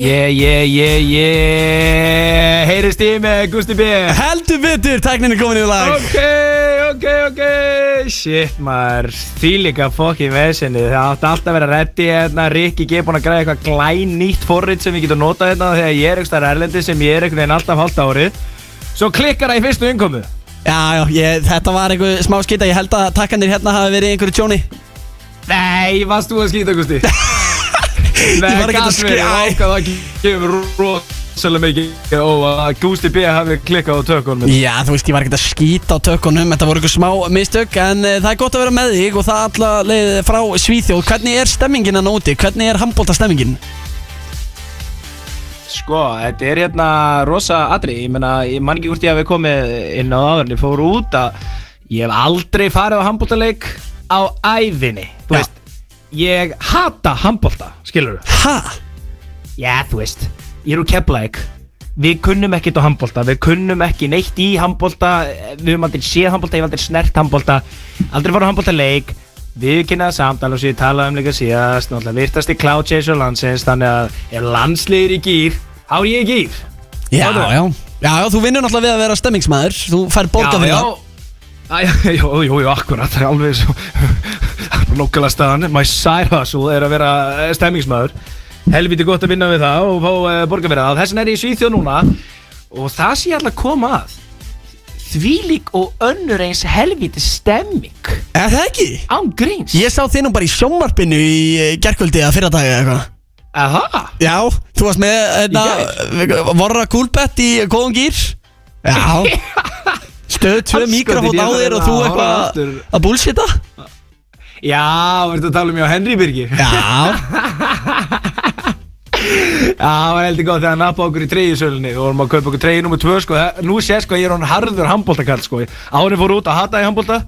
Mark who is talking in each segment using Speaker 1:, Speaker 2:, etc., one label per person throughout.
Speaker 1: Yeah, yeah, yeah, yeah Heyrist í með Gusti B
Speaker 2: Heldur betur, tæknin er komin í lag
Speaker 1: Ok, ok, ok Shit maður, því líka fokk í vesinni Það átti alltaf að vera reddi hérna Rikki G er búinn að græða eitthvað glænýtt forrit sem við getum notað hérna Þegar ég er eitthvað erlendi sem ég er einhvern veginn alltaf hálft árið Svo klikkar það í fyrstu innkomu
Speaker 2: Já, já, ég, þetta var einhver smá skita Ég held að takkanir hérna hafi verið í einhverju tjóni
Speaker 1: Nei, varst þú að skýta Gusti? Nei,
Speaker 2: var ekkert að
Speaker 1: gat verið,
Speaker 2: skýta- Æ.
Speaker 1: ákvað að kemur rosalega mikið og að Gusti B hafi klikkað á tökunum
Speaker 2: Já, þú veist, ég var ekkert að skýta á tökunum Þetta voru einhver smá mistök En uh, það er gott að vera með þig Og það allavega leið frá Svíþjóð Hvernig er stemmingin að nóti? Hvernig er handbólta stemmingin?
Speaker 1: Sko, þetta er hérna rosa atri, ég menna, ég man ekki hvort ég hafi komið inn á áður en ég fór út að ég hef aldrei farið á handbóltaleik á æðinni, þú
Speaker 2: Já.
Speaker 1: veist, ég hata handbólta, skilur þú?
Speaker 2: Ha?
Speaker 1: Já, þú veist, ég er úr Keflæk Við kunnum ekkert á handbólta Við kunnum ekki neitt í handbólta Við höfum aldrei séð handbólta, ég hef aldrei snert handbólta Aldrei farið á handbólta leik Við kynnaði samtal og svo ég talaði um líka síðast Náttúrulega virtast í Cloud Chase og landsins Þannig að ef landsliðir í gýr Þá er ég í gýr
Speaker 2: Já,
Speaker 1: Hvað er
Speaker 2: já Já, já, þú vinnur náttúrulega við að vera stemmingsmaður Þú fær borga fyrir það
Speaker 1: Æ, Jú, jú, jú, akkurat, það er alveg svo Nókala staðan, my side hustle er að vera eh, stemmingsmaður Helviti gott að vinna við það og fá uh, borga fyrir það Þessan er ég í Svíþjóð núna Og það sé ég alltaf að koma að Þvílík og önnur eins helviti stemming
Speaker 2: Er það ekki?
Speaker 1: Án gríns
Speaker 2: Ég sá þið nú bara í sjónvarpinu í eh, gerkvöldi að fyrra dagi eitthvað
Speaker 1: Aha,
Speaker 2: Já, þú varst með
Speaker 1: Í
Speaker 2: þetta, Vorra Kúlbett í góðum gýr Já Stöð tvö
Speaker 1: Andskotinn,
Speaker 2: mikrofót
Speaker 1: ég
Speaker 2: á
Speaker 1: þarf
Speaker 2: þér og
Speaker 1: að
Speaker 2: þú
Speaker 1: horfa
Speaker 2: eitthvað
Speaker 1: hérna, aftur.
Speaker 2: að bullshita
Speaker 1: já, verður að tala um mig á Henry Birgir
Speaker 2: Já
Speaker 1: Já, það var heldur góð þegar hann nappa okkur í treyjusölunni og vorum að kaupa okkur treyju nummer 2 sko. Það- Nú sé sko að ég er hann harður handbóltakall sko. Árið fór út að hata ég handbólta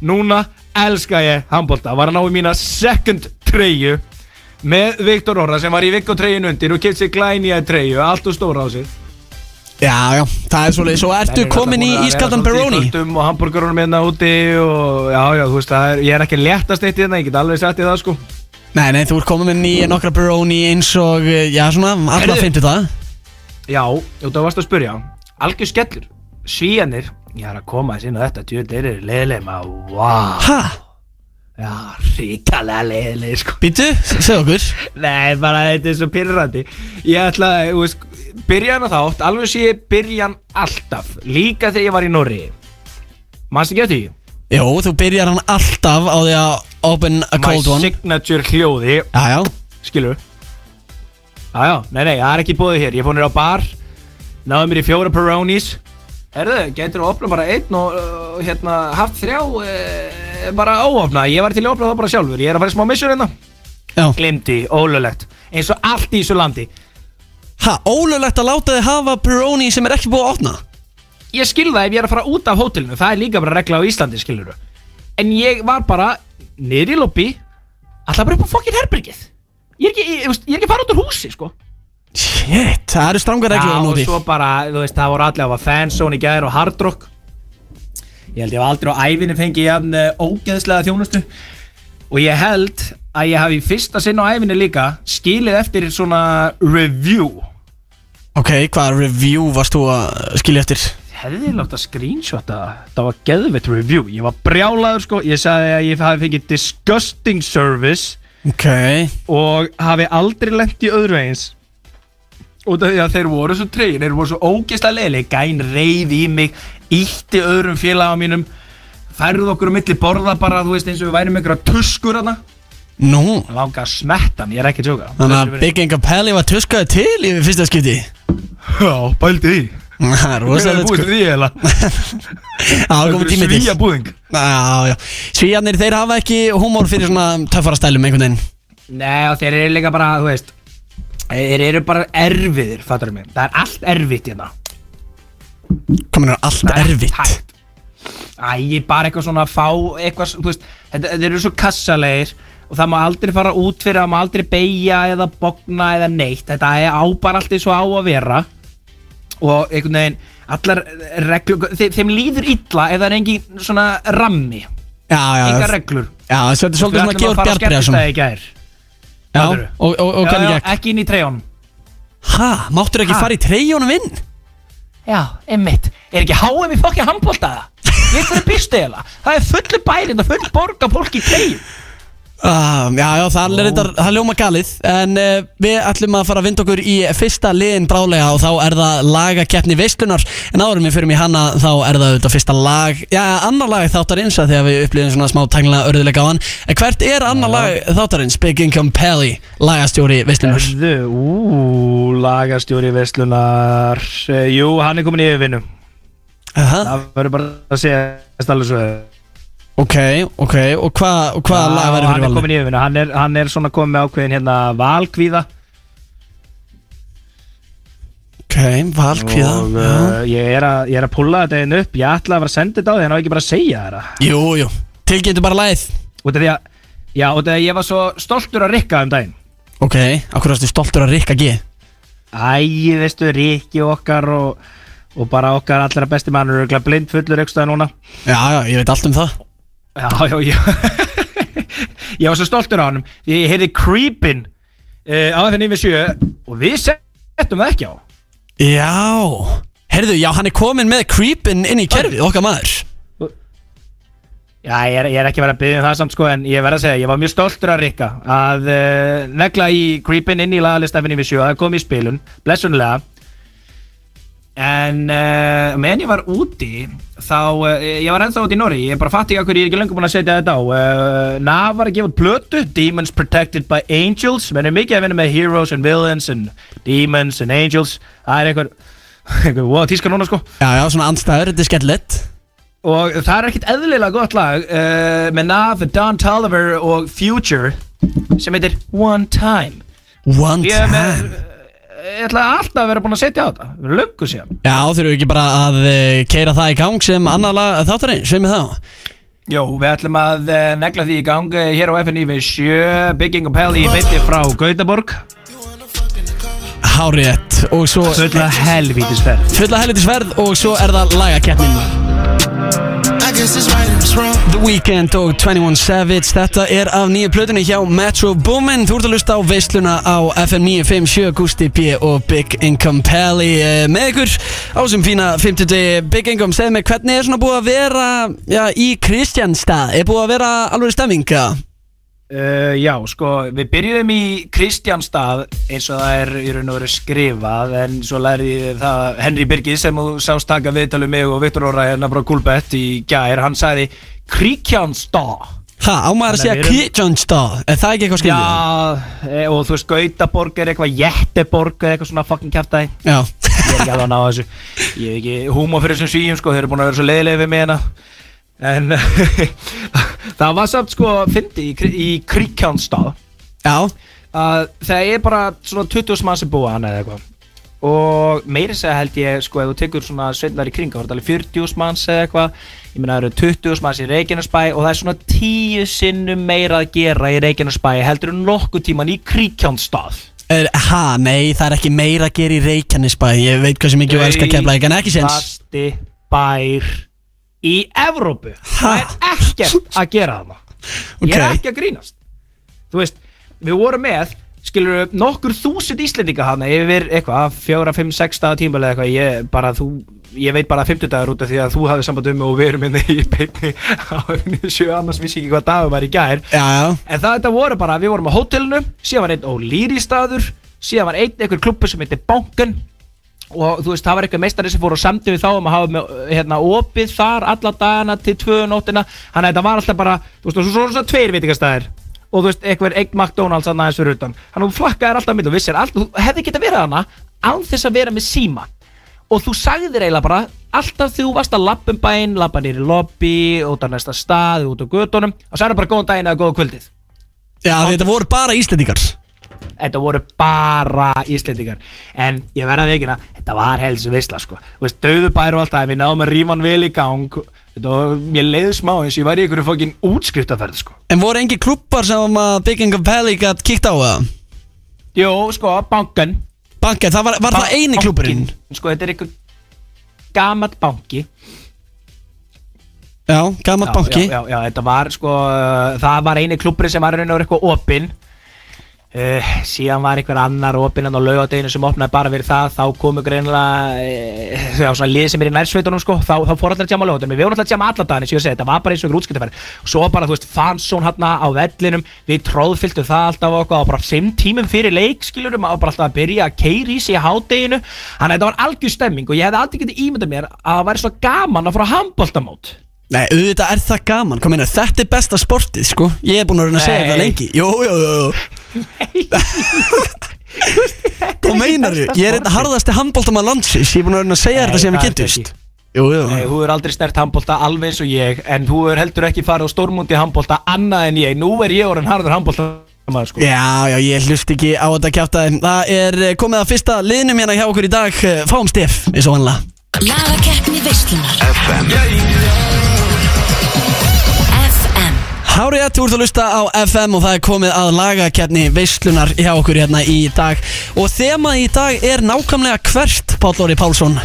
Speaker 1: Núna elska ég handbólta Var að ná í mína second treyju Með Viktor Orra sem var í Vikko treyjun undir Og kemst sér glæni að treyju Allt og stóra á sig
Speaker 2: Já, já, það er svolítið Svo ertu komin í ískaldan Baroni
Speaker 1: Köttum og hambúrgarunum hérna úti og já, já, þú veist, það er, ég er ekki léttast eitt hérna Ég get alveg sett í það sko
Speaker 2: Nei, nei, þú ert komin með nýja nokkra Baroni eins og, já, svona, alla
Speaker 1: Heyrðu.
Speaker 2: fyndu það
Speaker 1: Já, jú, það varst að spyrja Algjör skellur, svíjanir Ég er að koma þess inn á þetta Tjóð, þeir eru leiðileg maður Vá,
Speaker 2: Ha,
Speaker 1: já, ríkalega leiðileg sko.
Speaker 2: býtu, segð okkur
Speaker 1: Nei, bara þetta er svo pyrrandi Ég ætla að, þú veist Byrjan að þátt, alveg sé ég byrjan alltaf Líka þegar ég var í Norri Manstu ekki að því?
Speaker 2: Jó, þú byrjar hann alltaf á því að open a
Speaker 1: My
Speaker 2: cold one
Speaker 1: signature hljóði
Speaker 2: Já, já
Speaker 1: Skilur Já, já, nei, nei, það er ekki búið hér Ég fór nýra á bar Náðu mér í fjóra Peronis Herðu, getur þú að opna bara einn og uh, hérna, haft þrjá uh, bara óopna Ég var til að opna það bara sjálfur Ég er að fara í smá mission hérna
Speaker 2: Já.
Speaker 1: Glimti, ólulegt Eins og allt í þessu landi
Speaker 2: Ha, ólöglegt að láta þið hafa Baroni sem er ekki búið að opna
Speaker 1: Ég skil það ef ég er að fara út af hótelinu Það er líka bara regla á Íslandi, skilur En ég var bara niður í lobby Alltaf bara upp á fokkin herbergið Ég er ekki, ég, ég, ég er ekki að fara út úr húsi, sko
Speaker 2: Shit, það eru strangar reglur
Speaker 1: Já,
Speaker 2: að
Speaker 1: og
Speaker 2: nóti
Speaker 1: svo bara, þú veist, það voru allir að var fanzone í gæðir og hardrock Ég held ég var aldrei á ævinni fengið jafn uh, ógeðslega þjónustu Og ég held að ég hafi í fyrsta sinn á ævinni líka skilið eftir svona review
Speaker 2: Ok, hvaða review varst þú að skilja eftir?
Speaker 1: Hefði ég látt að screenshota það Það var geðveitt review Ég var brjálaður sko, ég sagði að ég hafi fengið disgusting service
Speaker 2: Ok
Speaker 1: og hafi aldrei lent í öðru eins út af því að þeir voru svo treyir þeir voru svo ógeðslega leiðileg gæn reyði í mig, ítti öðrum félaga mínum færðu okkur um milli borða bara, þú veist, eins og við værum einhverja tuskur hana,
Speaker 2: Nú
Speaker 1: langa að smetta hann, ég er ekki að sjóka
Speaker 2: Þannig að Big Inga Pelli var tuskaði til í fyrsta skipti
Speaker 1: Já, bældi því
Speaker 2: Það er rosalega
Speaker 1: búið
Speaker 2: sko
Speaker 1: því eða
Speaker 2: Það komið tími til
Speaker 1: Svíja búðing
Speaker 2: Já, já Svíjarnir, þeir hafa ekki humor fyrir svona töffara stælum einhvern veginn
Speaker 1: Nei, og þeir eru líka bara, þú veist Þeir eru bara erfiðir, fattur mig Það er allt erfitt hérna
Speaker 2: Komin er allt
Speaker 1: Það er
Speaker 2: erfitt
Speaker 1: hægt. Æ, bara eitthvað svona að fá eitthvað, þú veist, þetta, þetta eru svo kassalegir og það má aldrei fara út fyrir, það má aldrei beigja eða bogna eða neitt, þetta er á bara allt eins og á að vera og einhvern veginn, allar reglur, þe þeim líður illa ef það er engin svona rammi,
Speaker 2: Já, já
Speaker 1: engar reglur.
Speaker 2: Já, svo þetta er svolítið svona Georg
Speaker 1: Við ætlum að fara
Speaker 2: Bjarbriðarsson
Speaker 1: skemmtistæði í gær.
Speaker 2: Já,
Speaker 1: fattarðu?
Speaker 2: og, og, og
Speaker 1: Já,
Speaker 2: hvernig
Speaker 1: já,
Speaker 2: gekk
Speaker 1: ekki inn í trejón.
Speaker 2: Hæ, máttur ekki
Speaker 1: Ha?
Speaker 2: fara í treyjónum inn?
Speaker 1: Já, einmitt Er ekki HM í fokki handbólta það? Við hverju býstu eða? Það er fullu bærin og full borg af fólki í treyjum
Speaker 2: Um, já, já, það er þetta, það er ljóma galið En uh, við ætlum að fara að vinda okkur í fyrsta liðin brálega Og þá er það lagakeppni veislunar En árum við fyrir mig hana, þá er það auðvitað fyrsta lag Já, annar lag þáttarins að Þegar við upplýðum svona smá tæknilega örðuleika á hann En hvert er annar lag þáttarins? Big Income Pally, lagastjóri veislunar
Speaker 1: Hörðu, ú, lagastjóri Vestlunar Jú, hann er komin í yfirvinnu
Speaker 2: Aha,
Speaker 1: Það verður bara að segja allir svo
Speaker 2: Ok, ok, og hvað hva
Speaker 1: Já,
Speaker 2: lag verður
Speaker 1: hann
Speaker 2: fyrir
Speaker 1: er
Speaker 2: valinu?
Speaker 1: komin í yfirvinna hann, er- hann er svona komin með ákveðin hérna valkvíða
Speaker 2: Ok, valkvíða
Speaker 1: og
Speaker 2: já.
Speaker 1: uh, ég, er að, ég er að pulla þetta einn upp ég ætla að vera að senda þetta á því hann á ekki bara að segja þetta
Speaker 2: Jú, jú, tilgjendu bara lagið
Speaker 1: út af því að já, út af því að ég var svo stoltur að rikka um daginn
Speaker 2: Ok, akkur ástu stoltur að rikka G
Speaker 1: æ, veistu, rikki okkar og, og bara okkar allra besti mannur er blind fullur ykkur staði núna
Speaker 2: Já, já, ég veit allt um það
Speaker 1: já, já, já ég var svo stoltur á honum því ég heyrði creepin uh, á FN yfir sjö og við settum það ekki á
Speaker 2: Já Herðu, já, hann er komin með creepin inn í kerfið, okkar maður
Speaker 1: Já, ég er, ég er ekki verið að byggja um það samt sko en ég verð að segja, ég var mjög stoltur að Rikka að uh, negla í creepin inn í lagalistafinn við sjö, það kom í spilun blessunlega en uh, meðan ég var úti þá, uh, ég var ennþá úti í Norri ég bara fatti ekki að hverju ég er ekki lengur búin að setja þetta á uh, Nav var að gefa út plötu Demons Protected by Angels menn er mikið að vinna með Heroes and Villains and Demons and Angels það er einhver, einhver wow, tíska núna sko
Speaker 2: Já, já, svona andstæður, þetta er skellilegt
Speaker 1: Og það er ekkert eðlilega gott lag uh, með Nav, Don Tolliver og Future sem heitir One Time.
Speaker 2: One
Speaker 1: Ég, er
Speaker 2: time
Speaker 1: með, Eh, ég ætla alltaf að vera búinn að setja á þetta, löngu síðan.
Speaker 2: Já, þurfum við ekki bara að uh, keira það í gang sem annar lag þáttarinn, sem er það
Speaker 1: Jó, við ætlum að uh, negla því í gang uh, hér á FNI við sjö, Bygging og Pelli í bytti frá Gautaborg.
Speaker 2: Hárétt og svo
Speaker 1: Söðla helvítisferð.
Speaker 2: fulla helviti sverð og svo er það lagakeppnin
Speaker 3: I guess it's right and it's wrong.
Speaker 2: The Weeknd og 21 Savage Þetta er af nýju plötunni hjá Metro Boomin Þú ert að lusta á veisluna á FM 957 Gusti B og Big Income Pally eh, með ykkur á sem fína 50 Big Income, segð mér hvernig er svona búið að vera já, í Kristjánstað er búið að vera alveg stemming eða?
Speaker 1: Uh, já, sko, við byrjuðum í Kristjánstað eins og það er í raun og veru skrifað en svo lærði ég það Henry Birgis sem þú sást taka viðtalið mig og Viktor Óra hérna frá Gulbett í gær, hann sagði Krikjánstað
Speaker 2: Ha, á
Speaker 1: Þannig
Speaker 2: maður að
Speaker 1: að
Speaker 2: segja
Speaker 1: við erum-
Speaker 2: Kristjánstað er það ekki eitthvað
Speaker 1: Já,
Speaker 2: skildið?
Speaker 1: e, og þú veist Gautaborg er eitthvað Jetteborg eða eitthvað svona fucking kjaftaði
Speaker 2: Já
Speaker 1: Ég er ekki alveg að ná þessu Ég hef ekki húma fyrir þessum svíum sko Þeir eru búin að vera svo leiðilega við mig hérna En það var samt sko Fyndi í, Kri- í Krikjánstað
Speaker 2: Já,
Speaker 1: að það er bara svona 20 mann sem búa hann eða eitthvað og meiri segja held ég sko ef þú tekur svona sveitlar í kringa, þá er þetta alveg 40 manns eða eitthvað, ég meina það eru 20 manns í Reykjanesbæ og það er svona 10 sinnum meira að gera í Reykjanesbæ heldur en nokkuð tíman í Kríkjánstað
Speaker 2: er, ha, nei, það er ekki meira að gera í Reykjanesbæ Ég veit hversu mikið þú elskar kemla en ekki séns
Speaker 1: Stærsti bær í Evrópu það er ekkert að gera þarna ég er
Speaker 2: Ok.
Speaker 1: ekki að grínast þú veist, við vorum með skilur nokkur þúsund Íslendinga hana yfir eitthvað, fjóra, fimm, sex daga tímalega eitthvað, ég bara þú ég veit bara að 50 dagar út af því að þú hafði samband um mig og við erum minni í beinni á sjö, annars vissi ég ekki hvað dagum var í gær
Speaker 2: Já, já
Speaker 1: En það þetta voru bara, við vorum á hótelinu Síðan var einn ólýri staður Síðan var einn einhver klubbu sem heitir Banken Og þú veist, það var eitthvað meistari sem fór og samdi við þá um að hafa með, hérna, opið þar alla dagana til tvöðu nóttina Þannig að þetta var alltaf bara, þú veist, og svo svo svona tveir veitingastæðir Og þú veist, einhver einn McDonalds að næðis fyrir utan Þannig að þú flakkaðir alltaf mitt og vissir allt Þú hefði getað verið hana án þess að vera með síma og þú sagðir eiginlega bara alltaf þegar þú varst að lappa um bæinn lappa nýri lobby, út á næsta stað út á gödunum og sagði bara góðan daginn eða góða kvöldið
Speaker 2: Já, þetta voru bara Íslendingar
Speaker 1: þetta voru bara Íslendingar en ég verða að veikina, þetta var helst visla sko, þú veist, döðu bæru og allt það við náðum að rífa hann vel í gang Þetta var, mér leiði smá eins og ég væri í einhverju fokkin útskriftaferð sko
Speaker 2: En voru engi klubbar sem að Bygging of Pally gætt kíkt á það?
Speaker 1: Jó, sko, bankan
Speaker 2: Banka, það var, var það eini klubburinn?
Speaker 1: Sko, þetta er einhver gamall banki
Speaker 2: Já, gammal
Speaker 1: Já,
Speaker 2: banki
Speaker 1: já, já, já, þetta var sko uh, það var eini klubburinn sem var raun og verið eitthvað opinn Uh, síðan var einhver annar opinan á laugadeginu sem opnaði bara fyrir það þá komu greinilega uh, svona lið sem er í nærsveitunum sko þá, þá fór allir að djama á laugadeginu, við vorum allir að djama alla daginn eins og ég segi, þetta var bara eins og einhver útskiptaferð svo bara, þú veist, fansón hann á vellinum við tróðfylltum það alltaf og okkur og bara 5 tímum fyrir leik, skilurum og bara alltaf að byrja að keiri í sig í hádeginu þannig að þetta var algjör stemming og ég hefði aldrei getið ímyndað mér að það væri svo gaman að fara handbóltamót
Speaker 2: Nei, auðvitað er það gaman, kom inn að þetta er besta sportið, sko Ég er búin að reyna að segja
Speaker 1: Nei.
Speaker 2: það lengi Jú, jú, jú, jú Hvað meinar þú? Ég er einn harðasti handbóltamann landsins Ég er búin að reyna að segja
Speaker 1: Nei,
Speaker 2: þetta
Speaker 1: það
Speaker 2: sem ég
Speaker 1: ertu
Speaker 2: kynntist
Speaker 1: ekki.
Speaker 2: Jú, jú
Speaker 1: Nei, þú er aldrei snert handbólta alveg eins og ég En þú er heldur ekki farið á stórmundi handbólta annað en ég Nú er ég orðin harður handbólta maður sko
Speaker 2: Já, já, ég hlust ekki á þetta kjáta Það er eh, komið að fyrsta liðnum hérna hjá okkur í dag eh, Fáum stef, eins og vanlega
Speaker 4: Lagakeppni veislunar FM
Speaker 2: Hárið að þú ert að lusta á FM og það er komið að lagakerni veislunar hjá okkur hérna í dag Og þemað í dag er nákvæmlega hvert Páll Óri Pálsson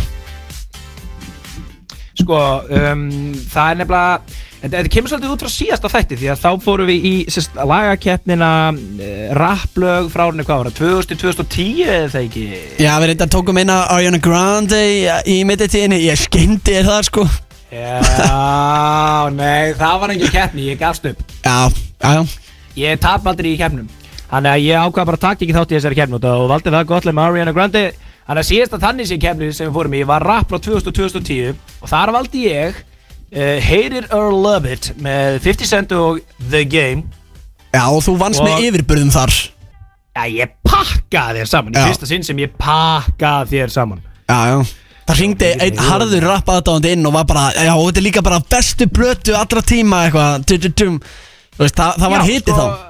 Speaker 1: Sko, um, það er nefnilega Þetta, þetta kemur svolítið út frá síðasta þætti Því að þá fórum við í sérst, lagakeppnina uh, Rapplög frá árunni hvað var það 2000-2010 eða það ekki
Speaker 2: Já, við reyndar tókum eina Ariana Grande í, í middetíðinni Ég skyndi er það sko
Speaker 1: Já, nei, það var engin keppni Ég gafst upp
Speaker 2: Já, já, já
Speaker 1: Ég tap aldrei í keppnum Þannig að ég ákvað bara að taka ekki þátt í þessari keppnum og valdi það gott leið með Ariana Grande Þannig að síðasta þannig sem keppni sem við fórum í var rap frá 2000-2010 og þar valdi ég uh, Hate It or Love It með 50 Cent og The Game
Speaker 2: Já, og þú vannst
Speaker 1: Og-
Speaker 2: með yfirburðum þar
Speaker 1: Já, ég pakkaði þér saman,
Speaker 2: Já.
Speaker 1: í fyrsta sinn sem ég pakkaði þér saman
Speaker 2: Já, já Það ringdi einn harður rapp aðdáðandi inn og var bara Já, og þetta er líka bara bestu blötu allra tíma eitthvað tu, tu, tu. Þú veist, það, það var hitið þá
Speaker 1: sko,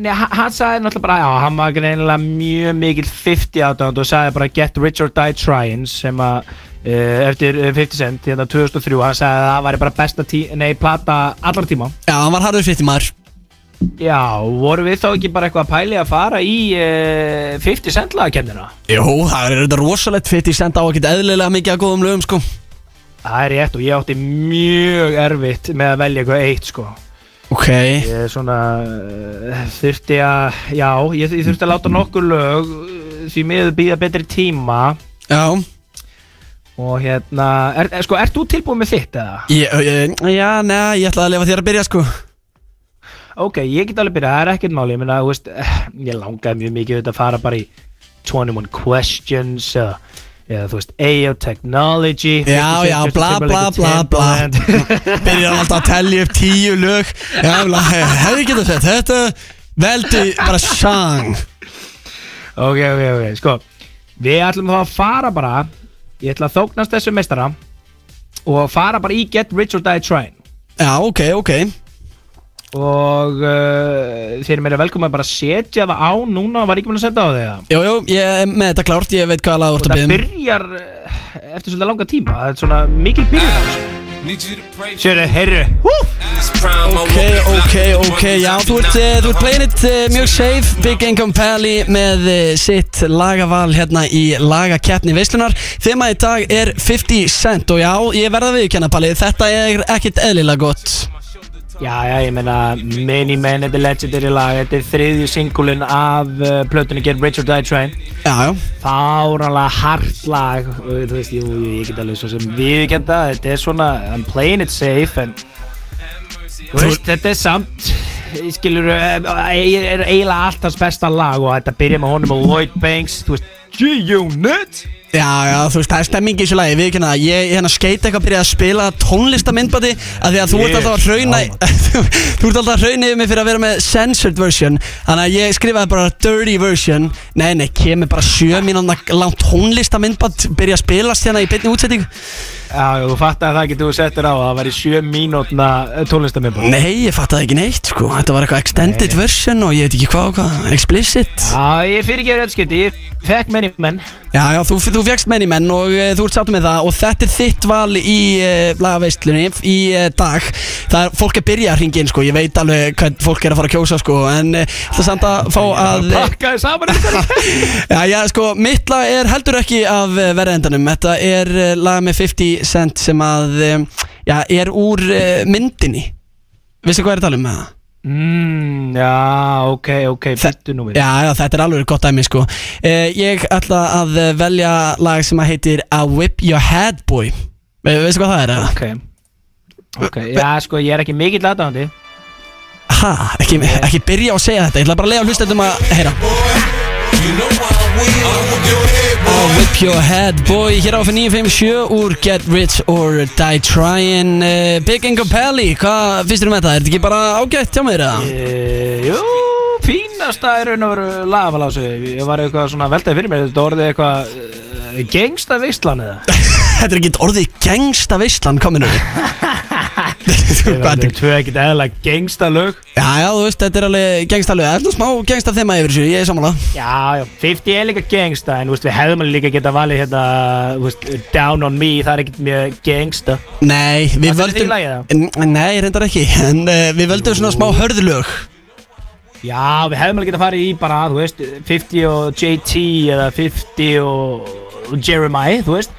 Speaker 1: Nei, hann hann sagði náttúrulega bara, já, hann var greinilega mjög mikill 50 ádönd og sagði bara Get Rich or Die Trying sem að uh, eftir eh, 50 Cent hérna 2003, hann sagði að það væri bara besta tí nei, plata allar tíma
Speaker 2: Já, hann var harður fyrir maður
Speaker 1: Já, voru við þá ekki bara eitthvað að pæli að fara í uh, 50 Cent lagakennina?
Speaker 2: Jó, það er þetta rosalegt fyrir því senda á ekkert eðlilega mikið að góðum lögum sko
Speaker 1: Það er rétt og ég átti mjög erfitt með að velja eitthvað eitt sko
Speaker 2: Ok
Speaker 1: Ég er svona eh, þurfti að, já, ég, ég þurfti að láta nokkur lög eh, því miður býða betri tíma
Speaker 2: Já
Speaker 1: og hérna, er, er, sko, ert þú tilbúin með þitt eða?
Speaker 2: ég, ég, Já, neða, ég ætlaði að lifa þér að byrja sko
Speaker 1: Ok, ég get alveg byrjað, það er ekkert máli, ég meina, þú veist, eh, ég langaði mjög mikið auðvitað að fara bara í 21 questions eða, eða þú veist, AO Technology
Speaker 2: Já,
Speaker 1: 50
Speaker 2: já,
Speaker 1: Cent,
Speaker 2: bla,
Speaker 1: Justin
Speaker 2: bla, bla,
Speaker 1: Timberlake,
Speaker 2: bla
Speaker 1: Timbaland.
Speaker 2: Byrjar alltaf að tellja upp tíu lög Já, bla, hefði getað sett Þetta veldi bara sang
Speaker 1: Ok, ok, ok, sko Við ætlum þá að fara bara Ég ætla að þóknast þessu meistara Og fara bara í Get Rich or Die Trying
Speaker 2: Já, ok, ok
Speaker 1: Og uh, þeir eru meira velkomin að bara setja það á núna Var ekki mér að senda á þig það
Speaker 2: Jú, jú, ég er með þetta klárt Ég veit hvað að
Speaker 1: Og
Speaker 2: lágur að
Speaker 1: það
Speaker 2: byrja um.
Speaker 1: byrjar eh, eftir svolítið langa tíma Það er svona mikil byrjar
Speaker 5: Need you to pray for
Speaker 1: Sjöru, heyrðu, húf
Speaker 5: this crown.
Speaker 2: Ok, ok, ok, já, þú ert, uh, þú ert playin it uh, mjög safe Big Income Pally með uh, sitt lagaval hérna í lagakeppni veislunar Þema í dag er 50 cent og já, ég verða við kenna Palli Þetta er ekkit eðlilega gott
Speaker 1: Já, já, ég meina Many Men, þetta er legendary lag Þetta er þriðju singulinn af uh, plötunni Get Rich or Die Trying
Speaker 2: Já, já,
Speaker 1: fáralega hart lag og þú veist, jú, jú, ég get alveg svo sem viðkenda, þetta er svona I'm playing it safe en þú veist, þetta er samt skilur, eh, er eiginlega allt hans besta lag og þetta byrja með honum og Lloyd Banks, þú veist G-Unit
Speaker 2: já, já, þú veist, það er stemming í þessu lagi Við kenna, ég hérna skeit eitthvað byrjaði að spila tónlistamindbati Af því að þú ert
Speaker 1: Yes,
Speaker 2: alltaf að hrauna Þú þú ert alltaf að hrauna yfir mig fyrir að vera með censored version Þannig að ég skrifaði bara dirty version Nei, nei, kemur bara sjö mínúna langt tónlistamindbat Byrja að spilast hérna í beinni útsetting
Speaker 1: Já, þú fattar að það getur þú settir á að það væri sjö mínútna eh, tónlistamimbor
Speaker 2: Nei, ég fattaði ekki neitt, sko Þetta var eitthvað extended version og ég veit ekki hvað og hvað Explicit
Speaker 1: Já, ég fyrir ekki þetta skipti, ég fekk menni menn
Speaker 2: Já, já, þú, þú fegst menn í menn og e, þú ert sáttu með það og þetta er þitt val í e, lagaveistlunni í e, dag Það er, fólk er byrjað að ringja inn, sko, ég veit alveg hvað fólk er að fara að kjósa, sko En e, það er samt að fá að e,
Speaker 1: Pakkaði saman þetta
Speaker 2: Já, já, sko, mitt lag er heldur ekki af eh, verðendanum Þetta er eh, lag með 50 cent sem að, eh, já, er úr eh, myndinni Vistu hvað ég er að tala um með það?
Speaker 1: mm, Já, ok, ok,
Speaker 2: Þe-
Speaker 1: byttu nú við
Speaker 2: Já, já, þetta er alveg gott dæmi sko eh, Ég ætla að eh, velja lag sem að heitir A Whip Your Head Boy Ve Veistu hvað það er? eða?
Speaker 1: Ok, ok, já, sko, ég er ekki mikill aðdáðandi
Speaker 2: Ha, ekki, ekki byrja á að segja þetta Ég ætla bara að leiða hlustendum að heyra A Whip Your Head Boy Hér á fyrir 957 úr Get Rich or Die Tryin uh, Big Ingo Pelli, hvað finnst þér um þetta? Er þetta ekki bara ágætt hjá mér eða?
Speaker 1: e, Jú, fínasta er raun og veru lagafalásu Ég var eitthvað svona veltaði fyrir mér Þetta orðið eitthvað uh, gengsta veistlan eða
Speaker 2: Þetta er ekki orðið gengsta veistlan, kominu Hvað
Speaker 1: Þetta
Speaker 2: er
Speaker 1: er tvö ekkert eðla gengsta lög
Speaker 2: Já, já, þú veist, þetta er alveg gengsta lög Þetta er smá gengsta þema yfir þessu, ég er sammála
Speaker 1: Já, já, 50 er líka gengsta En þú veist, við hefðum alveg líka geta valið hérna þú veist, Down on me, það er ekkert mjög gengsta
Speaker 2: Nei, við
Speaker 1: Fannst þér þetta í
Speaker 2: völdum
Speaker 1: lagi, eða?
Speaker 2: N- Nei, reyndar ekki En uh, við völdum svona smá hörðlög
Speaker 1: Já, við hefðum alveg getað farið í bara, þú veist, 50 og JT eða 50 og og Jeremiah, þú veist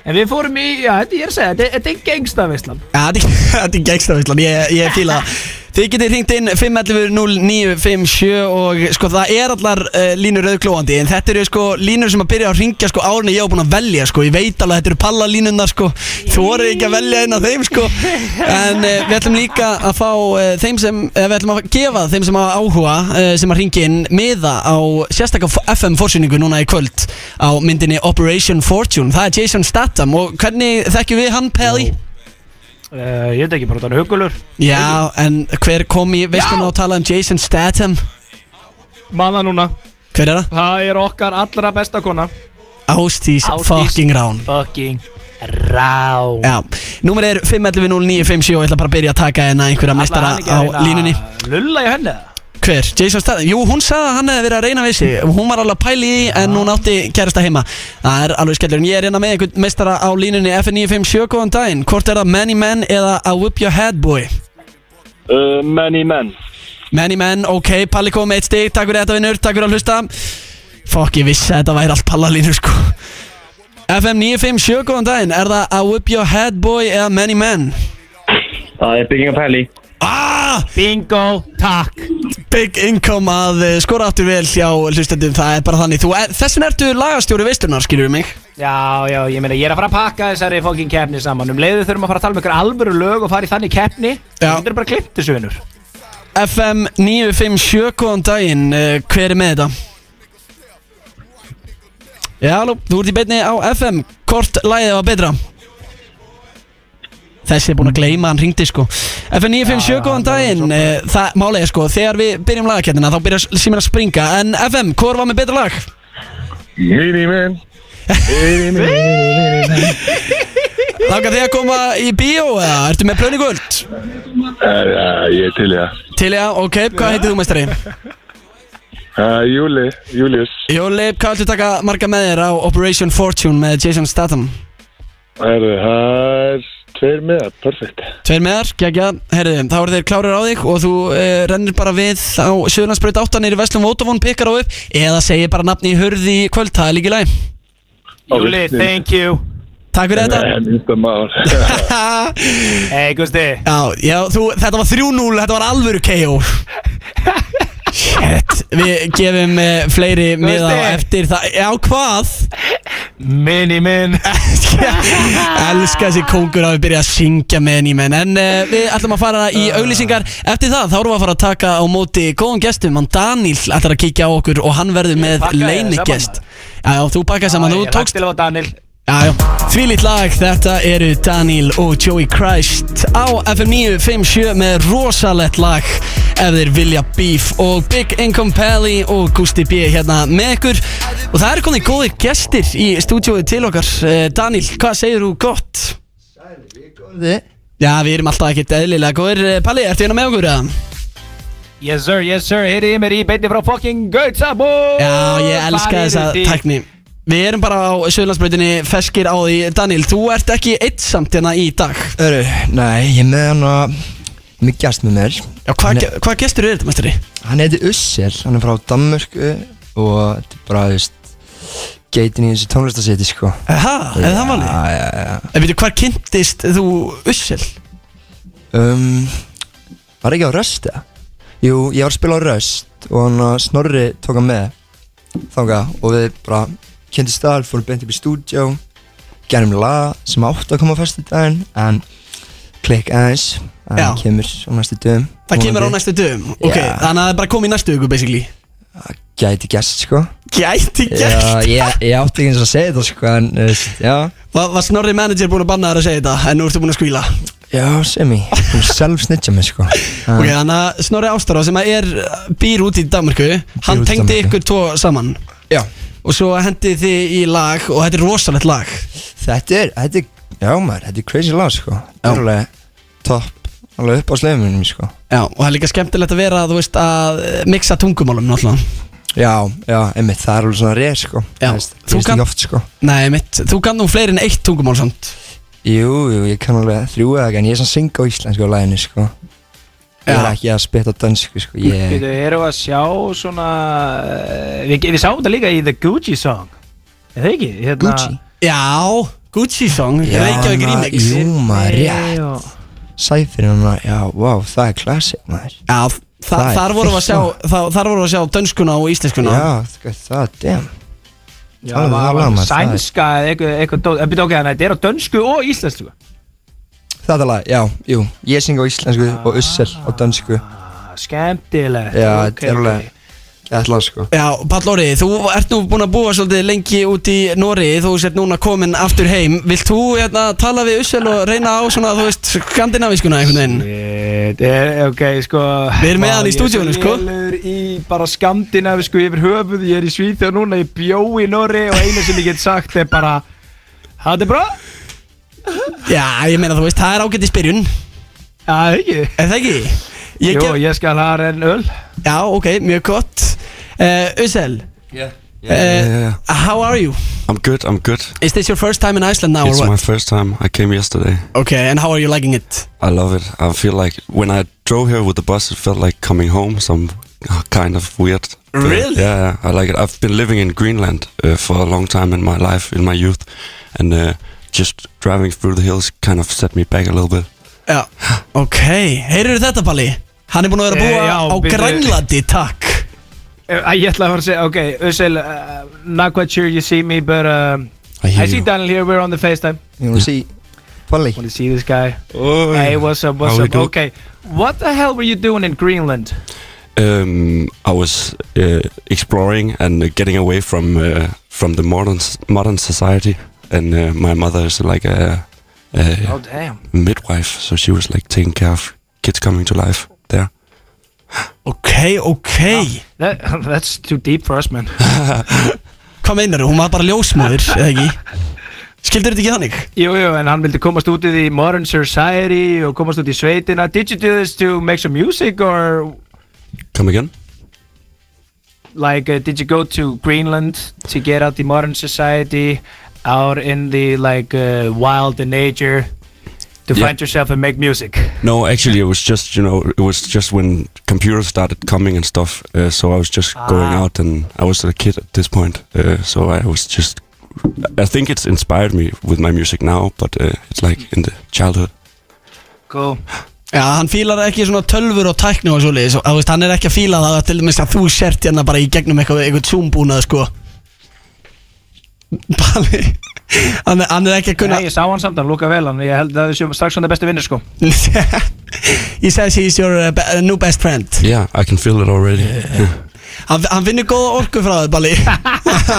Speaker 1: En við fórum í, já, þetta ég er að segja, þetta, þetta er gengsta veistlan
Speaker 2: Já, þetta er- þetta er gengsta veistlan, ég, ég fíla það Þið getið hringt inn 511-0957 og sko það er allar uh, línur auðglóandi en þetta eru sko línur sem að byrja að ringja sko árni ég á búin að velja sko ég veit alveg að þetta eru pallalínunar sko þú orðið ekki að velja einn af þeim sko en uh, við ætlum líka að fá uh, þeim sem, uh, við ætlum að gefa þeim sem að áhuga uh, sem að ringi inn miða á sérstakka FM fórsynningu núna í kvöld á myndinni Operation Fortune það er Jason Statham og hvernig þekkjum við hann Pelli?
Speaker 1: uh, Ég veit ekki, bara þannig hugulur
Speaker 2: Já, en hver kom í veisluna og talaði um Jason Statham?
Speaker 1: Manna núna,
Speaker 2: Hver er það?
Speaker 1: það er okkar allra besta kona
Speaker 2: Ástís
Speaker 1: Ásdís.
Speaker 2: fucking rán
Speaker 1: Fucking rá
Speaker 2: Já, númer er 511-0957 og ég ætla bara að byrja að taka hérna einhverja mestara á
Speaker 1: hérna.
Speaker 2: línunni
Speaker 1: Lulla í henni það
Speaker 2: Hver? Jason Statham? Jú, hún sagði að hann hefði verið að reyna við sig Hún var alveg að pæli í því en hún átti kærasta heima Það er alveg skellur En ég er hérna með einhvern mestara á línunni FN957 góðan daginn Hvort er það Many Men eða A Whip Your Head Boy?
Speaker 6: Uh, many men.
Speaker 2: Many Men, ok, Palli kom með eitt stig Takk fyrir þetta vinnur, takk fyrir að hlusta Fokk, ég vissi að þetta væri allt pallalínu sko FM 957, góðan daginn Er það A Whip Your Head Boy eða Many Men?
Speaker 6: Það er bygging af helli.
Speaker 2: Ah,
Speaker 1: Bingo, takk
Speaker 2: big income að eh, skora áttur vel hjá hlustendum Það er bara þannig Þú, er, Þessin ertu lagastjóri veisturnar, skilur mig
Speaker 1: Já, já, ég meina, ég er að fara að pakka þessari fókin keppni saman Um leiðu þurfum að fara að tala um ykkur alvöru lög og fara í þannig keppni
Speaker 2: Já.
Speaker 1: Þetta er bara klimt þessu vinnur
Speaker 2: FM 957, góðan daginn Eh, Hver er með þetta? Já, halló, þú ert í beinni á FM Hvort lagið var betra? Þessi er búinn að gleyma, hann ringdi sko FN 957, góðan daginn Eh, Það málega sko, þegar við byrjum lagakettina þá byrjar síminn að springa En FM, hvor var með betra lag?
Speaker 6: Many men.
Speaker 2: Langar þið að koma í bíó eða? Ertu með plöni guld?
Speaker 6: Uh, uh, ég er til ég.
Speaker 2: Til já, ok, hvað heitir þú meistari?
Speaker 6: Uh, Júli, Július.
Speaker 2: Jóli, hvað ættu taka marga með þér á Operation Fortune með Jason Statham?
Speaker 6: Herðu, Það er tveir með, perfekt.
Speaker 2: Tveir með þar, geggja, herriði, þá eru þeir klárir á þig og þú uh, rennir bara við á Suðurlandsbreyt 8 nýri Veslum Vótafón, pikkar á upp eða segir bara nafni í hurði í kvöld, það er líka í lagi
Speaker 1: Júli, thank you
Speaker 2: Takk fyrir þetta
Speaker 6: En minnst að maður.
Speaker 1: Hey, Gusti
Speaker 2: Já, já, þú, þetta var 3-0, þetta var alvöru KO Shit, við gefum uh, fleiri miða á eftir það Já, hvað?
Speaker 1: Mini minn
Speaker 2: Elska þessi kóngur að við byrja að syngja með henni menn En uh, við ætlum að fara í auglýsingar Eftir það þá erum við að fara að taka á móti góðum gestum Hann Daníl ætlar að kíkja á okkur og hann verður með
Speaker 1: pakkaði
Speaker 2: leinigest
Speaker 1: saman,
Speaker 2: Já, já, þú pakkaði saman, þú
Speaker 1: Ég lagt
Speaker 2: tókst
Speaker 1: til á Daniel
Speaker 2: Já, já, því lít lag, þetta eru Daniel og Joey Christ á FM 957 með rosalett lag ef þeir vilja beef og Big Income Pally og Gusti B hérna með ykkur og það eru konið góðir gestir í stúdíóið til okkar Eh, Daniel, hvað segir þú gott? Já, við erum alltaf ekkert eðlilega góðir Eh, Palli, ertu hérna með okkur eða?
Speaker 1: Yes sir, yes sir, heyrið ég mér í beinni frá fucking Gautsabú
Speaker 2: Já, ég elska þessa tækni Við erum bara á Suðlandsbreytinni feskir á því Daniel, þú ert ekki eitt samt hérna í dag
Speaker 7: Öru, nei, ég er með hann að ég er með gæst með mér
Speaker 2: Já, hvað ge- hvað gestur er þetta, mestari?
Speaker 7: Hann heiti Ussel, hann er frá Danmörku og þetta er bara, þú veist geitin í þessu tónlistasetti, sko
Speaker 2: Aha, Eh, er það valið?
Speaker 7: Já, já, já
Speaker 2: En veitu, hvar kynntist þú Ussel?
Speaker 7: Um, var ekki á rösta? Jú, ég var að spila á Röst og hann að Snorri tók hann með þangað og við bara kynntist þar, fórum beint upp í stúdjó gerðum lag sem átti að koma á fyrstu daginn en klikk aðeins en
Speaker 2: Já.
Speaker 7: kemur á næstu dögum
Speaker 2: Það kemur á
Speaker 7: vonandi.
Speaker 2: næstu dögum Ok,
Speaker 7: Já.
Speaker 2: þannig að það er bara komið í næstu viku basically
Speaker 7: Gæti gæst sko
Speaker 2: Gæti
Speaker 7: Já,
Speaker 2: gert
Speaker 7: ég, ég átti ekki eins og að segja þetta sko en þú veist, já
Speaker 2: Var, var Snorri manager búin að banna þér að segja þetta En nú ertu búin að skvíla
Speaker 7: Já, semi, hún sjálf snitja mig sko
Speaker 2: Ok,
Speaker 7: En-
Speaker 2: þannig að Snorri Ástara sem að er uh, býr út í Danmarku Hann
Speaker 7: út í
Speaker 2: tengdi
Speaker 7: Danmörku.
Speaker 2: ykkur tvo saman
Speaker 7: Já
Speaker 2: Og svo hendi þið í lag Og þetta er rosalegt lag
Speaker 7: Þetta er, þetta er, já maður, þetta er crazy lag sko Þetta er alveg topp, alveg upp á sleimunum sko
Speaker 2: Já, og það er líka skemmtilegt að vera, þú veist, að eh, mixa tungumálum náttúrulega
Speaker 7: Já, já, einmitt, það er alveg svona reyð sko
Speaker 2: Já,
Speaker 7: Þú veist,
Speaker 2: þú
Speaker 7: þú
Speaker 2: kann-
Speaker 7: kann oft, sko.
Speaker 2: Nei, mitt, þú kann nú fleiri en eitt tungumál samt
Speaker 7: Jú, jú, ég kann alveg þrjú eða ekki en ég er svona synga á íslensku á læginu sko Ég er
Speaker 2: Já.
Speaker 7: ekki að spytta á dansku sko ég...
Speaker 1: Við erum að sjá svona eh, Við, við sáum þetta líka í The Gucci Song Er það ekki? Hérna,
Speaker 7: Gucci?
Speaker 2: Já, Gucci song,
Speaker 7: Já,
Speaker 2: Reykjavík
Speaker 7: ma-
Speaker 2: Remix
Speaker 7: jú. maður,
Speaker 1: Nei,
Speaker 7: rétt.
Speaker 1: og-
Speaker 7: Sæfirinn hann að, já, vá, það er klassik maður
Speaker 2: Já, þa
Speaker 7: Það er
Speaker 2: þar vorum við að
Speaker 7: fyrst
Speaker 2: sjá, þar, þar vorum við að sjá dönskuna og íslenskuna
Speaker 7: Já, sko, það, damn
Speaker 1: Já,
Speaker 7: Það
Speaker 1: það
Speaker 7: er
Speaker 1: var,
Speaker 7: alveg maður, það er-
Speaker 1: sænska eða eitthvað, eitthvað eh, dót- en byrja okkar, þetta er á dönsku og íslensku
Speaker 7: Það er lag, já, jú, ég syng á íslensku og ussel á dansku Já,
Speaker 1: Ah, Skemmtilegt ok,
Speaker 7: þetta er
Speaker 1: ok.
Speaker 7: alveg, þetta er lag sko
Speaker 2: Já, Pall Óri, þú ert nú búin að búa svolítið lengi út í Nóri Þú sett núna komin aftur heim Vilt þú hérna, tala við Ussel og reyna á svona, þú veist, skandinavískuna einhvern veginn?
Speaker 1: Shit, er, ok, sko
Speaker 2: Við erum með
Speaker 1: Vá,
Speaker 2: hann í
Speaker 1: ég er
Speaker 2: stúdíónu,
Speaker 1: svo
Speaker 2: sko.
Speaker 1: lélegur í bara skandinavi, sko, yfir höfuð Ég er í Svíþjóð núna, ég bjó í Norri Og eina sem ég get sagt er bara Það er bra?
Speaker 2: Já, ég meina, þú veist, það er ágætt í spyrjun
Speaker 1: Já, það er ekki
Speaker 2: Er það ekki? Ég
Speaker 1: Jú,
Speaker 2: gef-
Speaker 1: ég skal hafa enn öl
Speaker 2: Já, ok, mjög gott uh, Ussel
Speaker 7: Já, já,
Speaker 2: uh,
Speaker 7: já.
Speaker 2: How are you?
Speaker 8: I'm good, I'm good.
Speaker 2: Is this your first time in Iceland now
Speaker 8: it's
Speaker 2: or
Speaker 8: my
Speaker 2: what?
Speaker 8: first time. I came yesterday.
Speaker 2: Okay, and how are you liking it?
Speaker 8: I love it. I feel like when I drove here with the bus, it felt like coming home. Some kind of weird. feeling.
Speaker 2: Really?
Speaker 8: Yeah, yeah, I like it. I've been living in Greenland uh, for a long time in my life, in my youth, and uh, just driving through the hills kind of set me back a little bit.
Speaker 2: Já, ok, heyrðu þetta Palli? Hann er búinn að vera að
Speaker 1: Eh,
Speaker 2: búa
Speaker 1: já,
Speaker 2: á
Speaker 1: byrju.
Speaker 2: Grænlandi, takk
Speaker 1: Eh, Ég ætla að fara að segja, ok, Ussel uh, Not quite sure you see me, but um,
Speaker 8: I hear
Speaker 1: I see
Speaker 8: you.
Speaker 1: Daniel here, we're on the FaceTime
Speaker 7: You wanna see Polly?
Speaker 1: Want to see this guy?
Speaker 8: Oh,
Speaker 1: Hey, what's up, what's
Speaker 8: How we
Speaker 1: up?
Speaker 8: do-
Speaker 1: Okay, what the hell were you doing in Greenland?
Speaker 8: Um, I was uh, exploring and uh, getting away from uh, from the modern s- modern society, and uh, my mother is like a, a
Speaker 1: Oh, damn.
Speaker 8: midwife, so she was like taking care of kids coming to life there.
Speaker 2: Ok, ok
Speaker 1: That, that's too deep for us, man.
Speaker 2: Hvað meinar þú? Hún var bara ljósmóður, eða ekki? Skildur þetta ekki þannig?
Speaker 1: Jú, jú, en hann vildi komast út í því modern society og komast út í sveitina. Did you do this to make some music or
Speaker 8: Come again?
Speaker 1: like uh, did you go to Greenland to get out the modern society out in the like uh, wild and nature to
Speaker 8: Yeah.
Speaker 1: find yourself and make music?
Speaker 8: No, actually, it was just you know it was just when computers started coming and stuff. Uh, so I was just going
Speaker 1: Ah.
Speaker 8: out, and I was a kid at this point. Uh, so I was just. I think it's inspired me with my music now, but uh, it's like in the childhood.
Speaker 1: Cool.
Speaker 2: Já, hann fílar ekki svona tölfur og tækni og svoleiðis og, þú veist, Hann er ekki að fíla það til dæmis að þú sért hérna bara í gegnum eitthvað, eitthvað zoombúnað sko Palli hann, er- hann er ekki að kunna
Speaker 1: Nei, ég sá hann samt, hann lúka vel hann. Ég held að þau séu strax svona besti vinnir, sko.
Speaker 2: He says he's your uh, be- uh, new best friend
Speaker 8: Yeah, I can feel it already.
Speaker 2: Hann, hann finnur góða orku frá þér, Palli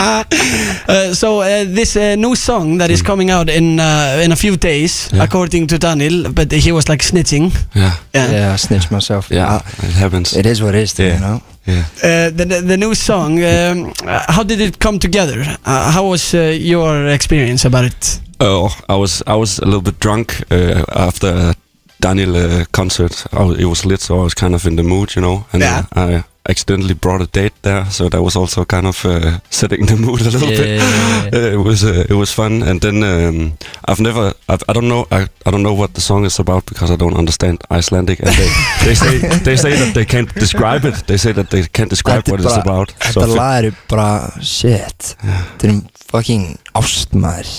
Speaker 2: uh, So uh, this uh, new song that
Speaker 7: Mm.
Speaker 2: is coming out in, uh, in a few days
Speaker 8: Yeah.
Speaker 2: according to Daniel but he was like snitching
Speaker 8: yeah,
Speaker 2: Yeah.
Speaker 7: Yeah, I snitch myself.
Speaker 8: yeah,
Speaker 7: Uh,
Speaker 8: it happens.
Speaker 7: it is what it is, though,
Speaker 8: Yeah.
Speaker 7: you know?
Speaker 8: yeah.
Speaker 2: Uh, the, the the new song, um, uh, how did it come together? Uh, how was uh, your experience about it?
Speaker 8: Oh, I was I was a little bit drunk uh, after a Daniel uh, concert. I wa- it was lit, so I was kind of in the mood, you know. And
Speaker 2: Yeah.
Speaker 8: uh, I accidentally brought a date there, so that was also kind of uh, setting the mood a little bit. Uh, it was uh, it was fun, and then um, I've never I've, I don't know I, I don't know what the song is about because I don't understand Icelandic, and they, they say they say that they can't describe it. They say that they can't describe
Speaker 7: Þetta
Speaker 8: what
Speaker 7: er
Speaker 8: it's
Speaker 7: bara-
Speaker 8: about. So
Speaker 7: Þetta
Speaker 8: if it-
Speaker 7: lag eru bara, shit, þetta eru fucking ástmaður,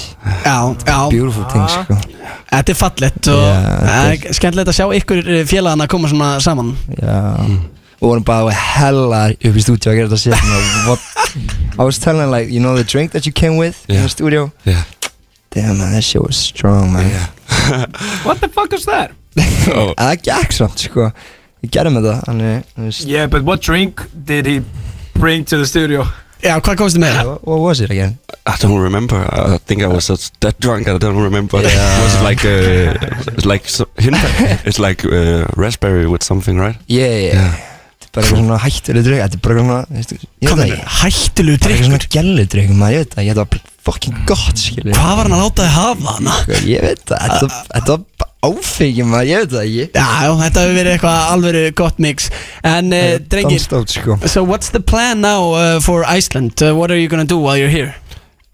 Speaker 2: Já, já,
Speaker 7: beautiful
Speaker 1: Ah.
Speaker 7: things, sko.
Speaker 2: þetta er fallett og uh,
Speaker 7: Já, þetta
Speaker 2: yeah, skemmtilegt að sjá ykkur eh, félagana koma svona saman
Speaker 7: Já, og vorum bara hella upp í stúdíu að gera þetta shit and what, I was telling her like you know the drink that you came with in
Speaker 8: Yeah.
Speaker 7: the studio
Speaker 8: Yeah.
Speaker 7: damn man that shit was strong man
Speaker 8: Yeah.
Speaker 1: What the fuck was that?
Speaker 8: Oh.
Speaker 7: að það gekk samt sko ég gerði með það þannig þú veist,
Speaker 1: Yeah, but what drink did he bring to the studio?
Speaker 2: Já, hvað komstu með það?
Speaker 7: what, what was it again
Speaker 8: I don't remember. I think I was just that drunk. I don't remember. It was like uh, it's like so, himba- it's like uh, raspberry with something, right?
Speaker 7: yeah yeah,
Speaker 8: Yeah.
Speaker 7: þetta er bara eitthvað svona hættuleg drikk þetta er bara eitthvað svona veistu, ég veit
Speaker 2: Kominu,
Speaker 7: það ekki
Speaker 2: hættulegu
Speaker 7: bara eitthvað
Speaker 2: drikkur
Speaker 7: svona gellu drikk maður ég veit það ég þetta var bara fucking gott skilur
Speaker 2: Hvað var hann að láta þið hafa hana?
Speaker 7: Sko, ég veit það þetta var- þetta var bara áfengi maður ég veit það ekki
Speaker 2: Já, já, þetta hefur verið eitthvað alvöru gott mix En uh, drengir,
Speaker 7: Danstótt sko
Speaker 2: so what's the plan now uh, for Iceland? Uh, what are you gonna do while you're here?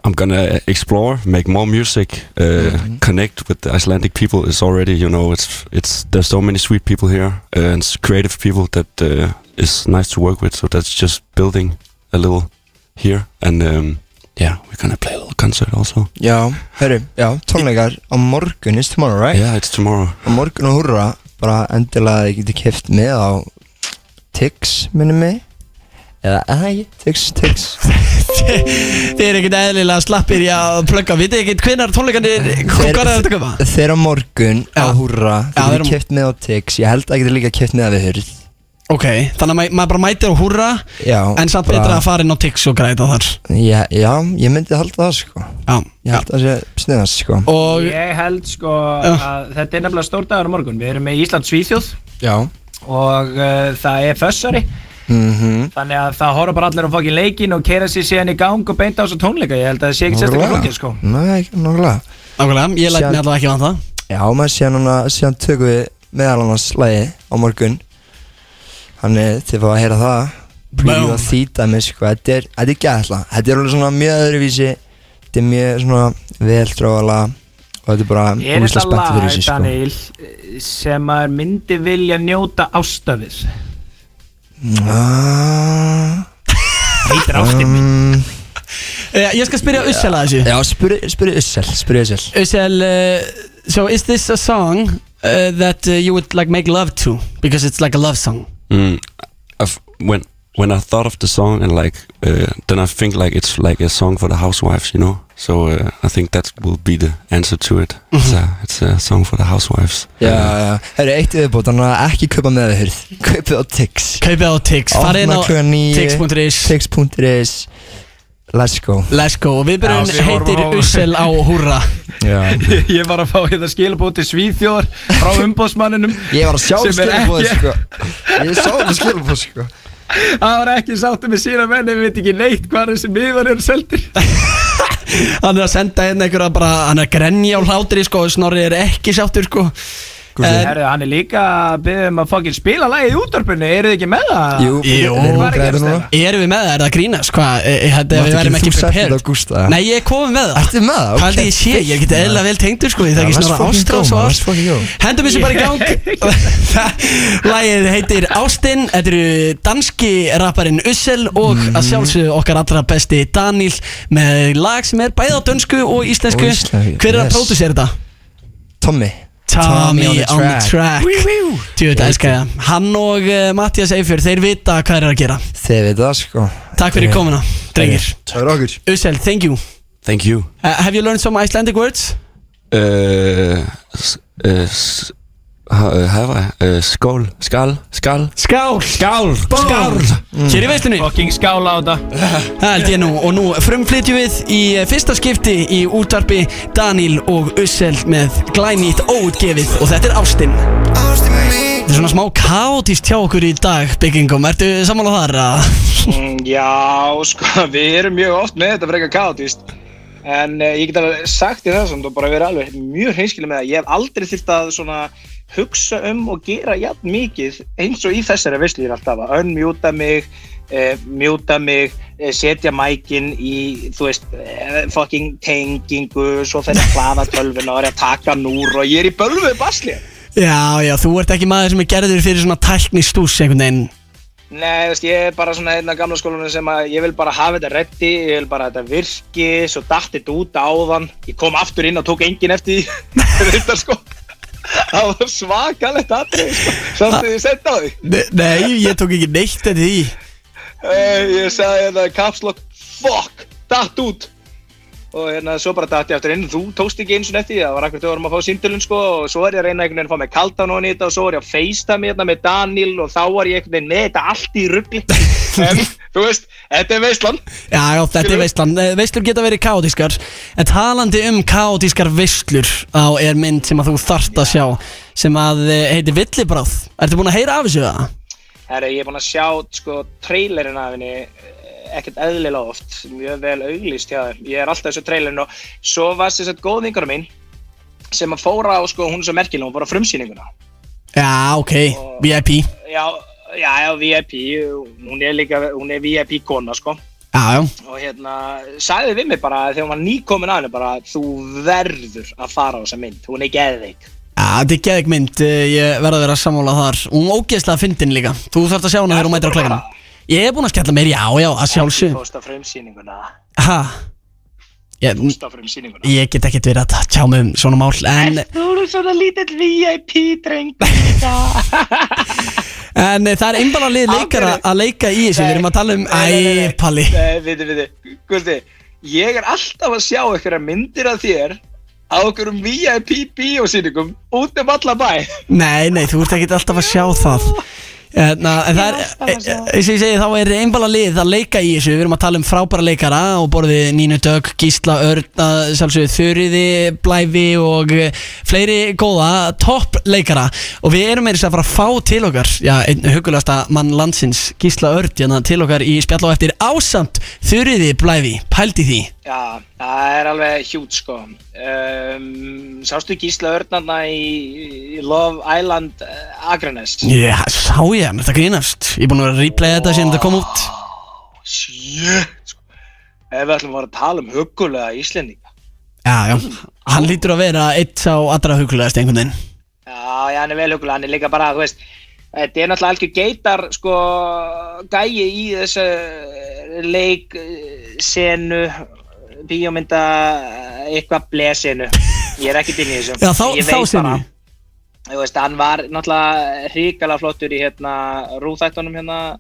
Speaker 8: I'm gonna explore, make more music, uh,
Speaker 7: Mm-hmm.
Speaker 8: connect with the Icelandic people. It's already, you know, it's it's there's so many sweet people here uh, and s- creative people that uh, is nice to work with. So that's just building a little here, and um, yeah, we're gonna play a little concert also.
Speaker 7: Já, hörru, já, tónleikar á morgun is tomorrow, right?
Speaker 8: Yeah, it's tomorrow.
Speaker 7: Á morgun og hurra, bara endilega þið getur keft með á Tix, minnum mig Eða, eða ekki, Tix, Tix
Speaker 2: Þið er ekkert eðlilega slappir í að plugga Vitið þið ekkert hvenar tónleikandir, hvað er þetta að koma?
Speaker 7: Þeir á morgun á
Speaker 2: Já.
Speaker 7: hurra,
Speaker 2: Já,
Speaker 7: þið
Speaker 2: þeir á-
Speaker 7: getur keft með á Tix Ég held að getur líka keft með að við hurð
Speaker 2: Ok, þannig að ma- maður bara mætir og húrra
Speaker 7: Já,
Speaker 2: En samt
Speaker 7: bara-
Speaker 2: betra að fara inn á Tix og græta þar
Speaker 7: Já, já, ég myndi halda það sko
Speaker 2: Já, já
Speaker 7: Ég held að það sé sniðast sko
Speaker 2: Og
Speaker 1: Ég held sko
Speaker 2: Já.
Speaker 1: að þetta er nefnilega stór dagur á morgun Við erum með Ísland Svíþjóð
Speaker 7: Já
Speaker 1: og uh, það er fössari
Speaker 7: Mhm,
Speaker 1: Þannig að það horfa bara allir á fokkin leikin og keira sér síðan í gang og beinta á þessu tónleika Ég held að það sé ekki sérstaklega
Speaker 7: nákvæmlega.
Speaker 1: flókið sko
Speaker 7: Nei, ekki- nákvæmlega
Speaker 2: nákvæmlega, ég læt
Speaker 7: Sjálf-
Speaker 2: mér allavega ekki vant það
Speaker 7: Já, maður síðan, hana, síðan tökum við meðal annars lægi á morgun Þannig þið fá að heyra það Preview
Speaker 2: Boom.
Speaker 7: að þýta mig sko, þetta er, þetta er gæðla Þetta er alveg svona mjög öðruvísi Þetta er mjög svona veldráala Og þetta er bara
Speaker 1: Er
Speaker 7: ógeðslega
Speaker 1: þetta
Speaker 7: spennt
Speaker 1: lag,
Speaker 7: fyrir þessu sko
Speaker 1: Daniel, sem maður myndi vilja njóta ástafið?
Speaker 7: Mm. Ah,
Speaker 1: Heitir ástinn mín
Speaker 7: mm,
Speaker 2: Eh, Ég skal spyrja Ussel að þessu
Speaker 7: Já, spurði spurði Ussel, spurði Ussel
Speaker 2: Ussel, uh, so is this a song uh, that uh, you would like make love to? Because it's like a love song
Speaker 8: Mm. I've, when when I thought of the song and like uh, then I think like it's like a song for the housewives, you know. So uh, I think that will be the answer to it. It's, a, it's a song for the housewives.
Speaker 7: Já,
Speaker 8: Uh,
Speaker 7: já, það eru eitt viðbútt Þannig að ekki kaupa með það hurð Kaupið á Tix
Speaker 2: Kaupið á Tix, farið inn á
Speaker 7: Opna klukkan níu.
Speaker 2: Tix.is
Speaker 7: Tix.is Let's go
Speaker 2: Let's go, og viðbyrjun
Speaker 1: Já, við horfum
Speaker 2: heitir
Speaker 1: á-
Speaker 2: Ussel á húrra
Speaker 7: Já
Speaker 1: Ég var að fá hérna skilabóð til Svíþjóðar frá umbóðsmanninum
Speaker 7: Ég var að sjá
Speaker 1: Sem er
Speaker 7: skilabóð
Speaker 1: ekki-
Speaker 7: sko Ég sá það skilabóð sko
Speaker 1: Það var ekki sáttu með sína menn við veit ekki neitt hvað þessi miðar eru seldir
Speaker 2: Hann er að senda hérna einhverja bara, hann er að grenja á hlátri sko Snorri er ekki sáttur sko En-
Speaker 1: Herðu, hann er líka að biðja um að fokkin spila lagið í útvarpinu, eru þið ekki með það?
Speaker 7: Jú,
Speaker 2: Jú.
Speaker 7: við
Speaker 1: Hvað
Speaker 7: erum
Speaker 1: er að
Speaker 7: græðir
Speaker 1: gerast
Speaker 7: núna.
Speaker 1: hérna?
Speaker 2: Erum við með það? Er það að grínast? Hvað? e- e- Þetta við verðum ekki
Speaker 7: þú sett þetta
Speaker 2: prepared
Speaker 7: á Gústa
Speaker 2: Nei, ég er komið með það
Speaker 7: Ertu með það?
Speaker 2: Hvað heldur ég sé? Ég er ekki eðla vel tengdur sko Ég þekki
Speaker 7: Já, let's
Speaker 2: snorra
Speaker 7: fucking go,
Speaker 2: ástráð svo
Speaker 7: man, let's
Speaker 2: allt
Speaker 7: fucking go.
Speaker 2: Hendum þessu bara í gang Lægið heitir Ástin Þetta eru danski rapparinn Ussel Og að sjálfsögðu okkar allra besti Daniel Með lag sem er bæði á dönsku og íslensku
Speaker 7: Og íslensku,
Speaker 2: Hver er að
Speaker 7: yes.
Speaker 2: pródusera þetta?
Speaker 7: Tommy
Speaker 2: Tommy on the track Tjóðið elskar ég það Hann og uh, Mattias Eifjör, þeir vita hvað er að gera
Speaker 7: Þið veit það sko
Speaker 2: Takk fyrir komuna, drengir
Speaker 7: Það er okkur
Speaker 2: Ussel, thank you
Speaker 8: thank you.
Speaker 2: Uh, have you learned some Icelandic words?
Speaker 8: Uh, s- uh, s- ha- uh, have I? Uh, skål, skal, skal.
Speaker 2: Skál! Mm. Skál! Skál! Hér í veislunni
Speaker 1: Fokkin skála á þetta
Speaker 2: Það held ég nú Og nú frumflytjum við í eh, fyrsta skipti í útvarpi Daniel og Ussel með glænýtt óutgefið Og þetta er Ástin Þetta
Speaker 3: Ástin mín
Speaker 2: er svona smá kaotist hjá okkur í dag byggingum Ertu sammála þar að
Speaker 9: Mm, Já, sko, við erum mjög oft með þetta frekar kaotist en eh, ég get alveg sagt í þessum og bara verið alveg mjög hreinskilið með það ég hef aldrei þurft að svona hugsa um og gera jafn mikið eins og í þessari veislu ég er alltaf að unmjúta mig eh, mjúta mig, eh, setja mækin í, þú veist, eh, fucking tengingu, svo fer ég að hlaða tölvuna og er að taka núr og ég er í bölvu basli.
Speaker 2: Já, já, þú ert ekki maður sem er gerður fyrir svona tækni stús einhvern veginn
Speaker 9: Nei, þú veist, ég er bara svona einn af gamla skólanum sem að ég vil bara hafa þetta reddi, ég vil bara að þetta virki, svo datt þetta út áðan, ég kom aftur inn og tók enginn eftir því, þetta sko.
Speaker 1: það var svakalegt atrið sko. samt því ég senda á því
Speaker 2: Ne- Nei, ég tók ekki neitt eftir því
Speaker 1: Eh, ég sagði hérna kapslokk fuck, datt út og hérna svo bara datt ég eftir inn þú tókst ekki eins og nefti, það var akkur þegar við vorum að fá símtölun sko og svo var ég að reyna einhvern veginn að fá mig kaldan og nýtt og svo var ég að feista mig hérna með Daniel og þá var ég einhvern veginn með þetta allt í rugli en þú veist, þetta er veistlan
Speaker 2: Já, já, þetta er veistlan Veistlur geta verið kaotískar En talandi um kaotískar veistlur Á er mynd sem að þú þart að sjá Sem að eh, heitir Villibráð Ertu búin að heyra af þessu það?
Speaker 1: Herra, ég er búinn að sjá sko trailerinn af henni eh, ekkert eðlilega oft, mjög vel auglýst hjá þeim. Ég er alltaf í þessu trailerinn og svo var þess að góð vinkara mín sem að fóra á, sko, hún er svo merkileg, hún fór á frumsýninguna.
Speaker 2: Já, ok, VIP
Speaker 1: Já, já, já, VIP, hún er líka, hún er VIP kona, sko.
Speaker 2: Já, já,
Speaker 1: Og hérna, sagði við mig bara þegar hún var nýkomin að henni bara, þú verður að fara á þessa mynd, hún er geðveik.
Speaker 2: já þetta er geðveik mynd eh, Ég verða að vera sammála þar Hún ógeðslega fyndin líka Þú þarft að sjá hana þegar hún mætir á klækana Ég er búin að skella mér, já, já, að sjálfsög
Speaker 1: Fórst á frumsýninguna,
Speaker 2: Ha? Ég,
Speaker 1: fórst á frumsýninguna.
Speaker 2: ég get ekkert verið að tjá mig um svona mál En
Speaker 1: Þú eru svona lítill VIP-dreng.
Speaker 2: En eh, það er einbala lið leikara
Speaker 1: Aldrei.
Speaker 2: að leika í þessu, við erum að tala um
Speaker 1: Nei, nei, nei,
Speaker 2: Æ,
Speaker 1: nei.
Speaker 2: Palli
Speaker 1: Nei, viti, viti, Guðni, ég er alltaf að sjá ykkur myndir af þér á okkur um VIP bíósýningum út um alla bæ.
Speaker 2: Nei, nei, þú ert ekkert alltaf að sjá það Na, en það er, e- e- eins og ég segi, þá er einbala lið að leika í þessu Við erum að tala um frábæra leikara og borðið Nínu Dögg, Gísla Örn, að sjálfsögðu Þurriði, Blæfi og eh, fleiri góða topp leikara Og við erum meira þess að fara að fá til okkar, já, einn hugulegasta mann landsins, Gísla Örn, hérna til okkar í spjall á eftir ásamt Þurriði, Blæfi, pældi því
Speaker 1: Já, það er alveg hjút, sko. Um, sástu Gísla Örnarna í í Love Island uh, Akranes?
Speaker 2: Já, sá ég hann, þetta grínast Ég er búin að vera að replaya þetta síðan þetta kom út
Speaker 1: Shit, sko. Ef við ætlum að fara að tala um hugulega Íslendinga.
Speaker 2: Já, já, hann lítur að vera eitt sá allra huglegast einhvern veginn
Speaker 1: Já, já, hann er vel hugulega, hann er líka bara, þú veist, þetta er náttúrulega algjör geitar, sko, gæi í þessu leik, eh, senu, bíómynda, eh, eitthvað blesinu. Ég er ekki til í þessu.
Speaker 2: Já, þá,
Speaker 1: Ég
Speaker 2: þá
Speaker 1: veit
Speaker 2: sem
Speaker 1: bara-
Speaker 2: ég
Speaker 1: Þú veist, hann var náttúrulega hrikalega flottur í hérna rúþættunum hérna,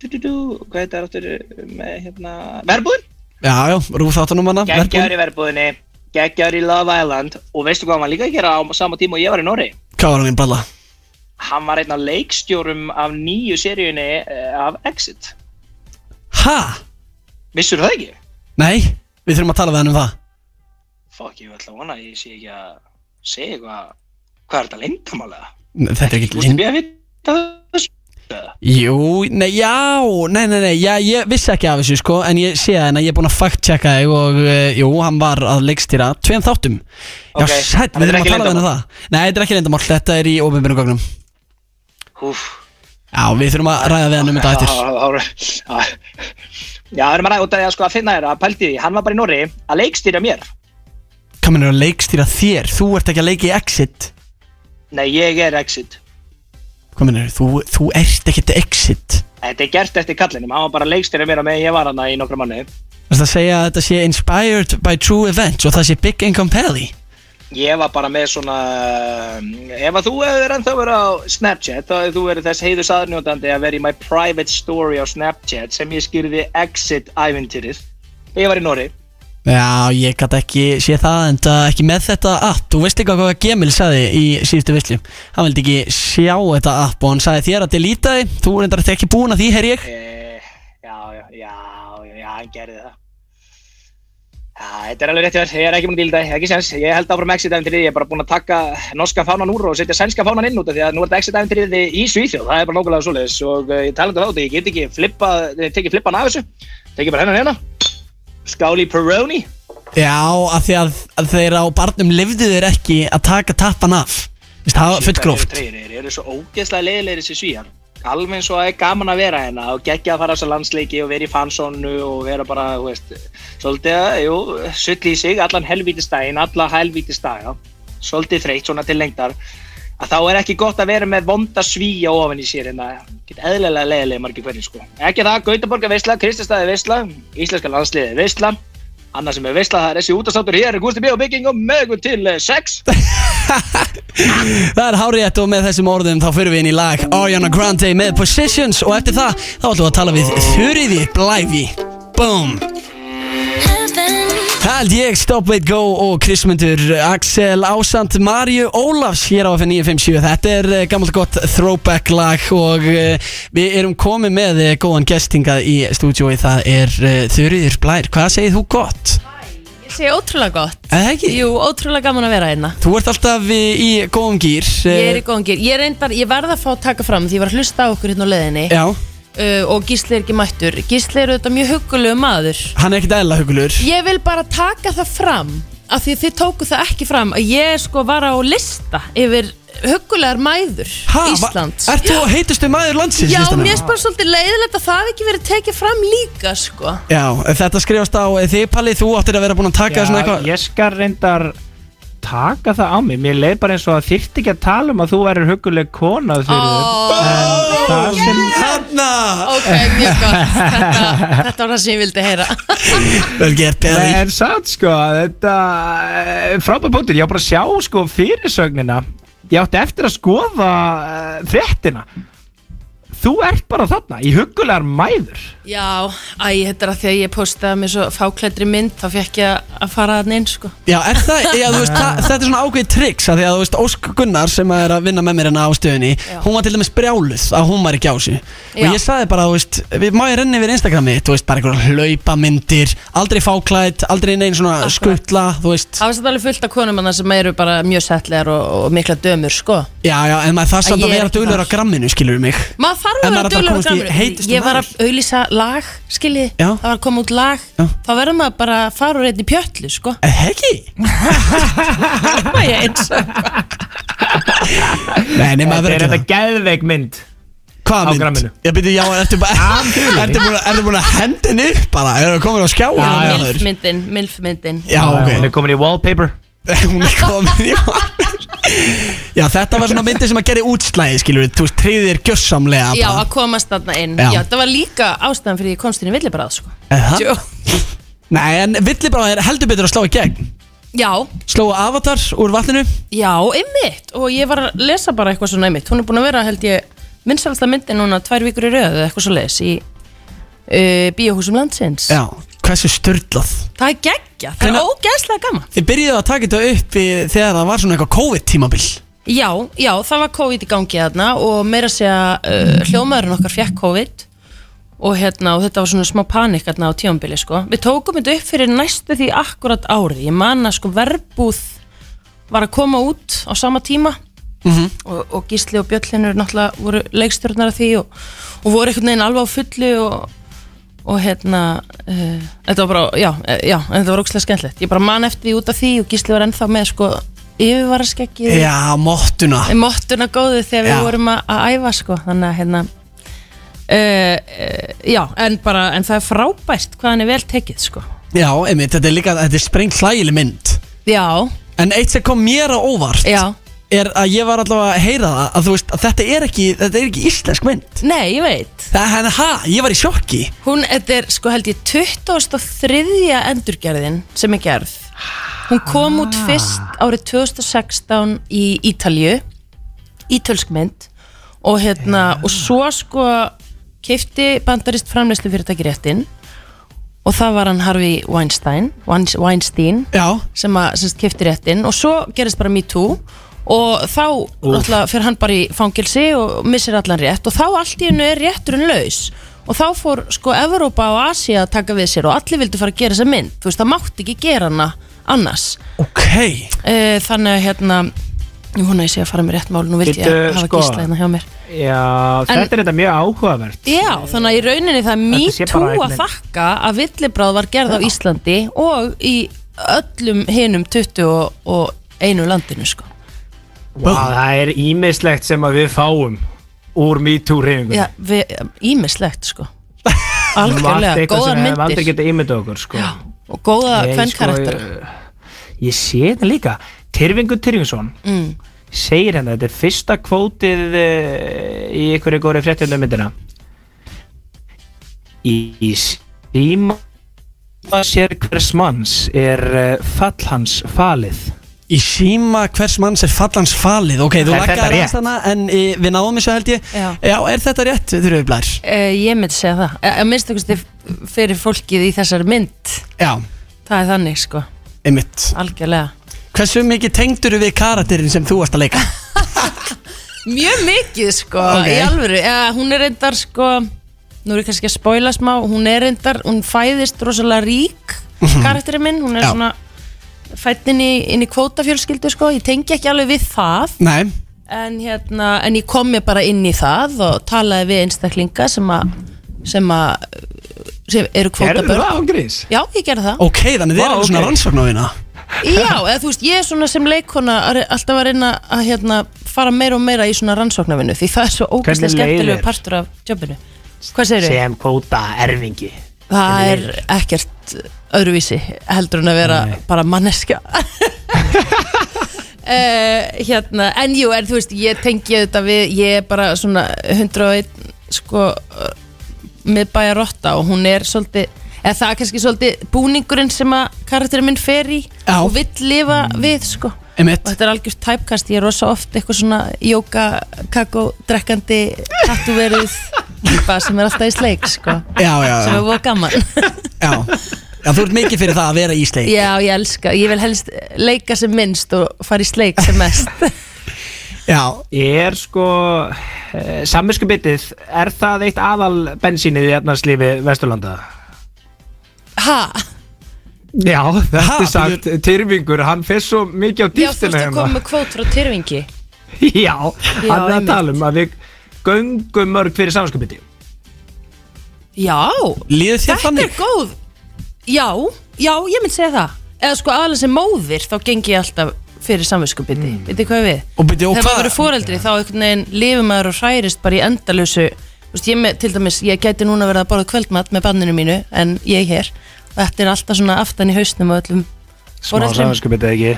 Speaker 1: du, du, du, hvað heit það áttur með hérna, verbúðin?
Speaker 2: Já, já, rúþáttunum hana
Speaker 1: Geggjaður
Speaker 2: Verbúðin.
Speaker 1: í verbúðinni, geggjaður í Love Island og veistu hvað hann var líka að gera á sama tíma og ég var í Norri?
Speaker 2: Hvað var hann í bralla?
Speaker 1: Hann var einn af leikstjórum af nýju seríunni eh, af Exit.
Speaker 2: Ha?
Speaker 1: Vissur það ekki?
Speaker 2: Nei, við þurfum að tala við hann um það
Speaker 1: Fuck, ég ætla að vona, að ég sé ekki að segja eitthvað, hvað er þetta lindamálega?
Speaker 2: Nei, Þetta er
Speaker 1: Þú
Speaker 2: ekki
Speaker 1: veist
Speaker 2: lind
Speaker 1: ekki að vita þessu?
Speaker 2: Jú, nei, já, nei, nei, nei, já, ég vissi ekki af þessu sko En ég sé það en ég er búin að fact-checka þig Og uh, jú, hann var að leikstýra tveim þáttum Já,
Speaker 1: Ok,
Speaker 2: okay.
Speaker 1: þannig þetta er
Speaker 2: við þurfum að
Speaker 1: ekki
Speaker 2: tala við hann um
Speaker 1: leyndarmál.
Speaker 2: það Nei, þetta er ekki lindamál, þetta er í ofinbjörnum gögnum
Speaker 1: Úff.
Speaker 2: Já, við þurfum að ræða við hann um þetta eftir
Speaker 1: Já, já, já, það er maður að út af því að sko að finna þér að pældi því, hann var bara í Norri að leikstýra mér.
Speaker 2: Hvað minn er að leikstýra þér? Þú ert ekki að leika í Exit
Speaker 1: Nei, ég er exit.
Speaker 2: Hvað minn er, þú, þú ert ekkert Exit
Speaker 1: Þetta er gert eftir kallinum, hann var bara að leikstýra mér að með ég var hann í nokkra manni.
Speaker 2: Það er að segja að þetta sé inspired by true events og það sé big income pally
Speaker 1: Ég var bara með svona, um, ef að þú hefur ennþá verið á Snapchat, þá hefur þú verið þess heiðus aðnjótandi að vera í my private story á Snapchat sem ég skýrði exit ævintýrið. Ég var í Norri.
Speaker 2: Já, ég gæti ekki sé það en það ekki með þetta app Þú veist líka hvað Gemil sagði í síðustu visslu Hann vildi ekki sjá þetta app og hann sagði þér að delita þið Þú er endar ekki búin að því, heyr ég
Speaker 1: Eh, já, já, já, já, já, hann gerði það. Já, þetta er alveg rétt hjá þér, ég er ekki búin að díla þetta, ekki sens. Ég held áfram exit-æfintrið, ég er bara búin að taka norska fánan úr og setja sænska fánan inn út af því að nú er þetta exit-æfintrið í Svíþjóð, það er bara nógulega svoleiðis og eh, ég talandi á þetta, ég get ekki flippað, eh, tekið flippan af þessu, tekið bara hennan hérna, skáli Peroni,
Speaker 2: Já, af því að, að þeir á barnum lifðu þér ekki að taka tappan af Vist, það var fullgróft
Speaker 1: Þeir eru- þeir eru svo ógeðslega leiðilegir þessi svíjar Alveg eins og það er gaman að vera hérna og geggja að fara á þessa landsleiki og vera í fansónu og vera bara, þú veist, svolítið að, jú, sull í sig, allan helvítistægin, alla helvítistæga, svolítið þreytt svona til lengdar, að þá er ekki gott að vera með vonda svíja ofan í sér hérna, get eðlilega leiðilega margir hverjir sko. Ekki það, Gautaborga veistla, Kristjastæði veistla, Íslenska landsliði veistla, eh, annað sem er veistla, það er þessi útastáttur hér, Gústi B. og Bygging og mögum til 6.
Speaker 2: Það er hárétt og með þessum orðum þá fyrir við inn í lag Ariana Grande með Positions og eftir það þá ætlum við að tala við Þurriði Blæfi Boom
Speaker 4: heaven,
Speaker 2: Það held ég, Stop Wait Go og Krismundur Axel Ásand Marju Ólafs hér á FN957 Þetta er eh, gammalt gott throwback lag og eh, við erum komið með eh, góðan gestingað í stúdíói það er Þurriður Blær Hvað segir þú gott?
Speaker 10: Ég segi ótrúlega gott
Speaker 2: Er það ekki?
Speaker 10: Jú, ótrúlega gaman að vera hérna
Speaker 2: Þú ert alltaf í, í góðum gýr
Speaker 10: Ég er í góðan góngir, ég, reynd bara, ég varð að fá að taka fram því ég var að hlusta á okkur hérna á leiðinni
Speaker 2: eh, Já,
Speaker 10: uh, og Gísli er ekki mættur Gísli er auðvitað mjög huggulegu maður
Speaker 2: hann er ekkert eðla hugulur
Speaker 10: Ég vil bara taka það fram af því að þið tóku það ekki fram að ég sko var á lista yfir huggulegar mæður Íslands
Speaker 2: Ert þú heitustu maður landsins?
Speaker 10: Já,
Speaker 2: listanum?
Speaker 10: mér er bara svolítið leiðilegt að það hafi ekki verið tekið fram líka sko
Speaker 2: Já, þetta skrifast á þig Palli, þú áttir að vera búin að taka svona eitthvað
Speaker 1: ég skal reyndar taka það á mig Mér leið bara eins og að þyrfti ekki að tala um að þú væri huguleg kona
Speaker 10: Ó,
Speaker 1: Þuríður. Það sem
Speaker 2: Hanna!
Speaker 10: Ok, mjög gott þetta, þetta var það sem ég vildi heyra
Speaker 2: Vel gert, Palli
Speaker 1: Nei, en satt sko, þetta eh, frábær punktur, ég á bara að sjá sko fyrirsögnina Ég átti eftir að skoða uh, fréttina Þú ert bara þarna, í hugulegar mæður
Speaker 10: Já, æ, þetta er að því að ég postaði mér svo fáklættri mynd þá fekk ég að fara þarna inn sko
Speaker 2: Já, er það, já, þú veist, það, þetta er svona ákveðið triks að því að þú veist, Ósk Gunnar sem er að vinna með mér hérna á stöðunni, hún var til dæmis brjáluð að hún var ekki á sig og
Speaker 10: Já.
Speaker 2: ég sagði bara, þú veist, við má ég renni yfir Instagrami, þú veist, bara einhverjum hlaupamyndir aldrei fáklæð, aldrei neinn svona skuttla, þú veist,
Speaker 10: Það var satt alveg fullt af konum hann sem eru bara mjög settlegar og, og mikla dömur sko
Speaker 2: já, já, en maður það samt
Speaker 10: ég
Speaker 2: að
Speaker 10: er
Speaker 2: vera
Speaker 10: ekki
Speaker 2: duglur á
Speaker 10: þar.
Speaker 2: gramminu, skilur mig
Speaker 10: Maður þarf
Speaker 2: En
Speaker 10: að
Speaker 2: maður þarf að
Speaker 10: vera dölur á
Speaker 2: komast í
Speaker 10: gramur
Speaker 2: heitustu
Speaker 10: Ég var að
Speaker 2: maður.
Speaker 10: auðlýsa lag, skiljið
Speaker 2: Já.
Speaker 10: Það var að koma út lag
Speaker 2: Já.
Speaker 10: Þá verður maður bara að fara úr einni pjöllu, sko
Speaker 2: Eh, Heggi?
Speaker 10: Má ég eins
Speaker 2: Nei, nema
Speaker 1: Þetta
Speaker 2: að
Speaker 1: er
Speaker 2: vera ekki
Speaker 1: þetta geðveik mynd
Speaker 2: það Hvað
Speaker 1: á
Speaker 2: mynd?
Speaker 1: gramminu.
Speaker 2: Ég byrju, já, ertu bara
Speaker 1: Algjörlega.
Speaker 2: Ertu búin að- ertu búin að henda henni upp bara? Ertu komin á skjáin?
Speaker 1: Já, já.
Speaker 2: maður?
Speaker 10: Milfmyndin, milfmyndin
Speaker 2: Já,
Speaker 1: Hún er
Speaker 2: ok
Speaker 1: komin í wallpaper
Speaker 2: Hún er komin í Já, þetta var svona myndi sem að gera útslæði, skilur við Þú veist, treyðir gjössamlega
Speaker 10: Já, að komast þarna inn
Speaker 2: Já.
Speaker 10: Já, það var líka ástæðan fyrir ég komst inn í villibræð, sko
Speaker 2: Já
Speaker 10: Jó.
Speaker 2: Nei, en villi bara er heldur betur að slá í gegn
Speaker 10: Já,
Speaker 2: Sló avatar úr vatninu
Speaker 10: já, einmitt Og ég var að lesa bara eitthvað svona einmitt Hún er búin að vera, held ég, minnsalasta myndin núna Tvær vikur í röðu, eitthvað svo leis Í uh, bíóhúsum landsins
Speaker 2: Já Hversu störlað
Speaker 10: Það er geggja, það er
Speaker 2: Hvenær-
Speaker 10: ógeðslega gaman
Speaker 2: Þið byrjuðu að taka þetta upp í, þegar það var svona eitthvað COVID-tímabil
Speaker 10: Já, já, það var COVID í gangi þarna og meira að segja uh, hljómaðurinn okkar fekk COVID og, hérna, og þetta var svona smá panik þarna á tíumbili sko. Við tókum þetta upp fyrir næstu því akkurat ári. Ég man að sko verbúð var að koma út á sama tíma og, og Gísli og Bjöllinur náttúrulega voru leikstjórnar af því og, og voru einhvern veginn alveg á fullu og, og hérna uh, þetta var bara, já, eh, já en þetta var ógstlega skemmtilegt. Ég bara man eftir því út af því og Gísli var ennþá með sko yfirvaraskeggið
Speaker 1: Mm.
Speaker 2: Já, mottuna
Speaker 10: í mottuna góðu þegar
Speaker 2: Já.
Speaker 10: við vorum að, að æfa sko, þannig að hérna uh, uh, já, en bara en það er frábært hvað hann er vel tekið sko.
Speaker 2: Já, einmitt, þetta er líka, þetta er sprengt hlægileg mynd
Speaker 10: já,
Speaker 2: En eitt sem kom mér á óvart
Speaker 10: já
Speaker 2: er að ég var allavega að heyra það að þú veist að þetta er ekki, þetta er ekki íslensk mynd
Speaker 10: nei, ég veit,
Speaker 2: Það er hæ, ég var í sjokki
Speaker 10: hún, þetta er sko held ég 23. endurgerðin sem er gerð hún kom út fyrst árið 2016 í Ítalju ítölsk mynd og hérna, og svo sko keifti bandarist framleyslu fyrirtæki réttin og það var hann Harvey Weinstein, Weins- Weinstein
Speaker 2: Já,
Speaker 10: sem að semst, kefti réttin og svo gerist bara Me Too og þá náttúrulega fyrir hann bara í fangilsi og missir allan rétt og þá allt í hennu er rétturinn laus og þá fór sko Evrópa og Asia að taka við sér og allir vildu fara að gera þessa mynd þú veist það mátti ekki gera hana annars
Speaker 2: ok
Speaker 10: e, þannig að hérna ég vona að ég sé að fara með rétt mál nú vildi ég
Speaker 1: Bíddu,
Speaker 10: hafa
Speaker 1: sko.
Speaker 10: sko. gísla hérna hjá mér
Speaker 1: Já,
Speaker 10: En-
Speaker 1: þetta er þetta mjög áhugavert
Speaker 10: Já, þannig að í rauninni það er
Speaker 1: Þetta sé bara
Speaker 10: mýtú að
Speaker 1: einhvern
Speaker 10: þakka að villibráð var gerð á Íslandi og í öllum hinum 21 landinu sko.
Speaker 1: Vá, það er ímislegt sem að við fáum úr MeToo-reyfingunum
Speaker 10: Já, við- ímislegt sko.
Speaker 1: Margt
Speaker 10: Algjörlega,
Speaker 1: eitthvað
Speaker 10: góðar
Speaker 1: sem við hefum aldrei
Speaker 10: myndir
Speaker 1: getað ímyndað okkur sko.
Speaker 10: og góða
Speaker 1: Nei,
Speaker 10: kvennkarakter
Speaker 1: sko, ég- Ég sé þetta líka Tyrfingur Tyrfingsson
Speaker 10: mm.
Speaker 1: segir henni að þetta er fyrsta kvótið eh, í einhverju góri fréttjöndu myndina Í, í síma sér hvers manns er eh, fall hans falið
Speaker 2: Í Í síma hvers manns er fallans falið Ok, þú
Speaker 10: Er þetta
Speaker 2: laggar
Speaker 10: rétt?
Speaker 2: aðeins hana En e, við náðum þessu held ég
Speaker 10: Já.
Speaker 2: er þetta rétt, þurfið blær?
Speaker 10: Uh, ég myndi segja það, Eh, að minnst okkur fyrir fólkið í þessari mynd
Speaker 2: Já
Speaker 10: Það er þannig sko,
Speaker 2: Einmitt
Speaker 10: algjörlega
Speaker 2: Hversu mikið tengdur við karakterin sem þú varst að leika?
Speaker 10: Mjög mikið sko,
Speaker 2: Ok.
Speaker 10: í alvöru ja, Hún er reyndar sko Nú er ég kannski að spoila smá Hún er reyndar, hún fæðist rosalega rík
Speaker 1: Mhm.
Speaker 10: Karakterinn minn, hún er
Speaker 2: Já.
Speaker 10: svona Fætt inn í, inn í kvótafjölskyldu sko Ég tengi ekki alveg við það
Speaker 2: Nei
Speaker 10: En hérna, en ég kom mér bara inn í það Og talaði við einstaklinga sem að Sem að Sem eru kvótabörn
Speaker 1: ángriðis?
Speaker 10: Já, ég gerði það
Speaker 2: Ok, þannig þið
Speaker 1: Vá,
Speaker 2: eru okay.
Speaker 1: ok.
Speaker 2: svona rannsókn á hérna
Speaker 10: Já, eða þú veist, ég er svona sem leikona að re- alltaf að reyna að hérna, fara meira og meira í svona rannsóknarvinnu því það er svo ógæslega
Speaker 1: Hvernig leið
Speaker 10: skemmtilegu
Speaker 1: þér?
Speaker 10: partur af jobbinu Hvað segir þau?
Speaker 1: Sem kvóta erfingi
Speaker 10: Það er
Speaker 1: hvernig leið
Speaker 10: ekkert öðruvísi heldur en að vera bara manneska uh, hérna, En jú, en þú veist, ég tengi þetta við, ég er bara svona 101 sko miðbæja rotta og hún er svolítið eða það er kannski svolítið búningurinn sem að karakterinn minn fer í
Speaker 2: Já.
Speaker 10: og vill lifa við sko
Speaker 2: Einmitt
Speaker 10: og þetta er algjört tæpkast, ég er rosa oft eitthvað svona jóka, kakó, drekkandi tattúveruð típa sem er alltaf í sleik sko
Speaker 2: Já, já, já,
Speaker 10: sem er búið gaman
Speaker 2: já. já Þú ert mikið fyrir það að vera í sleik
Speaker 10: já, ég elska, ég vil helst leika sem minnst og fara í sleik sem mest
Speaker 2: Já,
Speaker 1: Ég er sko Sammisku bitið, er það eitt aðal bensínið í efnarslífi Vesturlanda?
Speaker 10: ha,
Speaker 1: Já,
Speaker 2: Ha,
Speaker 1: þetta er sagt Tyrfingur, hann fer svo mikið á
Speaker 10: já, þú veist
Speaker 1: dýftina
Speaker 10: að
Speaker 2: hérna.
Speaker 10: koma með kvót frá tyrfingi
Speaker 1: Já, hann
Speaker 10: Já,
Speaker 1: er að
Speaker 10: einmitt.
Speaker 1: tala um að við göngum mörg fyrir samvisku bitið
Speaker 10: já,
Speaker 2: líður þér
Speaker 10: þetta er
Speaker 2: þannig?
Speaker 10: góð já, já, ég mynd segja það eða sko aðalega sem móðir þá gengi ég alltaf fyrir samvinskupiti, mm. veitir hvað við
Speaker 2: Og byrju, og
Speaker 10: þegar maður
Speaker 2: hvað?
Speaker 10: verður foreldri þá einhvern veginn lifir maður og hrærist bara í endalösu Þú veist, ég með, til dæmis, ég gæti núna verið að borða kvöldmat með banninu mínu, en ég er hér og þetta er alltaf svona aftan í hausnum og öllum
Speaker 1: Smá
Speaker 10: Foreldrum.
Speaker 1: samvisku bitið ekki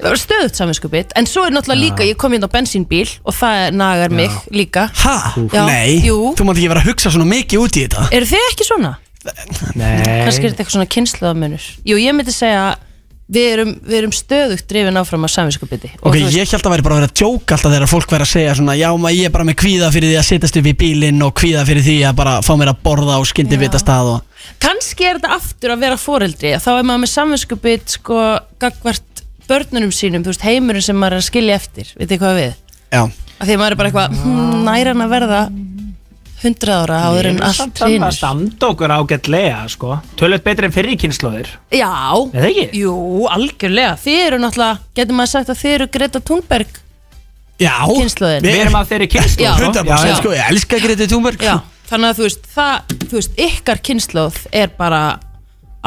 Speaker 10: Það var stöðut saminskupið, en svo er náttúrulega líka ég kom inn á bensínbíl og það nagar mig líka
Speaker 2: Ha?
Speaker 10: Já,
Speaker 2: Nei,
Speaker 10: jú.
Speaker 2: þú mátt ekki vera að hugsa svona mikið út í þetta
Speaker 10: Eru þið ekki svona? Kannski er
Speaker 1: Nei,
Speaker 10: þetta eitthvað svona kynsluðamunur Jú, ég myndi segja að við erum, við erum stöðugt drifin áfram af saminskupið
Speaker 2: Ok, ég held að væri bara að vera að djóka alltaf þegar fólk væri að segja svona Já, maður ég er bara með kvíða fyrir því að setjast upp í bílinn og kvíða fyrir því að bara fá mér að borða og skyndi vita stað og
Speaker 10: Kannski er þetta aftur að vera foreldri þá er maður með saminskupið sko gagvart börnunum sínum, þú veist heimurinn sem maður er að skilja eftir, veitir hvað við
Speaker 2: Já,
Speaker 10: af því að maður er bara eitthvað hmm, næra hann að verða 100 ára áður en allt
Speaker 1: Það
Speaker 10: hrýnur
Speaker 1: standa okkur ágætlega sko Tölvöld betri en fyrir kynnslóðir
Speaker 10: Já,
Speaker 1: Er það ekki?
Speaker 10: Jú, algjörlega, þið eru náttúrulega, getur maður sagt að þið eru Greta Thunberg
Speaker 2: já
Speaker 10: Kynslóðin.
Speaker 1: Við erum af þeirri kynnslóð sko.
Speaker 2: 100%
Speaker 1: Já,
Speaker 2: sko, ég elska Greti Thunberg
Speaker 10: Já, þannig að þú veist, það, þú veist, ykkar kynnslóð er bara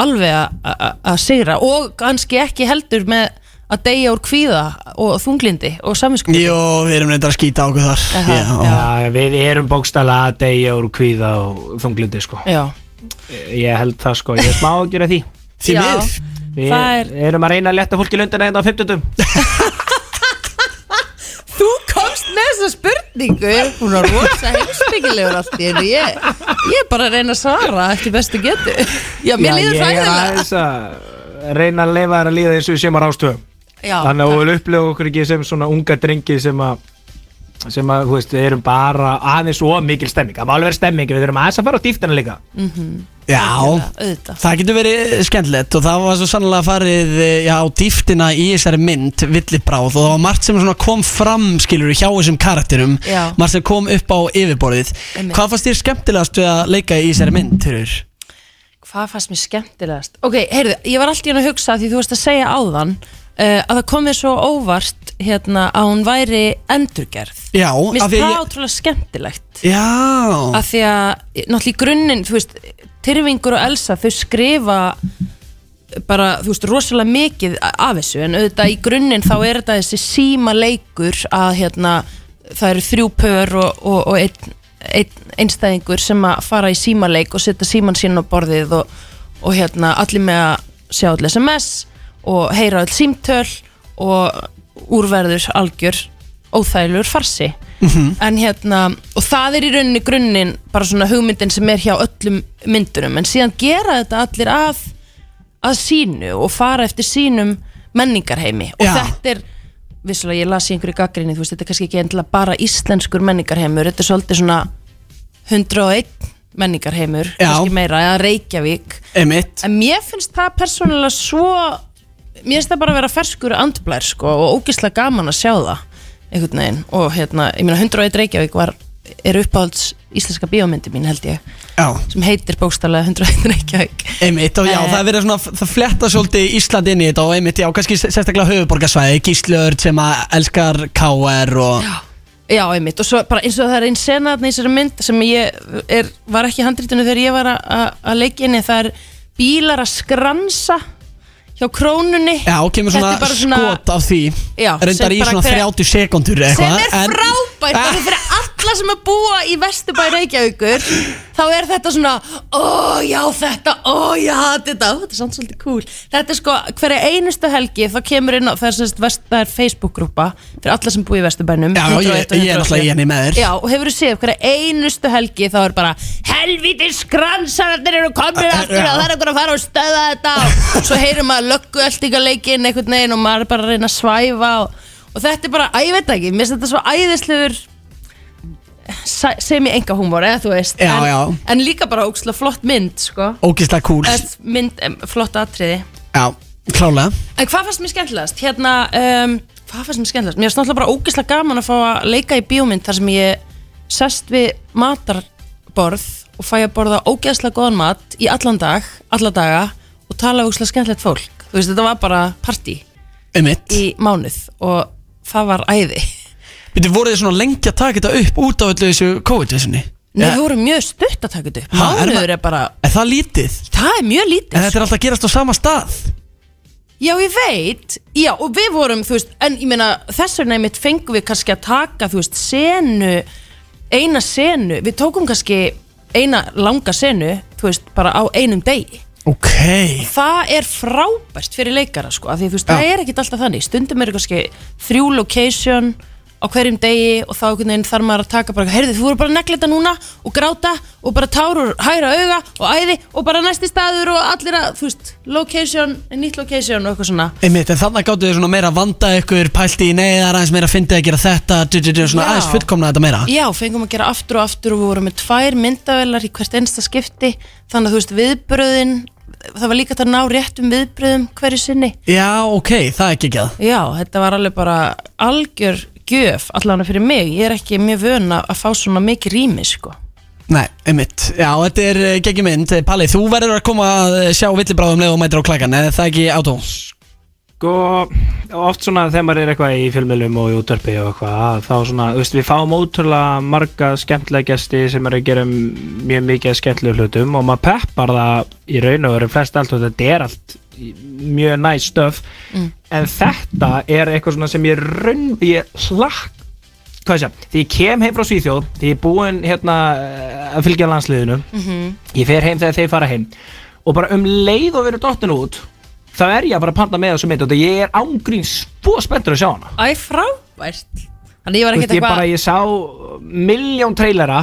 Speaker 10: alveg að- að að sigra og kannski ekki heldur með að deyja úr kvíða og þunglindi og saminskupið
Speaker 2: Jó, við erum reyndar að skýta á okkur þar
Speaker 10: Aha,
Speaker 2: Já,
Speaker 1: Já, við erum bókstala að deyja úr kvíða og þunglindi sko
Speaker 10: Já,
Speaker 1: Ég held það sko, ég er smá að gera því
Speaker 2: því
Speaker 10: Já.
Speaker 2: miður
Speaker 1: Við
Speaker 10: Það er-
Speaker 1: erum að reyna að leta fólki lundina hérna á 50
Speaker 10: Þú komst með þessa spurningu Hún var rosa heimsbyggilegur allt í henni ég, ég er bara að reyna að svara eftir bestu getu Já, mér líður
Speaker 1: Ég er
Speaker 10: fræðilega
Speaker 1: aðeins að reyna að leifa þær að líða eins og við séum að rástöðum
Speaker 10: Já,
Speaker 1: Þannig að við viljum upplega okkur ekki sem svona unga drengi sem að sem að, þú veist, við erum bara aðeins og mikil stemming, það má alveg vera stemming við erum aðeins að fara á dýftina líka
Speaker 2: Já,
Speaker 10: auðvitað
Speaker 2: það getur verið skemmtilegt og það var svo sannlega farið eh, já, á dýftina í þessari mynd villibráð og það var margt sem svona kom fram skilur hjá þessum karakterum
Speaker 10: Já.
Speaker 2: margt sem kom upp á yfirborðið
Speaker 10: Einmitt.
Speaker 2: Hvað fannst þér skemmtilegast við að leika í þessari mynd, Þurur?
Speaker 10: Hvað fannst mér skemmtilegast? Ok, heyrðu, ég var alltaf að hugsa því þú varst að segja áðan uh, að það kom mér svo óvart hérna að hún væri endurgerð
Speaker 2: Já,
Speaker 10: Mér
Speaker 2: af því
Speaker 10: finnst það
Speaker 2: að ég... Ah.
Speaker 10: ótrúlega skemmtilegt
Speaker 2: Já,
Speaker 10: af því að, náttúrulega í grunninn þú veist, Tyrfingur og Elsa þau skrifa bara, þú veist, rosalega mikið a- af þessu en auðvitað í grunninn þá er þetta þessi síma leikur að hérna, það eru þrjú pör og, og, og einn ein, einstæðingur sem að fara í símaleik og setja síman sín á borðið og, og hérna, allir með að sjá all SMS og heyra all símtöl og úrverður algjör óþægilegur farsi en hérna, og það er í rauninni grunninn bara svona hugmyndin sem er hjá öllum myndunum, en síðan gera þetta allir að að sínu og fara eftir sínum menningarheimi og þetta er, vissulega ég las í einhverju gaggrinni, þú veist, þetta er kannski ekki endilega bara íslenskur menningarheimur, þetta er svolítið svona 101 menningarheimur, Já. kannski meira, eða Reykjavík
Speaker 2: Einmitt.
Speaker 10: en mér finnst það persónulega svo mér finnst það bara að vera ferskur andblær sko, og ógislega gaman að sjá það einhvern veginn og hérna, ég meina 101 Reykjavík var, er uppáhalds íslenska bíómyndi mín held ég
Speaker 2: Já.
Speaker 10: sem heitir bókstallega 101 Reykjavík
Speaker 2: Einmitt, og já,
Speaker 10: Eh.
Speaker 2: það er verið svona, það fletta svolítið Ísland inn í þetta og einmitt, já, kannski s- sérstaklega höfuborgarsvæði, Gíslöður sem að elskar KR og... Já.
Speaker 10: Já, einmitt, og svo bara eins og það er einn sena þarna í þessari mynd sem ég er, var ekki í handritinu þegar ég var að- að að leikja inni það er bílar að skransa hjá krónunni
Speaker 2: Já, og kemur
Speaker 10: Þetta
Speaker 2: svona,
Speaker 10: er bara svona-
Speaker 2: skot af því
Speaker 10: Já, sem
Speaker 2: Reyndar í
Speaker 10: bara
Speaker 2: svona
Speaker 10: hver-
Speaker 2: 30 sekundur
Speaker 10: sem
Speaker 2: eitthvað Eh,
Speaker 10: er frábært af því fyrir alla sem að búa í Vesturbæ Reykjavíkur þá er þetta svona ó já þetta, ó já þetta ó, þetta er samt svolítið cool þetta er sko hverja einustu helgi þá kemur inn á það er, sem sagt vest, það er Facebook-grúpa fyrir alla sem búa í Vesturbænum
Speaker 2: Já, ég- ég er náttúrulega í henni með þér.
Speaker 10: já, og hefur þú séð hverja einustu helgi þá er bara helvítis kransararnir eru komin aftur og það er okkur að fara og stöða þetta og svo heyrum maður löggu leikinn einhvern veginn og maður er bara að reyna að svæfa og, og þetta er bara, að ég veit það ekki, mér finnst þetta svo æðislegur sæ- sem ég enga húmor, eða þú veist
Speaker 2: Já,
Speaker 10: en,
Speaker 2: já.
Speaker 10: en líka bara óksla flott mynd sko.
Speaker 2: Ógislega cool
Speaker 10: Eða mynd, em, flott atriði
Speaker 2: Já, klálega
Speaker 10: En hvað fannst mér skemmtilegast? Hérna, um, hvað fannst mér skemmtilegast? Mér finnst náttúrulega bara ógeðslega gaman að fá að leika í bíómynd þar sem ég sest við matarborð og fæ að borða ógeðslega góðan mat í allan dag, alla daga og tala ógeðslega skemmtilegt fólk. Þú veist, þetta var bara partí
Speaker 2: Einmitt
Speaker 10: í mánuð og það var æði.
Speaker 2: Býttu, voruð þið svona lengi að taka þetta upp út af öllu þessu COVID-vissinni?
Speaker 10: Nei, við vorum mjög stutt að taka þetta upp.
Speaker 2: Ha, er
Speaker 10: Mánuður
Speaker 2: ma-
Speaker 10: er bara,
Speaker 2: Er það lítið?
Speaker 10: það er mjög lítið.
Speaker 2: En þetta er alltaf að gerast á sama stað
Speaker 10: Já, ég veit, já, og við vorum, þú veist, en ég meina, þess vegna einmitt fengum við kannski að taka, þú veist, senu, eina senu, við tókum kannski eina langa senu, þú veist, bara á einum degi.
Speaker 2: Ok
Speaker 10: Það er frábært fyrir leikara, sko, af því, þú veist, það er ekkit alltaf þannig, stundum eru kannski þrjú location á hverjum degi og þá einhvern veginn þarf maður að taka bara, heyrðu, þú voru bara að negla þetta núna og gráta og bara tárur hæra auga og æði og bara næsti staður og allir að, þú veist, location, nýtt location og eitthvað svona.
Speaker 2: Einmitt, en þannig gáttu þið svona meira að vanda ykkur Pælti í neyðar, aðeins meira að fyndi að gera þetta du, du, du, Svona
Speaker 10: Já.
Speaker 2: aðeins fullkomna þetta meira
Speaker 10: Já, fengum að gera aftur og aftur og við vorum með tvær myndavelar í hvert einsta skipti þannig að þú veist viðbröðin það var líka hægt að ná réttum viðbröðum hverju sinni.
Speaker 2: Já, ok, það er ekki ekki að
Speaker 10: Já, þetta var alveg bara algjör gjöf allavega fyrir mig. Ég er ekki mjög vön að að fá svona mikið rými, sko.
Speaker 2: Nei, einmitt Já, þetta er geggjum mynd Eh, Palli, þú verður að koma að eh, sjá villibráðum leið og mætir á klakan Eða það ekki átó
Speaker 1: sko, oft svona þegar maður er eitthvað í fjölmiðlum og í útverfi og eitthvað þá svona, þú veist, við fáum ótrúlega marga skemmtilega gesti sem eru að gera mjög mikið af skemmtilega hlutum og maður peppar það í raun og veru flest allt og þetta er allt í- mjög næst stöf en þetta er eitthvað svona sem ég raun, ég hlakk hvað ég segja, því ég kem heim frá Svíþjóð því ég er búinn hérna eh, að fylgja landsliðinu ég fer heim þegar þeir fara heim og bara um leið og verið dottin út þá er ég að fara að panta með þessu mynd og þetta- ég er ángrín svo spenntur að sjá hana
Speaker 10: Æ, frábært. Þannig ég var
Speaker 1: Þú
Speaker 10: ekkert
Speaker 1: veist, ég bara,
Speaker 10: eitthvað...
Speaker 1: ég sá miljón trailera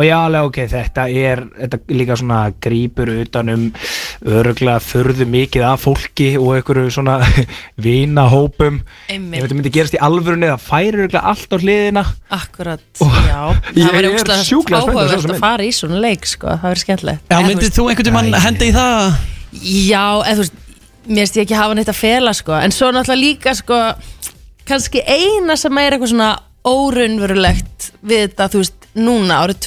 Speaker 1: og ég alveg, ok, þetta er þetta líka svona grípur utan um öruglega förðu mikið af fólki og einhverju svona vinahópum
Speaker 10: Einmitt.
Speaker 1: ef þetta myndi gerast í alvörunni það færi öruglega allt á hliðina
Speaker 10: Akkurat,
Speaker 1: Og-
Speaker 10: já.
Speaker 1: Ég
Speaker 10: Það
Speaker 1: er
Speaker 10: verið ógstlega
Speaker 1: sjúklega spennt að sjá þessa
Speaker 10: áhugavert
Speaker 1: mynd.
Speaker 10: að fara í svona leik, sko. Það verið skemmtilegt.
Speaker 2: Já,
Speaker 10: En þú
Speaker 2: myndir þú einhvern tímann henda í það?
Speaker 10: Já, eða þú veist, mér finnst ég ekki hafa neitt að fela sko, en svo náttúrulega líka sko, kannski eina sem er eitthvað svona órunverulegt við þetta, þú veist, núna árið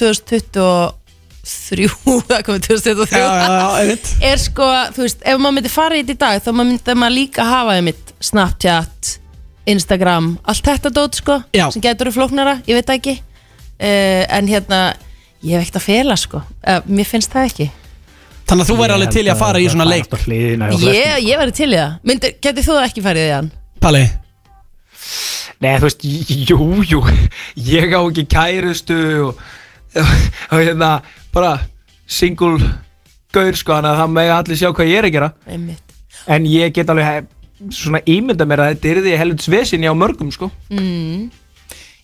Speaker 10: 2023, það komið 2023
Speaker 2: einmitt
Speaker 10: er sko, þú veist, ef maður myndi fara í þetta í dag þá maður myndi maður líka hafa einmitt Snapchat, Instagram allt þetta dót sko,
Speaker 2: Já.
Speaker 10: sem getur eru flóknara, ég veit það ekki uh, en hérna, ég hef ekkert að fela sko, uh, mér finnst það ekki
Speaker 2: Þannig að þú verður alveg til í að fara í svona leik
Speaker 1: Það er allt á hliðina hjá flestum.
Speaker 10: Ég, ég verði til í það Myndir, Getur þú það ekki farið í hann?
Speaker 2: Palli
Speaker 1: Nei, þú veist, j- jú, jú Ég á ekki kærustu og, og hérna bara single gaur sko, þannig að það megi allir sjá hvað ég er að gera
Speaker 10: Einmitt.
Speaker 1: en ég get alveg hef, svona ímynda mér að þetta er því helvits vesinni á mörgum sko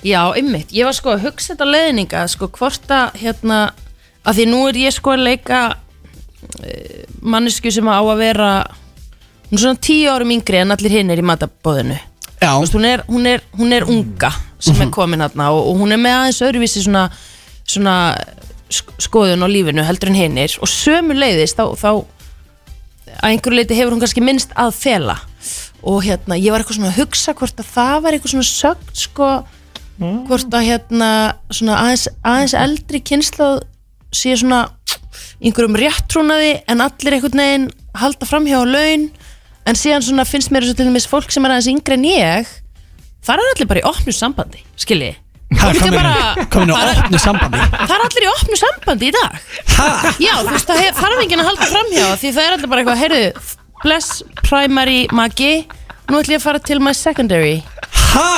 Speaker 10: Já, einmitt Ég var sko að hugsa þetta leðninga sko, hvort að hérna að eh, því nú er ég sko að leika uh, mannesku sem á að vera hún er svona tíu árum yngri en allir hinn er í matabóðinu
Speaker 2: Já
Speaker 10: Vist, hún, er, hún, er, hún er unga sem er komin aðna og, og hún er með aðeins öðruvísi svona, svona sk- skoðun á lífinu heldur en hinnir og sömu leiðist þá, þá að einhverju leiti hefur hún kannski minnst að fela og hérna, ég var eitthvað svona að hugsa hvort að það var eitthvað svona sögn sko, hvort að hérna svona aðeins, aðeins eldri kynnslóð sé svona í einhverjum réttrúnaði en allir einhvern veginn halda framhjá á laun en síðan svona finnst mér eins og til dæmis fólk sem er aðeins yngri en ég þar er allir bara í opnu sambandi, skilji
Speaker 2: Ha,
Speaker 10: Fólk er
Speaker 2: komin í-
Speaker 10: bara-
Speaker 2: komin á
Speaker 10: það er-
Speaker 2: opnu sambandi
Speaker 10: það er allir í opnu sambandi í dag já, þú veist, það hef- þarf enginn að halda framhjá því það er allir bara eitthvað, heyrðu bless primary magi nú ætlum ég að fara til my secondary
Speaker 2: Ha?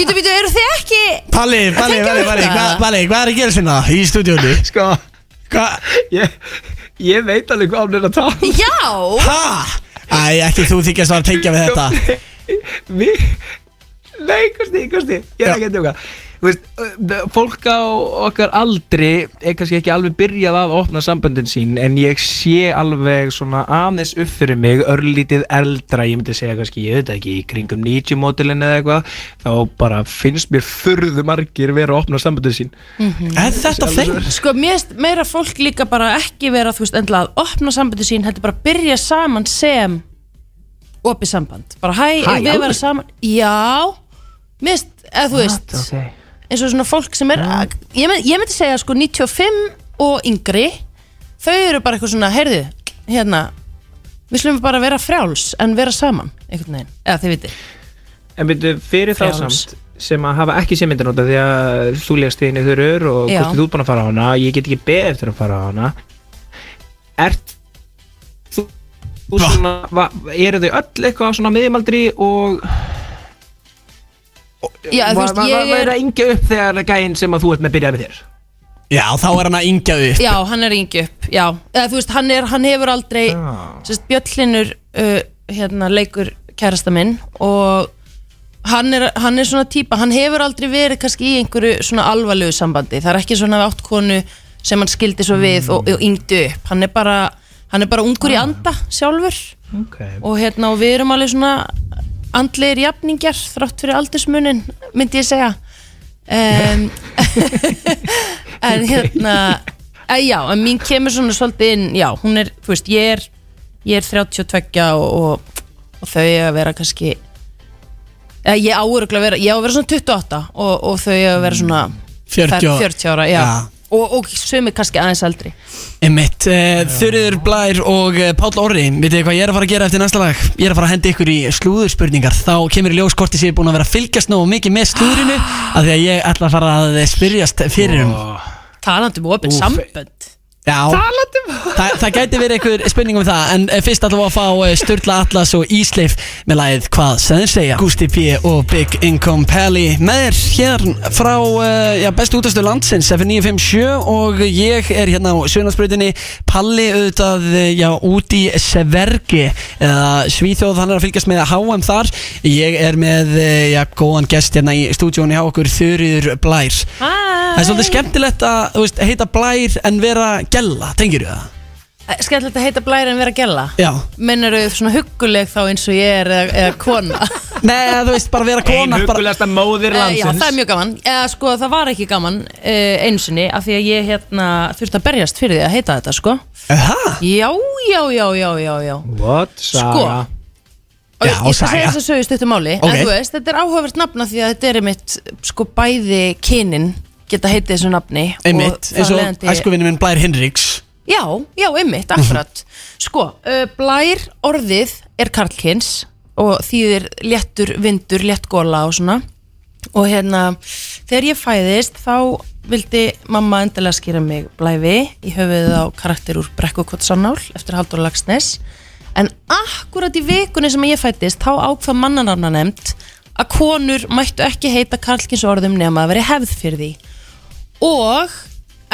Speaker 10: býtu, býtu, eru þið ekki
Speaker 2: Palli, Palli,
Speaker 10: Tengja
Speaker 2: Palli,
Speaker 10: við
Speaker 2: Palli,
Speaker 10: þetta?
Speaker 2: hvað- Palli, hvað er að gera sinna í stúdíónu?
Speaker 1: Sko,
Speaker 2: Hvað?
Speaker 1: ég, ég veit alveg hvað hann er að tala
Speaker 10: já,
Speaker 2: Ha? Æ, ekki þú þykjast að tengja við þetta
Speaker 1: Við Nei, kosti, kosti, ég
Speaker 2: Já.
Speaker 1: er ekki að tjóka Þú veist, ö, fólk á okkar aldri er kannski ekki alveg byrjað að opna samböndin sín en ég sé alveg svona aðeins upp fyrir mig örlítið eldra, ég myndi segja kannski ég veit ekki, í kringum 90 mótilin eða eitthvað þá bara finnst mér furðu margir vera að opna samböndin sín
Speaker 2: Er þetta þeim?
Speaker 10: sko, mér finnst meira fólk líka bara ekki vera, þú veist, endilega að opna sambandi sín heldur bara að byrja saman sem opið samband, bara hæ,
Speaker 1: Hæ,
Speaker 10: hæ við
Speaker 1: alveg?
Speaker 10: vera saman, já mér finnst, eða þú veist
Speaker 2: Ah,
Speaker 10: eins og svona fólk sem er ég, mynd, ég myndi segja sko 95 og yngri þau eru bara eitthvað svona, heyrðu hérna, við slumum bara vera frjáls en vera saman, einhvern veginn eða þið viti,
Speaker 1: En byrju, fyrir þá
Speaker 10: Frjáls.
Speaker 1: samt sem að hafa ekki sé myndinóta því að þú legast þig inn í þurrur og
Speaker 10: Já.
Speaker 1: hvort þú ert búin að fara á hana ég get ekki beðið eftir að fara á hana Ert þú, þú
Speaker 2: Hva?
Speaker 1: svona, va, eru þau öll eitthvað á svona miðjumaldri og
Speaker 10: já þú
Speaker 1: va-
Speaker 10: veist,
Speaker 1: va- va-
Speaker 10: ég
Speaker 1: væri
Speaker 10: er
Speaker 1: að yngja upp þegar gæinn sem að þú ert með byrjað með þér
Speaker 2: Já, þá er hann að yngja upp
Speaker 10: já, hann er yngi upp, já eða þú veist, hann, er, hann hefur aldrei sérst, Bjöllinur uh, hérna, leikur kærasta minn og hann er, hann er svona típa hann hefur aldrei verið kannski í einhverju svona alvarlegu sambandi, það er ekki svona við áttkonu sem hann skildi svo við og, og yngdi upp, hann er bara hann er bara ungur í anda sjálfur
Speaker 1: okay.
Speaker 10: og hérna og við erum alveg svona andlegir jafningjar þrátt fyrir aldursmunin myndi ég segja um, en hérna að já, en mín kemur svona svolítið inn já, hún er, þú veist, ég er ég er 32 og, og, og þau eiga að vera kannski eða ég áuruglega að vera, ég á að vera svona 28 og, og þau eiga að vera svona
Speaker 2: 40 Mm. ára.
Speaker 10: 40 ára, já,
Speaker 2: Já.
Speaker 10: og, og sumi kannski aðeins aldri
Speaker 2: Einmitt, uh, Þurriður Blær og uh, Páll Orri Vitið þið hvað ég er að fara að gera eftir næsta lag? Ég er að fara að henda ykkur í slúðurspurningar Þá kemur í ljós hvort ég sé búin að vera að fylgjast nógu mikið með slúðurinu Af því að ég ætla að fara að spyrjast fyrir um
Speaker 10: talandi um opinn sambönd
Speaker 2: Já Þa, Það gæti verið einhver spurning um það En uh, fyrst ætlum við að fá uh, Sturla Atlas og Ísleif Með lagið Hvað sem segja Gusti P. og Big Income Pally Með þér hér frá uh, já, bestu útastu landsins F957 og ég er hérna á Sjónarsbrutinni Palli auðvitað uh, já, út í Severgi eða Svíþjóð, hann er að fylgjast með HM þar Ég er með uh, já, góðan gest hérna í stúdíónu hjá okkur Þurriður Blær Það er svolítið skemmtilegt að þú veist, heita blær en vera gella, tengir þú það?
Speaker 10: Eh, skemmtilegt að heita blæri en vera gæla
Speaker 2: Já
Speaker 10: Mennur þau svona hugguleg þá eins og ég er eða, eða kona
Speaker 2: Nei, eða þú veist, bara vera kona bara...
Speaker 1: huggulegasta móðir
Speaker 10: Eh, Já, það er mjög gaman Eða sko, það var ekki gaman uh, einsinni af því að ég hérna þurfti að berjast fyrir því að heita þetta sko
Speaker 2: Aha,
Speaker 10: Já, já, já, já, já, já
Speaker 1: What,
Speaker 10: Sko.
Speaker 1: Sara?
Speaker 10: Og
Speaker 2: Já,
Speaker 10: ég skal
Speaker 2: Saga.
Speaker 10: segja þess að sögust þetta máli
Speaker 2: Ok.
Speaker 10: En þú veist, þetta er áhugavert nafna því að þetta er einmitt sko bæði kynin geta heitið þessu nafni og
Speaker 2: einmitt,
Speaker 10: þar
Speaker 2: eins og
Speaker 10: leiðandi-
Speaker 2: æskuvinni minn Blær Hinriks
Speaker 10: Já, já, einmitt, akkurat Sko, uh, blær orðið er karlkins og þýðir léttur vindur, léttgóla og svona og hérna, þegar ég fæðist þá vildi mamma endilega skýra mig blæfi í höfuðið á karakter úr Brekkukot Sannál eftir Haldur Lagsnes en akkurat í vikunni sem ég fættist þá ákvað mannanarna nefnd að konur mættu ekki heita karlkins orðum nema að veri hefð fyrir því og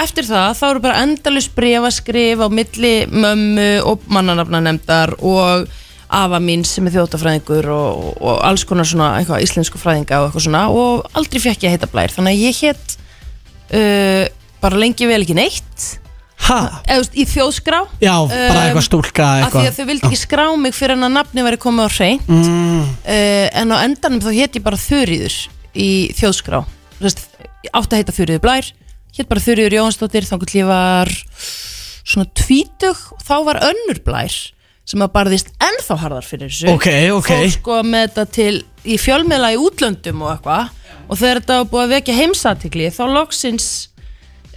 Speaker 10: eftir það þá eru bara endalus brefaskrif á milli mömmu og mannanafna nefndar og afa mín sem er þjóttafræðingur og, og, og alls konar svona eitthvað íslensku fræðinga og eitthvað svona og aldrei fekk ég að heita blær þannig að ég hétt uh, bara lengi vel ekki neitt
Speaker 2: Ha?
Speaker 10: eða, þú veist, í þjóðskrá
Speaker 2: Já, bara
Speaker 10: Um,
Speaker 2: eitthvað stúlka
Speaker 10: af því að
Speaker 2: Ah, eitthvað
Speaker 10: þau vildi ekki skrá mig fyrir en að nafni væri komið á hrein
Speaker 2: mm,
Speaker 10: uh, en á endanum þá hétt ég bara Þuríður í þjóðskrá Þú veist, ég átti að heita Þuríður Blær hétt bara Þuríður Jónsdóttir þá ég var svona tvítug og þá var önnur Blær sem að barðist ennþá harðar fyrir þessu
Speaker 2: Ok, ok.
Speaker 10: fór sko með þetta til í fjölmiðla í útlöndum og eitthvað og þegar þetta var búið að vekja heimsatikli þá loksins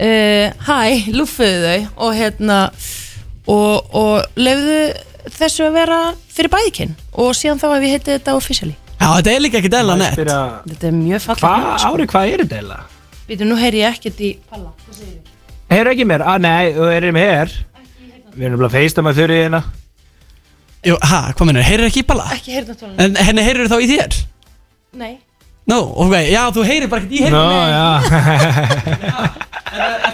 Speaker 10: uh, hæ, lúffuðu þau og hérna og, og lefðu þessu að vera fyrir bæðikinn og síðan þá hef ég heitið þetta officially
Speaker 2: Já, þetta er líka ekki dæla nett
Speaker 10: Þetta er mjög fallegt
Speaker 1: Hvað
Speaker 10: nafn, sko.
Speaker 1: ári, hvað er þetta eiginlega?
Speaker 10: Býtu, nú heyri ég ekkert í Palla
Speaker 1: Heyrðu ekki mér? Ah, nei, þú erum mér Við erum bara að feista með þurrið hérna
Speaker 2: Jú, ha, hvað mennur, heyrir ekki í balla?
Speaker 10: Ekki heyri náttúrulega
Speaker 2: En henni heyrir þá í þér?
Speaker 10: Nei
Speaker 2: Nú, ok, já, þú heyrir bara ekkert í
Speaker 1: Nó,
Speaker 2: heyrir
Speaker 1: já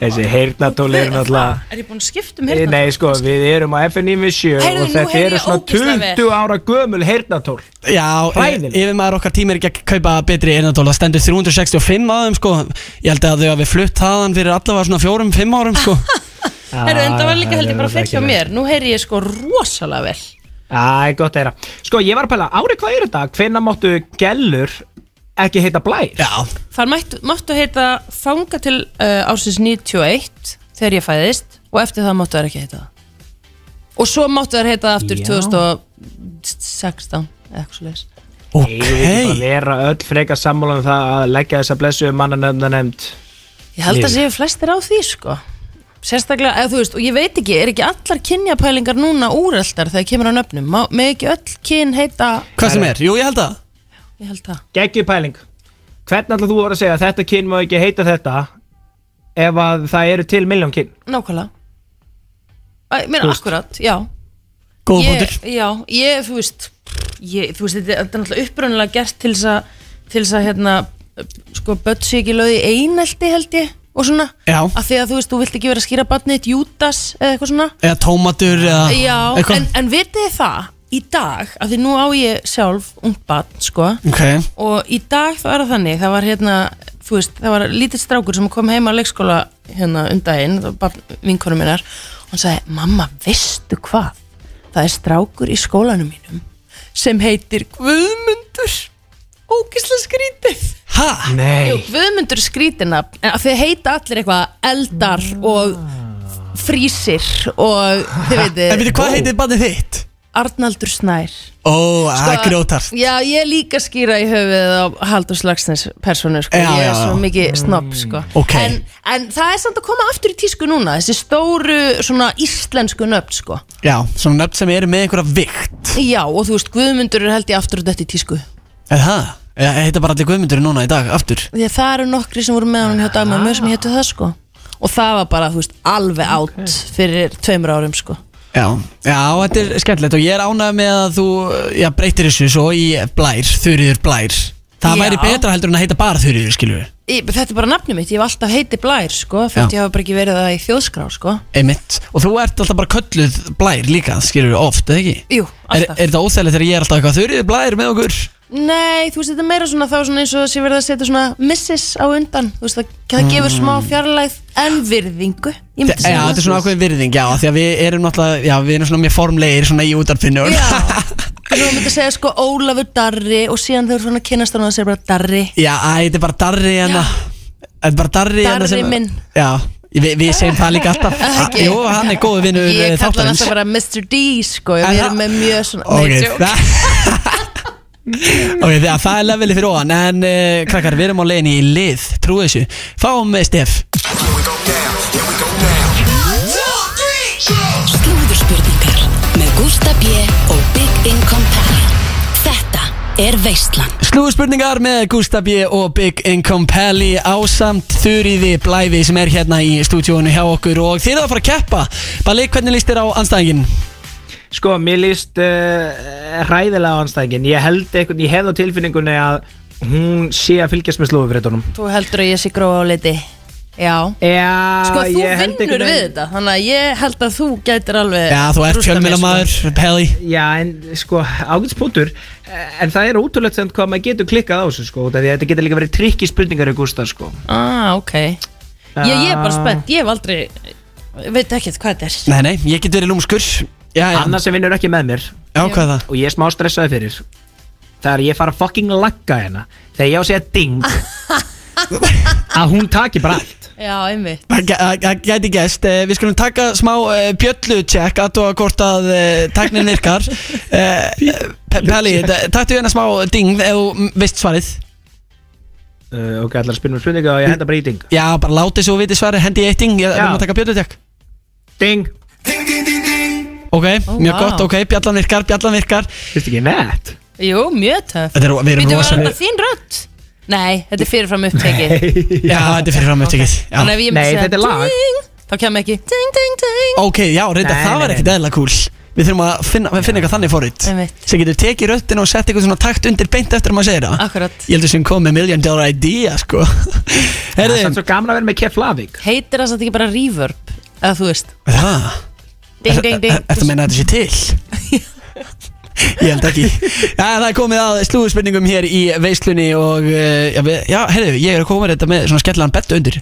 Speaker 1: Þessi heyrnatóli eru náttúrulega
Speaker 10: Er ég búin að skipta um
Speaker 1: Eh,
Speaker 10: hérna?
Speaker 1: Nei, sko, við erum á FNM 7
Speaker 10: Heyrðu,
Speaker 1: og
Speaker 10: nú
Speaker 1: þetta
Speaker 10: heyri
Speaker 1: eru
Speaker 10: ég
Speaker 1: svona
Speaker 10: ógeðslega vel.
Speaker 1: 20 ára gömul heyrnatól
Speaker 2: Já,
Speaker 1: Hræðilegt.
Speaker 2: yfir maður okkar tímir ekki að kaupa betri einandól Það stendur 365 aðeim sko Ég held að þau hafi flutt þaðan fyrir allavega svona fjórum, fimm árum sko
Speaker 10: Herru, en það var líka held ég
Speaker 1: Ah,
Speaker 10: bara
Speaker 1: Það er
Speaker 10: frekk hjá
Speaker 1: merkilegt.
Speaker 10: mér Nú heyri ég sko rosalega vel
Speaker 1: Æ, gott að heyra Sko, ég var að pæla, ári, hvað er þetta? Hvenna máttu gellur ekki heita blær?
Speaker 2: Já,
Speaker 10: Þar mættu, máttu heita þanga til uh, ásins 91 þegar ég fæðist og eftir það máttu þær ekki heita það. Og svo máttu þær heita það aftur
Speaker 1: Já.
Speaker 10: 2016 eða eitthvað svoleiðis.
Speaker 1: Eigum við ekki bara að
Speaker 2: ok
Speaker 1: vera öll frekar sammála um það að leggja þessa blessu um mannanöfna nefnd
Speaker 10: Ég held
Speaker 1: Liður.
Speaker 10: að séu flestir á því sko. Sérstaklega, eða þú veist, og ég veit ekki, er ekki allar kynjapælingar núna úreltar þegar kemur á nöfnum? Má, með ekki öll kyn heita,
Speaker 2: Hvað sem er, jú ég held að
Speaker 10: ég held það.
Speaker 1: Gekkið pæling Hvernig ætlar þú að vera að segja að þetta kyn má ekki heita þetta ef að það eru til miljón kyn?
Speaker 10: Nákvæmlega Æ,
Speaker 1: Þú
Speaker 10: Mér er
Speaker 1: veist.
Speaker 10: akkurat, já
Speaker 2: Góða
Speaker 10: ég,
Speaker 2: bóttir
Speaker 10: Já, ég, þú veist ég, Þú veist, þetta er þetta er náttúrulega upprunnilega gert til þess að til þess að, hérna, sko, börn sé ekki löði einelti held ég og svona,
Speaker 2: Já.
Speaker 10: að því að þú veist, þú vilt ekki vera að skýra barnið þitt Júdas eða eitthvað svona
Speaker 2: Eða tómatur eða
Speaker 10: Já,
Speaker 2: eitthvað.
Speaker 10: en, en vitið þið það í dag, af því nú á ég sjálf ungt barn, sko
Speaker 2: Ok,
Speaker 10: og í dag þá er það þannig það var hérna, þú veist, það var lítill strákur sem kom heima á leikskóla hérna um daginn, það var bara vinkonum minnar og hann sagði, mamma, veistu hvað það er strákur í skólanum mínum sem heitir Guðmundur ógislega skrítið
Speaker 2: ha,
Speaker 10: Jú,
Speaker 1: Nei
Speaker 10: Guðmundur er skrítinab en af því að heita allir eitthvað eldar og frísir og þið
Speaker 2: Ah. en
Speaker 10: veitir
Speaker 2: veitir hvað heitir badið þitt?
Speaker 10: Arnaldur Snær
Speaker 2: Ó, það er
Speaker 10: Sko,
Speaker 2: grjótart
Speaker 10: Já, ég er líka skýra í höfuð á Haldur Slagsnes personu, sko,
Speaker 2: Já, já,
Speaker 10: ég er svo
Speaker 2: já. Mm.
Speaker 10: mikið snobb, sko
Speaker 2: Ok.
Speaker 10: en, en það er samt að koma aftur í tísku núna, þessi stóru svona íslensku nöfn, sko
Speaker 2: Já, svona nöfn sem eru með einhverja vikt
Speaker 10: Já, og þú veist, Guðmundur er held ég aftur og þetta í tísku
Speaker 2: Eða það? Eða heita bara allir guðmyndur núna í dag, aftur
Speaker 10: Því að það eru nokkri sem voru með hann hjá dagmað mjög sem hétu það, sko Og það var bara, þú veist, alveg átt fyrir tveimur árum, sko
Speaker 2: Já, já, þetta er skemmtilegt og ég er ánægð með að þú já, breytir þessu svo í blær, þurriður blær Það
Speaker 10: Já.
Speaker 2: væri betra heldur en að heita bara þurriður, skilur við
Speaker 10: ég, Þetta er bara nafnið mitt, ég hef alltaf heiti Blær, sko
Speaker 2: Já.
Speaker 10: Fætti ég hafa bara ekki verið það í þjóðskrá, sko
Speaker 2: Einmitt, og þú ert alltaf bara kölluð blær líka, skilur við, oft, eða ekki?
Speaker 10: Jú,
Speaker 2: Er,
Speaker 10: alltaf
Speaker 2: er þetta óþægilegt þegar ég er alltaf eitthvað þurriður blær með okkur?
Speaker 10: Nei, þú veist, þetta er meira svona þá svona eins og sé verið að setja svona missis á undan Þú veist, það, það gefur smá fjarlægð en virðingu Ég
Speaker 2: Mm. Já,
Speaker 10: myndi segja
Speaker 2: þetta er sko- svona ákveðin virðing, já, af því að við erum náttúrulega, já, við erum svona mjög formlegir svona í útarpinu
Speaker 10: Já, þú myndi segja sko Ólafur Darri og síðan þau eru svona kynast hann og það segir bara Darri
Speaker 2: Já, æ, þetta er bara darri hérna Þetta er bara darri hérna
Speaker 10: Darri
Speaker 2: sem-
Speaker 10: minn.
Speaker 2: Já, við, við segjum það líka alltaf
Speaker 10: Ekki.
Speaker 2: Jú, hann er góðu vinur
Speaker 10: Ég
Speaker 2: eh,
Speaker 10: kalla hann
Speaker 2: þáttarins.
Speaker 10: alltaf bara Mr. D, sko
Speaker 2: En
Speaker 10: Við
Speaker 2: það-
Speaker 10: erum með mjög svona
Speaker 2: Ok,
Speaker 10: Nei, joke.
Speaker 2: það- ok, það, það er leveli fyrir ofan En uh, krakkar, við erum á leiðin í lið Trú þessu, fáum með Stef
Speaker 11: Slúðurspurningar með Gústa B. og Big Income Pally. Þetta er Veistland.
Speaker 2: Slúðspurningar með Gustaf B. og Big Income Pally Ásamt Þurriði Blæfi sem er hérna í stúdíónu hjá okkur Og þið eru að fara að keppa Bali, hvernig líst þér á anstæðingin?
Speaker 1: Sko, mér líst uh, hræðilega á anstæðingin Ég held eitthvað, ég hef á tilfinningunni að hún sé að fylgjast með slóðufréttunum
Speaker 10: Þú heldur að ég sé gróð á liti Já
Speaker 1: Já,
Speaker 10: Sko, þú
Speaker 1: Ah, ég held
Speaker 10: vinnur
Speaker 1: einhvern
Speaker 10: við
Speaker 1: veginn-
Speaker 10: þetta Þannig að ég held að þú gætir alveg sko.
Speaker 2: Já, þú ert
Speaker 10: rústað mér,
Speaker 2: fjölmjöla maður, Pally
Speaker 1: Já, en sko, ágætspútur En það er ótrúlegt sem hvað maður getur klikkað á þessu sko, út af því að þetta getur líka verið trikki spurningar í Gústa sko Ah.
Speaker 10: Ah, ok Ég, ég er bara spennt, ég hef aldrei Ég veit ekki hvað þetta er
Speaker 2: Nei, nei, ég get verið lúmskur
Speaker 1: Anna sem vinnur ekki með mér
Speaker 2: Já, hvað er það?
Speaker 1: Og ég er smá stressaði fyrir Þegar ég fara að fucking lagga hérna Þegar ég á að segja ding Að hún taki bara allt
Speaker 10: Já, einmitt
Speaker 2: Það gæ- það- það gæti gæst, Eh, við skulum taka smá eh, bjöllutjekk aðtóa hvort að eh, tæknin virkar Eh, Pe- Pelli, taktu hérna smá ding ef þú veist svarið
Speaker 1: uh, Ok, allar spyrir mér spurningu og ég henda bara í ding
Speaker 2: Já, bara láti svo viti svarið, hendi í eitt ding, ég við erum að taka bjöllutjekk
Speaker 1: Ding
Speaker 2: Ok, mjög
Speaker 10: vá.
Speaker 2: gott, ok, bjallan virkar, bjallan virkar Fyrst ekki nett
Speaker 10: Jú, mjög töf
Speaker 2: Þetta er, við erum
Speaker 10: var
Speaker 2: rosa
Speaker 10: þetta þín rödd? Nei, þetta er fyrirfram upptekið
Speaker 2: Já, þetta er fyrir fram upptekið já.
Speaker 10: Þannig að ef ég myndi segja ding, Þá kem ekki ding, ding, ding
Speaker 2: Ok, já, reynda,
Speaker 10: Nei,
Speaker 2: það
Speaker 10: nei,
Speaker 2: var ekkert eðla kúl Við þurfum að finna, finna eitthvað þannig forrið
Speaker 10: Einmitt.
Speaker 2: sem getur tekið röddina og sett eitthvað svona takt undir beint eftir að maður segir það
Speaker 10: Akkurat
Speaker 2: Ég heldur sem kom með million dollar idea, sko Herði
Speaker 1: Það er svo gaman að vera með Kef Lavik
Speaker 10: Heitir það samt ekki bara reverb? Eða þú veist
Speaker 2: Það
Speaker 10: Ding, ding, ding
Speaker 2: Þetta meina að þetta sé til Ég held ekki Já, það er komið að slúðspurningum hér í veislunni og eh, já, við- já heyrðu, ég er að koma með þetta með svona skellan betta undir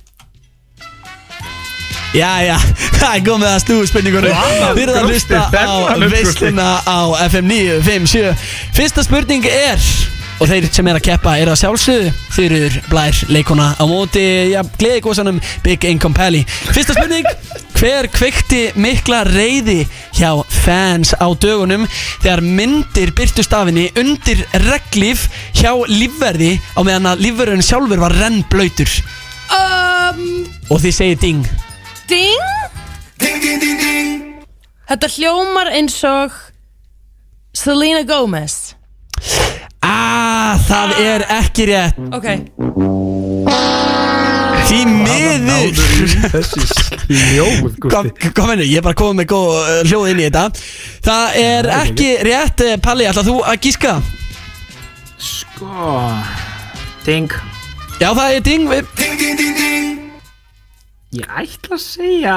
Speaker 2: Já, já, það er komið að slúðspurningunum
Speaker 1: Vá,
Speaker 2: Við erum að
Speaker 1: grófstu
Speaker 2: hlusta á
Speaker 1: fellan upp,
Speaker 2: veisluna á FM 957 Fyrsta spurning er Og þeir sem er að keppa er að sjálfsögðu Þurur blær leikona á móti Já, gleði góðsanum Big Income Pally Fyrsta spurning Hver kveikti mikla reyði hjá fans á dögunum Þegar myndir byrtust af henni undir reglif hjá lífverði Á meðan að lífverðin sjálfur var rennblöytur
Speaker 10: um,
Speaker 2: Og þið segir ding
Speaker 10: Ding Ding, ding, ding, ding Þetta hljómar eins og Selena Gomez
Speaker 2: Ah, það er ekki rétt
Speaker 10: Ok
Speaker 2: Því miður
Speaker 1: Þessi hljóð
Speaker 2: Hvað hvað mennur, ég er bara komið með góð uh, hljóð inn í þetta Það er ekki rétt eh, Palli, ætlað þú að gíska?
Speaker 1: Sko Ding
Speaker 2: Já, það er ding við...
Speaker 1: Ding, ding, ding, ding Ég ætla að segja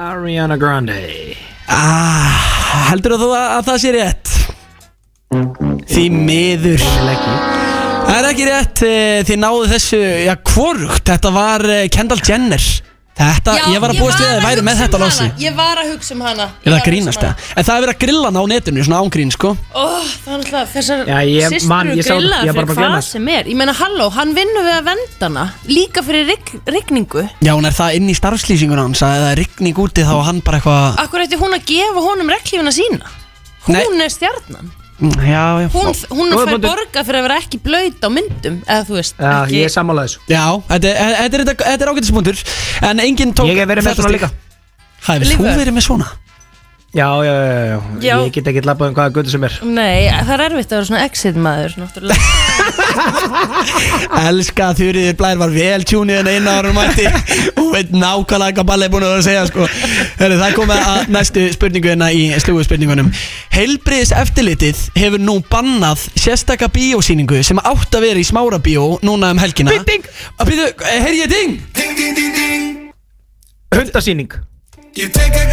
Speaker 1: Ariana Grande
Speaker 2: ah, Heldur þú að, að það sé rétt? Því miður Það er ekki rétt eh, Þið náðu þessu, já, hvorugt Þetta var eh, Kendall Jenner Þetta,
Speaker 10: Já,
Speaker 2: ég var að búast við að þið væri með
Speaker 10: hugsa
Speaker 2: þetta
Speaker 10: um
Speaker 2: lási
Speaker 10: hana. Ég var að hugsa um hana
Speaker 2: Er það að grínast það? En það er verið að grilla hana á netinu, svona ángrín, sko
Speaker 10: Ó, það er náttúrulega þessar
Speaker 2: Já, ég-
Speaker 10: systur
Speaker 2: man,
Speaker 10: eru
Speaker 2: ég sá-
Speaker 10: grillaðar
Speaker 2: ég bara
Speaker 10: fyrir
Speaker 2: bara
Speaker 10: hvað
Speaker 2: glemast.
Speaker 10: sem er Ég meina, halló, hann vinnur við að venda hana Líka fyrir rig rigningu
Speaker 2: Já, hún er það inn í starfslýsingun hans að ef það er rigning úti þá er hann bara eitthvað
Speaker 10: Akkur ætti hún að gefa honum reglífuna sína Hún er stjarnan
Speaker 2: Mm, Já, já
Speaker 10: Hún, hún
Speaker 2: Góður
Speaker 10: fær
Speaker 2: punktur.
Speaker 10: borga fyrir að vera ekki blöyt á myndum Eða þú veist
Speaker 2: Já,
Speaker 10: ekki...
Speaker 2: ég er
Speaker 1: sammála þessu
Speaker 2: Já, þetta er- þetta er, þetta er ágætispunktur En enginn tók
Speaker 1: Ég hef verið með
Speaker 2: þetta
Speaker 1: svona
Speaker 2: stig.
Speaker 1: líka.
Speaker 2: Ha, hefur þú
Speaker 10: Lífur.
Speaker 2: verið með svona?
Speaker 1: Já, já, já, já,
Speaker 10: Já.
Speaker 1: Ég get ekki labbað um hvaða götu sem er
Speaker 10: Nei, það er erfitt að vera svona exit maður Náttúrulega
Speaker 2: Elska Þurriður Blær var vel tjúnið en eina ára mætti Hún veit nákvæmlega hvað ballið er búin að vera að segja sko. Heru, Það er komið að næstu spurningu hérna í slúgu spurningunum Heilbriðis eftirlitið hefur nú bannað sérstaka bíósýningu sem átt að vera í smára bíó núna um helgina Bitting! Býtu, heyri ég ding? Ding, ding, ding, ding
Speaker 1: Hundasýning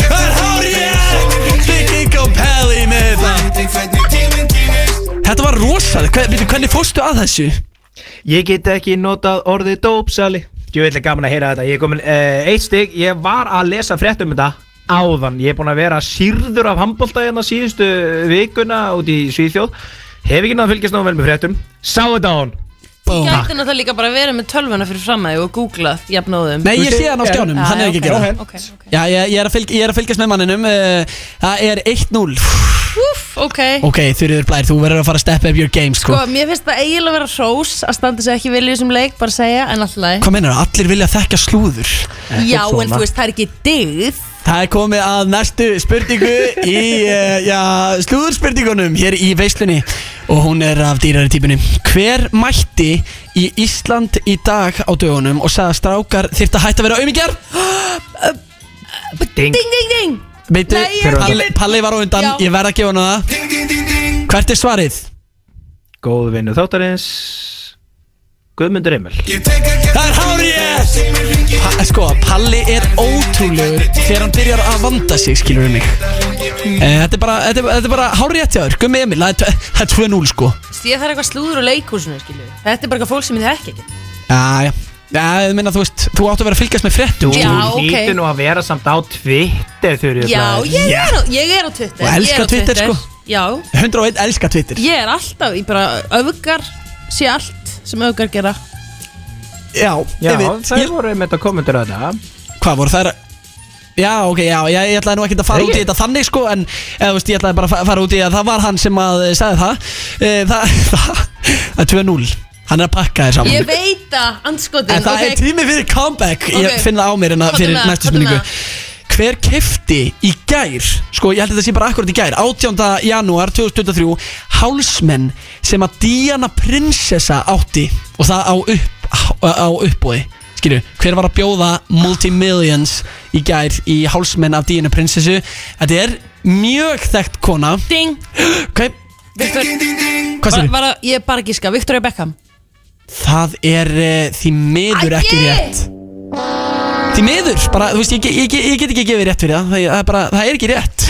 Speaker 2: Það er hárið Big og Pelli með þetta Þetta var rosalega, Hver- býtu, hvernig fórstu að þessu?
Speaker 1: Ég get ekki notað orðið dópsali Ég vil gaman að heyra þetta Ég er komin uh, eitt stygg Ég var að lesa frétt um þetta áðan Ég er búin að vera sýrður af handbólta hérna síðustu vikuna út í Svíþjóð Hef ekki náttúrulega fylgjast náttúrulega vel með fréttum Sá þetta á hann
Speaker 10: Þú gæti náttúrulega líka bara að vera með tölvuna fyrir framæði og googlað jafnóðum
Speaker 2: Nei, ég sé hann á skjánum, hann er ekki að gera það.
Speaker 10: Ok,
Speaker 2: Já, ég, ég, er að fylg, ég er að fylgjast með manninum uh, Það er 1-0
Speaker 10: Úff, ok
Speaker 2: Ok, Þurriður Blær, þú verður að fara að step up your game
Speaker 10: Sko,
Speaker 2: sko.
Speaker 10: mér finnst það eiginlega vera hrós að standa sig ekki vilja í þessum leik, bara segja, en alltaf
Speaker 2: Hvað meinar það? Allir vilja þekka slúður
Speaker 10: Já, en þú veist, það er ekki dyggð
Speaker 2: Það er komið að næstu spurningu í uh, já, slúðurspurningunum hér í veislunni og hún er af dýrari típunni Hver mætti í Ísland í dag á dögunum og sagði að strákar þyrfti að hætta að vera auðmyggjar?
Speaker 1: Ding,
Speaker 10: ding, ding
Speaker 2: Beitu,
Speaker 10: Nei, ég er ekki
Speaker 2: Palli,
Speaker 10: viss.
Speaker 2: Palli var á undan,
Speaker 10: Já.
Speaker 2: ég verð að gefa hana það
Speaker 10: Ding, ding, ding, ding
Speaker 2: Hvert er svarið?
Speaker 1: Góð vinnu þáttarins Guðmundur Emil
Speaker 2: Það er hárið pa, Sko, Palli er ótrúlegur Þegar hann byrjar að vanda sig, skilur við mig e, Þetta er bara, þetta er, þetta er bara hárið hjá þér Gummi Emil, það er tve- það er 2-0 sko
Speaker 10: Ég þarf eitthvað slúður á leikhúsinu, skilju Þetta er bara eitthvað fólk sem ég þekki ekki
Speaker 2: Jæja, Já, ég meina, þú veist, þú átt að vera að fylgjast með
Speaker 1: Þú
Speaker 2: fréttum sko.
Speaker 1: hlýtur nú að vera samt á Twitter Þurrið
Speaker 10: Já, ég er, á, ég er á
Speaker 2: Og
Speaker 10: Twitter ég er
Speaker 2: elskar
Speaker 10: á
Speaker 2: Twitter, sko.
Speaker 10: Já,
Speaker 2: 101 elska Twitter
Speaker 10: ég er alltaf, ég bara öfgar sé allt sem öfgar gera
Speaker 2: Já,
Speaker 1: Já,
Speaker 2: einmitt.
Speaker 1: það voru einmitt að koma undir þetta
Speaker 2: Hvað voru þær? Já, ok, já, ég, ég ætlaði nú ekkert að fara
Speaker 1: Nei.
Speaker 2: út í þetta þannig sko En, eða, þú veist, ég ætlaði bara að fa- fara út í að það var hann sem að eh, sagði það e, Það, það, það er 2-0 Hann er að pakka þér saman
Speaker 10: Ég veit að, andskotin
Speaker 2: En það
Speaker 10: ok.
Speaker 2: er tími fyrir comeback
Speaker 10: Ok.
Speaker 2: Ég finn það á mér en
Speaker 10: Komdu
Speaker 2: fyrir
Speaker 10: með það,
Speaker 2: næstu
Speaker 10: komdu með
Speaker 2: spurningu Hver kefti í gær Sko ég held að þetta sé bara akkurat í gær 18. janúar 2023 Hálsmenn sem að Diana prinsessa átti Og það á, upp, á, á uppbóði Skilju, hver var að bjóða Multimillions í gær Í hálsmenn af Diana prinsessu Þetta er mjög þekkt kona
Speaker 10: Ding
Speaker 2: okay.
Speaker 10: Victor,
Speaker 2: Hvað
Speaker 10: var,
Speaker 2: segirðu?
Speaker 10: var, að- Ég er bara að gíska, Victoria Beckham
Speaker 2: Það er uh, því miður ekki rétt Því miður, bara, þú veist, ég, ég, ég, ég get ekki gefið rétt fyrir það Það, það, er, bara, það er ekki rétt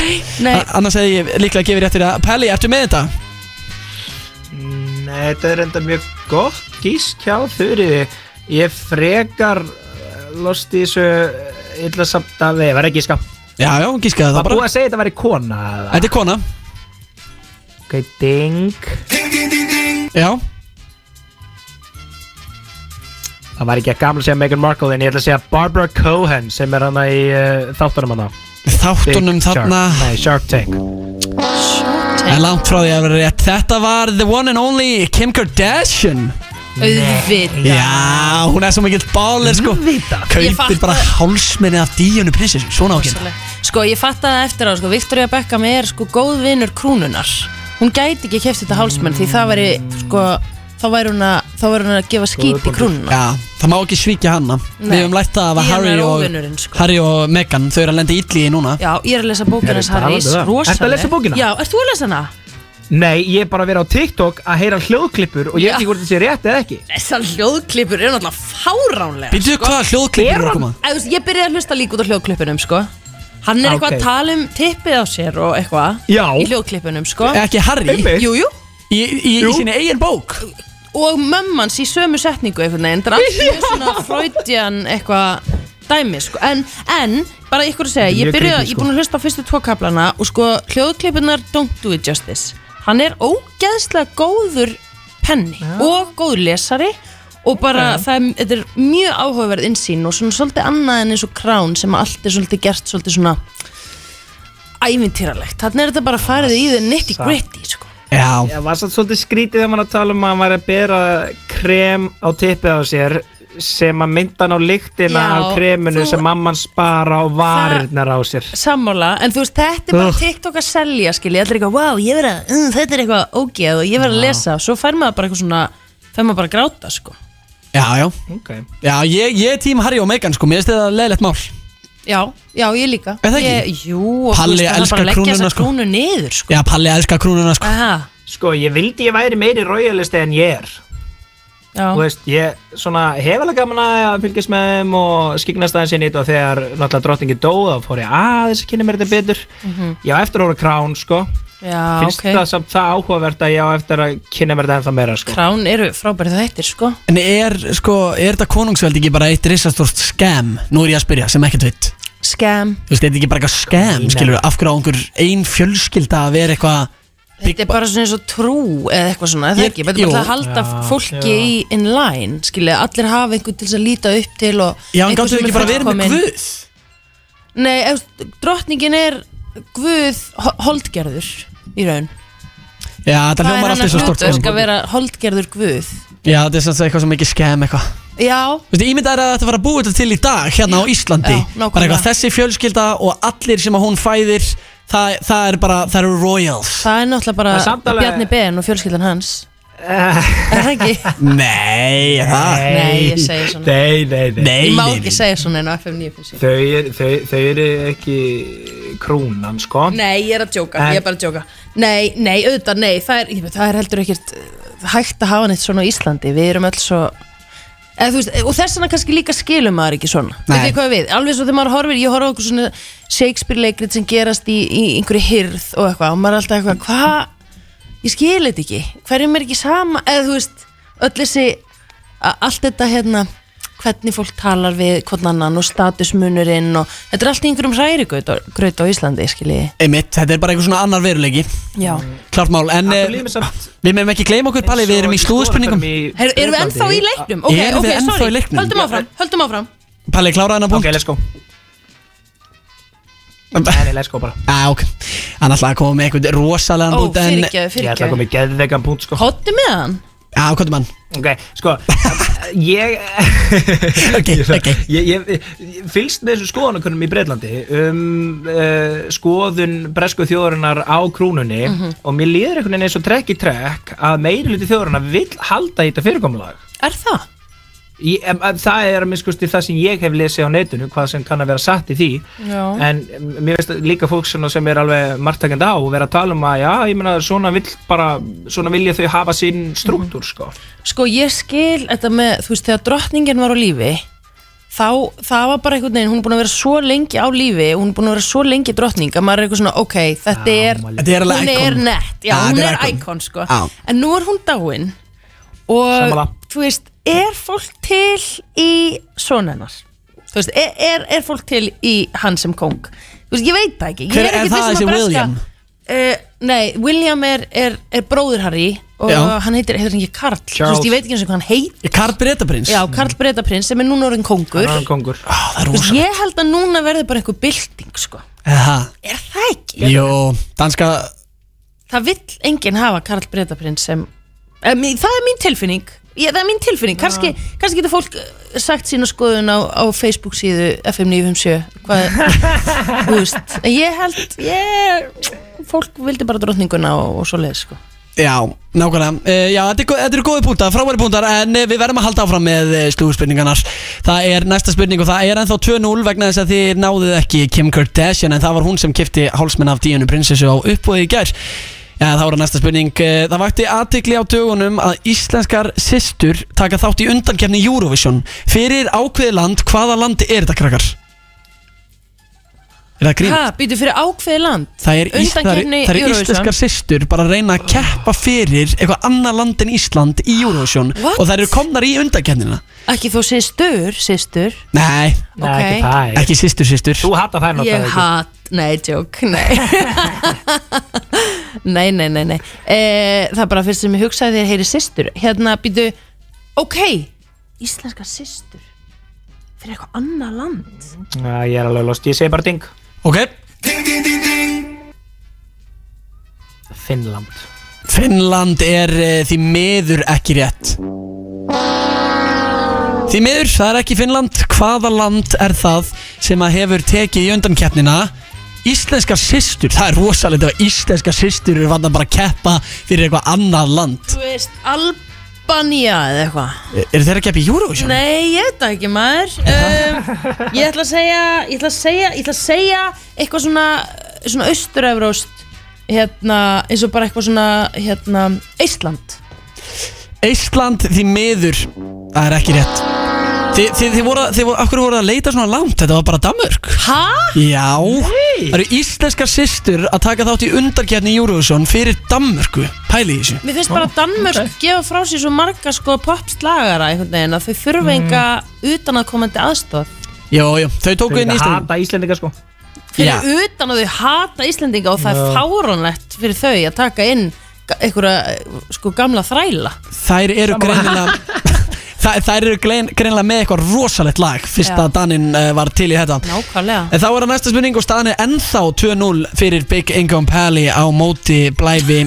Speaker 10: Nei.
Speaker 2: A- Annars hefði ég líklega gefið rétt fyrir það Pelli, ertu með þetta?
Speaker 1: Nei, þetta er enda mjög gott gísk hjá Þurriði Ég frekar eh, lost í þessu eh, illa samt að við var ekki gíska
Speaker 2: Já, já, gískaði það
Speaker 1: Var búið
Speaker 2: bara
Speaker 1: að segja þetta væri kona eða?
Speaker 2: Þetta er kona
Speaker 1: Ok, ding
Speaker 2: Já,
Speaker 1: Það var ekki að gamla að segja Meghan Markle en ég ætla að segja Barbara Cohen sem er hana í uh, þáttunum hana
Speaker 2: þáttunum
Speaker 1: Big
Speaker 2: þarna
Speaker 1: Shark. Nei, Shark Tank
Speaker 2: En langt frá því að vera rétt Þetta var the one and only Kim Kardashian
Speaker 10: Auðvita
Speaker 2: Já, hún er svo mikill bálir sko
Speaker 10: Ég
Speaker 2: Kaupir
Speaker 10: fatta-
Speaker 2: bara hálsmenni af díjunu prinsessu Svona ákynna
Speaker 10: Sko, ég fattaði eftir á, sko, Victoria Beckham er sko góð vinnur krúnunar Hún gæti ekki keft þetta hálsmenn því það væri, sko, þá væri hún að, þá væri hún að gefa skít í krúnuna
Speaker 2: Já, það má ekki svíkja hanna Við
Speaker 10: Nei.
Speaker 2: höfum lært það að
Speaker 10: Díana
Speaker 2: Harry
Speaker 10: er
Speaker 2: og,
Speaker 10: óvinurinn, sko.
Speaker 2: Harry og Meghan Þau eru að lenda í illi í núna
Speaker 10: Já, ég er að lesa bókina hans
Speaker 1: Ertu
Speaker 10: Harrys,
Speaker 1: alveg það?
Speaker 10: rosaleg
Speaker 1: Ertu að lesa bókina?
Speaker 10: Já, ert þú að lesa hana?
Speaker 1: Nei, ég er bara að vera á TikTok að heyra hljóðklippur og ég veit ekki hvort þetta sé rétt eða ekki
Speaker 10: Þessar hljóðklippur eru náttúrulega fáránlega
Speaker 2: Býtu sko, hvaða hljóðklippur
Speaker 1: er
Speaker 2: eru
Speaker 1: hann-
Speaker 2: að koma?
Speaker 10: Æ, þú veist, Ég byrjaði að hlusta líka út á hljóðklippunum sko. Hann er
Speaker 1: Ah,
Speaker 10: eitthvað
Speaker 1: ok.
Speaker 10: að tala um tippið á sér og eitthvað
Speaker 1: Já.
Speaker 10: Í hljóðklippunum sko.
Speaker 2: Ekki Harry
Speaker 1: Einmitt.
Speaker 10: Jú, jú
Speaker 2: í, í, í
Speaker 1: Jú.
Speaker 2: sinni eigin bók
Speaker 10: Og mömmans í sömu setningu einhvern veginn Það er allt mjög svona freudian eitthvað dæmi sko. en, en, bara ykkur að segja
Speaker 1: Þetta er
Speaker 10: Ég
Speaker 1: mjög
Speaker 10: byrjaði,
Speaker 1: creepy,
Speaker 10: ég
Speaker 1: sko.
Speaker 10: er búin að hlusta á fyrstu tvo kaplana Og sko, hljóðklippunar don't do it justice Hann er ógeðslega góður penni Og góður lesari Og bara, það er, þetta er mjög áhugaverð innsýn Og svona svolítið annað en eins og krán Sem að allt er svolítið gert svolítið svona Ævintýralegt Þannig er þetta bara farið í þau nitty gritty sko.
Speaker 2: Já,
Speaker 1: Ég var satt svolítið skrítið þegar maður að tala um að maður er að bera krem á tippið á sér sem að mynda hann á lyktina
Speaker 10: Já,
Speaker 1: af kreminu
Speaker 10: þú-
Speaker 1: sem mamman spara á varirnar á sér
Speaker 10: Sammála, en þú veist, þetta er bara
Speaker 1: Ugh.
Speaker 10: TikTok að selja, skilji, þetta er eitthvað, wow, ég verið að, mm, þetta er eitthvað ógeð og ég verið að lesa og svo fær maður bara eitthvað svona, fær maður bara að gráta, sko.
Speaker 2: já, já,
Speaker 1: okay.
Speaker 2: já ég, ég er tím Harry og Meghan sko, mér finnst þetta leiðilegt mál
Speaker 10: Já, já, ég líka.
Speaker 2: Er það ekki?
Speaker 10: Ég, jú, og
Speaker 2: Palli
Speaker 10: það er
Speaker 2: elskar
Speaker 10: bara að leggja
Speaker 2: krúnuna,
Speaker 10: þessa
Speaker 2: sko.
Speaker 10: krúnu niður, sko.
Speaker 2: Já, Palli elskar krúnuna sko
Speaker 10: Aha,
Speaker 1: Sko, ég vildi ég væri meiri royalisti en ég er
Speaker 10: já.
Speaker 1: Þú veist, ég svona hef alveg gaman að að fylgjast með þeim og skiknast aðeins inn í þetta og þegar náttúrulega drottningi dó þá fór ég aðeins að kynna mér þetta betur Ég á eftir að hóra krán, sko
Speaker 10: Mhm. já,
Speaker 1: Finnst
Speaker 10: ok.
Speaker 1: það sko. samt það áhugavert að ég á eftir að kynna mér þetta ennþá meira, sko
Speaker 10: Krán eru frábærið þættir, sko.
Speaker 2: En er, sko, er þetta konungsveld ekki bara eitt risastort skam? Nú er ég að spyrja, sem ekkert veit
Speaker 10: Scam.
Speaker 2: Þú veist, er þetta ekki bara eitthvað skam,
Speaker 1: Nei, nei.
Speaker 2: skilur Af hverju á einhver ein fjölskylda að vera eitthvað
Speaker 10: Þetta er bara svona eins og trú eða eitthvað svona, eða
Speaker 2: Ég-
Speaker 10: ekki, þetta er
Speaker 2: jú.
Speaker 10: bara að halda
Speaker 1: Já,
Speaker 10: fólki
Speaker 1: já.
Speaker 10: í in line, skilja, allir hafa einhvern til þess að líta upp til og
Speaker 2: Já, en
Speaker 10: einhver
Speaker 2: gáttu
Speaker 10: sem
Speaker 2: ekki
Speaker 10: er
Speaker 2: bara verið með
Speaker 10: fullkominn.
Speaker 2: guð?
Speaker 10: Nei, ef, drottningin er guð ho- holdgerður í raun
Speaker 2: Já, þetta
Speaker 10: Það
Speaker 2: hljómar
Speaker 10: er
Speaker 2: allt eins og stort
Speaker 10: hlutverk að
Speaker 2: skam.
Speaker 10: vera holdgerður guð
Speaker 2: Já, þetta er sem sagt eitthvað sem ekki skam eitthvað
Speaker 10: Já,
Speaker 2: Þú veist, ímyndað er að þetta var að búið til í dag hérna á Íslandi
Speaker 10: Já, nákvæmlega.
Speaker 2: Bara eitthvað þessi fjölskylda og allir sem að hún fæðir Það, það er bara, það eru royals
Speaker 10: það er náttúrulega bara
Speaker 1: Það er samt alveg-
Speaker 10: Bjarni Ben og fjölskyldan hans Er það ekki?
Speaker 2: Nei, það
Speaker 10: Nei, ég segi svona
Speaker 1: Nei, nei, nei
Speaker 2: Nei,
Speaker 10: Ég má
Speaker 2: nei,
Speaker 10: ekki
Speaker 2: nei.
Speaker 10: segja svona en á FM 9
Speaker 1: Þau, er, þau, þau eru ekki krúnan, sko
Speaker 10: Nei, ég er að djóka, ég er bara að djóka Nei, nei, auðvitað, nei, það er, ég veit, það er heldur ekkert uh, hægt að hafa neitt svona á Íslandi Við erum öll svo Eð, veist, eh, og þess vegna kannski líka skilum maður ekki svona
Speaker 2: Nei.
Speaker 10: Veitir hvað við, alveg svo þegar maður horfir ég horfa okkur svona Shakespeare leikrit sem gerast í, í einhverju hirð og eitthvað og maður er alltaf eitthvað, hvað ég skil þetta ekki, hverjum er ekki sama eða þú veist, öll þessi a- allt þetta hérna hvernig fólk talar við hvern annan og statusmunurinn og þetta er allt í einhverjum hrærigraut á Íslandi, skiljiði.
Speaker 2: Einmitt, þetta er bara einhver svona annar veruleiki
Speaker 10: Já.
Speaker 2: Klart mál, en eh, við meðum ekki gleyma okkur Palli, við erum í slúðspurningum
Speaker 10: Her, erum við ennþá í leiknum? Ok,
Speaker 2: Erum
Speaker 10: ok,
Speaker 2: við ennþá
Speaker 10: sorry.
Speaker 2: í leiknum?
Speaker 10: Höldum áfram, höldum áfram.
Speaker 2: Palli, klára hennar punkt
Speaker 1: Ok, let's go
Speaker 2: Nei,
Speaker 1: let's go bara
Speaker 2: ah, ok, hann ætlaði að koma með einhvern
Speaker 10: Ó,
Speaker 2: rosalegan punkt en-
Speaker 10: fyrirgefðu, fyrirgefðu. Ég ætlaði að koma
Speaker 1: með geðvegan punkt sko
Speaker 10: Kottu með hann?
Speaker 2: Já, hvað er mann?
Speaker 1: Ok, sko, ég,
Speaker 2: ok, ok
Speaker 1: ég, ég, ég fylgst með þessu skoðanakönnum í Breitlandi um uh, skoðun bresku þjóðurinnar á krúnunni
Speaker 10: Mhm.
Speaker 1: og mér líður einhvern veginn eins og trekk í trekk að meiri hluti þjóðurinnar vill halda í þetta fyrirkomulag.
Speaker 10: Er það?
Speaker 1: Ég, em, em, það er að miskusti það sem ég hef lesið á netinu, hvað sem kann að vera satt í því
Speaker 10: Já.
Speaker 1: en em, mér veist líka fólk svona sem er alveg margtakend á og vera að tala um að já, ég meina svona vill bara, svona vilja þau hafa sinn struktúr sko.
Speaker 10: Sko, ég skil þetta með, þú veist, þegar drottningin var á lífi, þá, það var bara einhvern veginn, hún er búin að vera svo lengi á lífi, hún er búin að vera svo lengi drottning, að maður er eitthvað svona, ok, þetta er,
Speaker 2: Þetta er alveg
Speaker 10: hún
Speaker 2: icon.
Speaker 10: er nett, já,
Speaker 2: Já,
Speaker 10: hún
Speaker 2: þetta
Speaker 10: er
Speaker 2: er icon.
Speaker 10: icon, sko.
Speaker 2: Já.
Speaker 10: En nú er hún dáin og,
Speaker 2: Sammála.
Speaker 10: þú veist, er fólk til í svona hennar? Þú veist, er, er, er fólk til í hann sem kong? Þú veist, ég veit það ekki. Ég
Speaker 2: Hver er
Speaker 10: ekki
Speaker 2: það
Speaker 10: viss um að
Speaker 2: þessi
Speaker 10: breska-
Speaker 2: William?
Speaker 10: Uh, nei, William er, er, er bróður Harry og
Speaker 2: Já.
Speaker 10: hann heitir, heitir hann ekki Karl Þú
Speaker 2: Charles.
Speaker 10: veist, ég veit ekki eins og hvað hann heitir
Speaker 2: Karl Bretaprins
Speaker 10: Já, Karl Bretaprins sem er núna orðin kongur
Speaker 1: Hann er orðinn kongur.
Speaker 2: Það
Speaker 10: Þú veist, ég held að núna verði bara einhver bylting sko.
Speaker 2: Er
Speaker 10: það ekki?
Speaker 2: Jó, danska
Speaker 10: Það vill enginn hafa Karl Bretaprins sem um, Það er mín tilfinning ég, Það er mín tilfinning, kannski, kannski getur fólk uh, sagt sína skoðun á, á Facebook síðu FM 957 Hvað, þú veist En Ég held, ég, fólk vildi bara drottninguna og, og svo leið sko.
Speaker 2: Já, nákvæmlega uh, Já, þetta er gó- þetta eru góði púntar, frábæri púntar En eh, við verðum að halda áfram með slúðspurningarnar Það er næsta spurning og það er ennþá 2-0 vegna þess að þið náðuð ekki Kim Kardashian En það var hún sem kipti hálsmenn af díunu prinsessu á uppbúið í gær Já, þá er næsta spurning Eh, Það vakti aðtikli á dögunum að íslenskar systur taka þátt í undankefni Eurovision Fyrir ákveðið land, hvaða land er þetta krakkar? Er það grín?
Speaker 10: Ha, býtu fyrir ákveði land
Speaker 2: Það er, ís, það, er, það
Speaker 10: Undankeppni
Speaker 2: er
Speaker 10: Eurovision.
Speaker 2: íslenskar systur bara að reyna að keppa fyrir eitthvað annað land en Ísland í Eurovision
Speaker 10: What?
Speaker 2: og þær eru komnar í undankennina
Speaker 10: Ekki þó systur, systur
Speaker 2: Nei,
Speaker 10: Nei, Ok. ekki þær.
Speaker 2: ekki systur systur
Speaker 1: Þú hata þær
Speaker 10: Ég hat, nei, tjók, nei Nei, nei, nei, nei e, Það er bara fyrst sem ég hugsaði þér heyri systur Hérna býtu, ok Íslenska systur Fyrir eitthvað annað land
Speaker 1: Já, ég er alveg lost, ég segi bara ding
Speaker 2: Ok
Speaker 1: Ding, ding, ding, ding Finnland
Speaker 2: Finnland er uh, því miður ekki rétt Því miður, það er ekki Finnland Hvaða land er það sem að hefur tekið í undankeppnina Íslenskar systur, það er rosalegt að íslenskar systur eru vandan bara að keppa fyrir eitthvað annað land
Speaker 10: Þú veist, Albania eða eitthvað
Speaker 2: Er, er þeir að keppa í Eurovision?
Speaker 10: Nei, ég veit það ekki maður um, Ég ætla að segja Ég ætla að segja, ég ætla að segja eitthvað svona, svona austuröfróst hérna, eins og bara eitthvað svona hérna, Ísland
Speaker 2: Ísland því miður Það er ekki rétt Þi, þið, þið voru, þið voru, akkur voru að leita svona langt Þetta var bara Danmörk
Speaker 10: Hæ?
Speaker 2: Já Það eru íslenskar systur að taka þátt í undarkjarni Eurovision fyrir Danmörku Pæli í þessu
Speaker 10: Mér finnst bara að Danmörk gefa frá sér svo marga sko popslagara einhvern veginn að þau þurfa
Speaker 2: Mm.
Speaker 10: enga utan að komandi aðstof
Speaker 2: Jó, jó, þau tóku
Speaker 1: Þau
Speaker 2: inn í Ísland
Speaker 1: hata Íslendinga sko
Speaker 10: fyrir
Speaker 2: Já.
Speaker 10: utan að þau hata Íslendinga og það
Speaker 2: Já.
Speaker 10: er fárónlegt fyrir þau að taka inn ga- einhverja eh, sko gamla þræla
Speaker 2: Þær eru greinilega Þær, þær eru grein, greinilega með eitthvað rosalegt lag Fyrst
Speaker 10: Já.
Speaker 2: að Danin uh, var til í þetta
Speaker 10: Nákvæmlega
Speaker 2: En þá er það næsta spurning og staðan er ennþá 2-0 fyrir Big Income Pally á móti Blæfi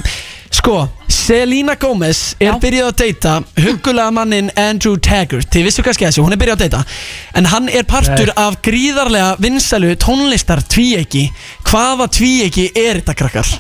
Speaker 2: Sko, Selena Gomez er byrjuð að deyta hugulega mannin Andrew Taggart Þið vissu kannski þessu, hún er byrjuð að deyta En hann er partur
Speaker 1: Nei.
Speaker 2: af gríðarlega vinsælu tónlistar tvíegi Hvaða tvíegi er þetta krakkar?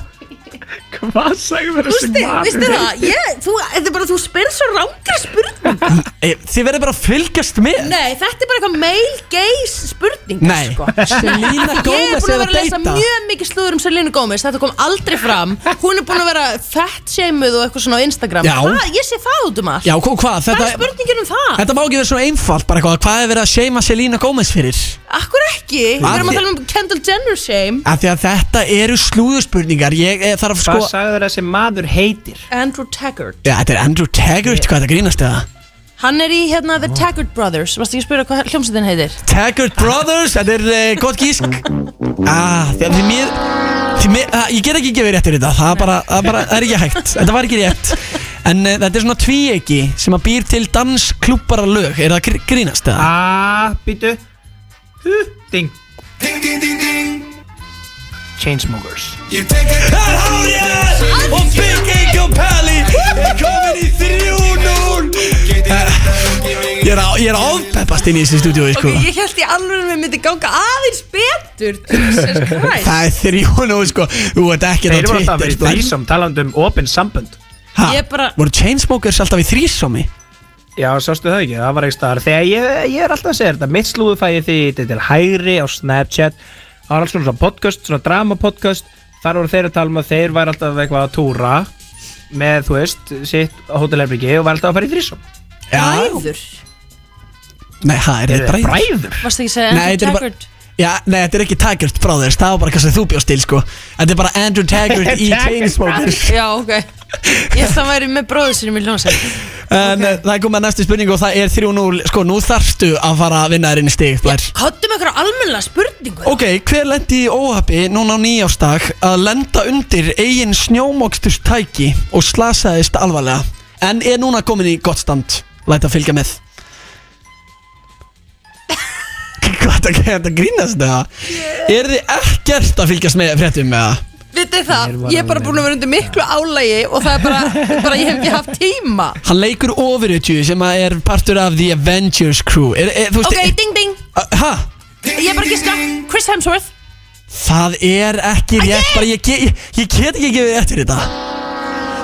Speaker 1: Hvað sagum við
Speaker 10: Vistu, vistu það, ég, þú, þetta er bara, þú spyrir svo rángri spurning
Speaker 2: E, Þið verður bara að fylgjast með
Speaker 10: Nei, þetta er bara eitthvað male gays spurning
Speaker 2: Nei.
Speaker 10: sko.
Speaker 2: Selena
Speaker 10: Ég er
Speaker 2: Gomez
Speaker 10: búin að
Speaker 2: er að
Speaker 10: vera að lesa
Speaker 2: deyta.
Speaker 10: mjög mikið slúður um Selena Gomez Þetta kom aldrei fram Hún er búin að vera fett seimuð og eitthvað svona á Instagram
Speaker 2: Já.
Speaker 10: það, Ég sé það út um allt
Speaker 2: Já, hva- hvað?
Speaker 10: Hvað er
Speaker 2: Þetta,
Speaker 10: spurningin um það?
Speaker 2: þetta má ekki vera svona einfalt bara eitthvað Hvað er verið að seima Selena Gomez fyrir?
Speaker 10: Akkur ekki, við
Speaker 2: Af
Speaker 10: erum
Speaker 2: því-
Speaker 10: að tala um Kendall Jenner shame
Speaker 2: Af því að þetta eru slúðurspurningar Ég eh, þarf sko
Speaker 1: Hvað sagðu þér að þessi maður heitir?
Speaker 10: Andrew Taggart
Speaker 2: Já, þetta er Andrew Taggart, hvað er þetta grínast eða?
Speaker 10: Hann er í hérna The Taggart Brothers Varstu ekki að spyrja hvað hljómsveitin heitir?
Speaker 2: Taggart Brothers, þetta er uh, gott gísk ah, því, því mér því mér, að, Ég get ekki gefið rétt fyrir þetta Það er bara, það er bara, það er ekki hægt Þetta var ekki rétt En uh, þetta er svona tvíegi sem að býr til dansklúbara lög Er það gr- grínast eða?
Speaker 1: Ah, býtu Hú, ding
Speaker 3: Ding, ding, ding, ding.
Speaker 1: Chainsmokers
Speaker 3: Ég tek ekki Það er hárið Og Big Ego Pally Er komin í 3-0
Speaker 2: Ég er, á, ég er að ofpeppast inn í þessi stúdíu
Speaker 10: Ok,
Speaker 2: sko.
Speaker 10: ég held í alveg að við myndi ganga aðeins betur Jesus Christ
Speaker 2: Það er þrjón og sko Þú ert ekki
Speaker 1: Þeir eru alltaf að vera í
Speaker 2: sko.
Speaker 1: þrísom talandi um opinn sambönd
Speaker 2: Ha,
Speaker 10: Ég bara
Speaker 2: Voru Chainsmokers alltaf í þrísomi?
Speaker 1: Já, sástu það ekki, það var ekki staðar Þegar ég, ég er alltaf að segja þetta Mitt slúðu fæ ég því til, til hægri á Snapchat Það var alls konar svona podcast, svona drama podcast Þar voru þeir að tala um að þeir væri alltaf eitthvað að túra Með, þú veist, sitt á hótelherbyggi Og væri alltaf að fara í þrísom
Speaker 10: Bræður
Speaker 2: Nei, ha, er
Speaker 1: Þeir
Speaker 2: þetta
Speaker 1: eru
Speaker 2: bræður?
Speaker 1: bræður
Speaker 10: Varstu ekki að segja
Speaker 2: Nei, þetta
Speaker 10: Andrew
Speaker 2: er bara-
Speaker 10: Taggart?
Speaker 2: Já, nei, þetta er ekki Taggart Brothers, það var bara hvað sem þú bjóst til, sko Þetta er bara Andrew Taggart í Chainsmokers
Speaker 10: Já, ok Ég held að hann væri með bróður sinum í hljómsveit
Speaker 2: En okay. það er komið að næstu spurningu og það er 3-0 Sko, nú þarftu að fara að vinna þér inn í stig, blær
Speaker 10: Háttum einhverja almennilega spurningu
Speaker 2: Ok, hver lendi í óhafi núna á nýjástag að lenda undir eigin snjómokstustæki og slasaðist alvarlega En er núna komin í gott stand, læta fylgja með Hvað er þetta að grínast það? Er þið ekkert að fylgjast með fréttum með það?
Speaker 10: Vitið það, ég er bara búin að vera undir miklu álægi og það er bara, bara ég hef ekki haft tíma
Speaker 2: Hann leikur ofurutju sem að er partur af The Avengers crew er, er, þú veist,
Speaker 10: Ok, ding ding,
Speaker 2: er, ha,
Speaker 10: ég er bara að giska Chris Hemsworth
Speaker 2: Það er ekki rétt bara, ég, ge- ég, ég get ekki gefið rétt fyrir þetta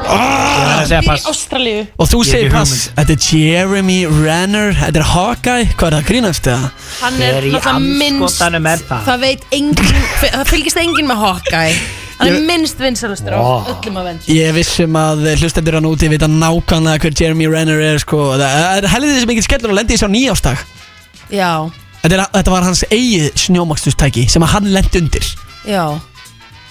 Speaker 1: Það er að segja
Speaker 10: í
Speaker 1: pass
Speaker 10: Ástralíu
Speaker 2: Og þú
Speaker 1: Ég
Speaker 2: segir
Speaker 1: hef ekki
Speaker 2: pass Þetta er Jeremy Renner Þetta er Hawkeye Hvað er það að grínast eða?
Speaker 10: Hann
Speaker 1: Hver
Speaker 10: er
Speaker 1: í
Speaker 10: náttúrulega minnst
Speaker 1: andskotanum er það?
Speaker 10: Það veit engin, það fylgist engin með Hawkeye Hann er minnst vinsalastur á öllum að venda
Speaker 2: Ég er viss um að hlustendur hann úti vita nákvæmlega hver Jeremy Renner er sko. Það er helðið þessi mikið skellur að lendi þessi á nýjástag
Speaker 10: Já,
Speaker 2: þetta, er, þetta var hans eigið snjómakstustæki sem að hann lendi undir
Speaker 10: já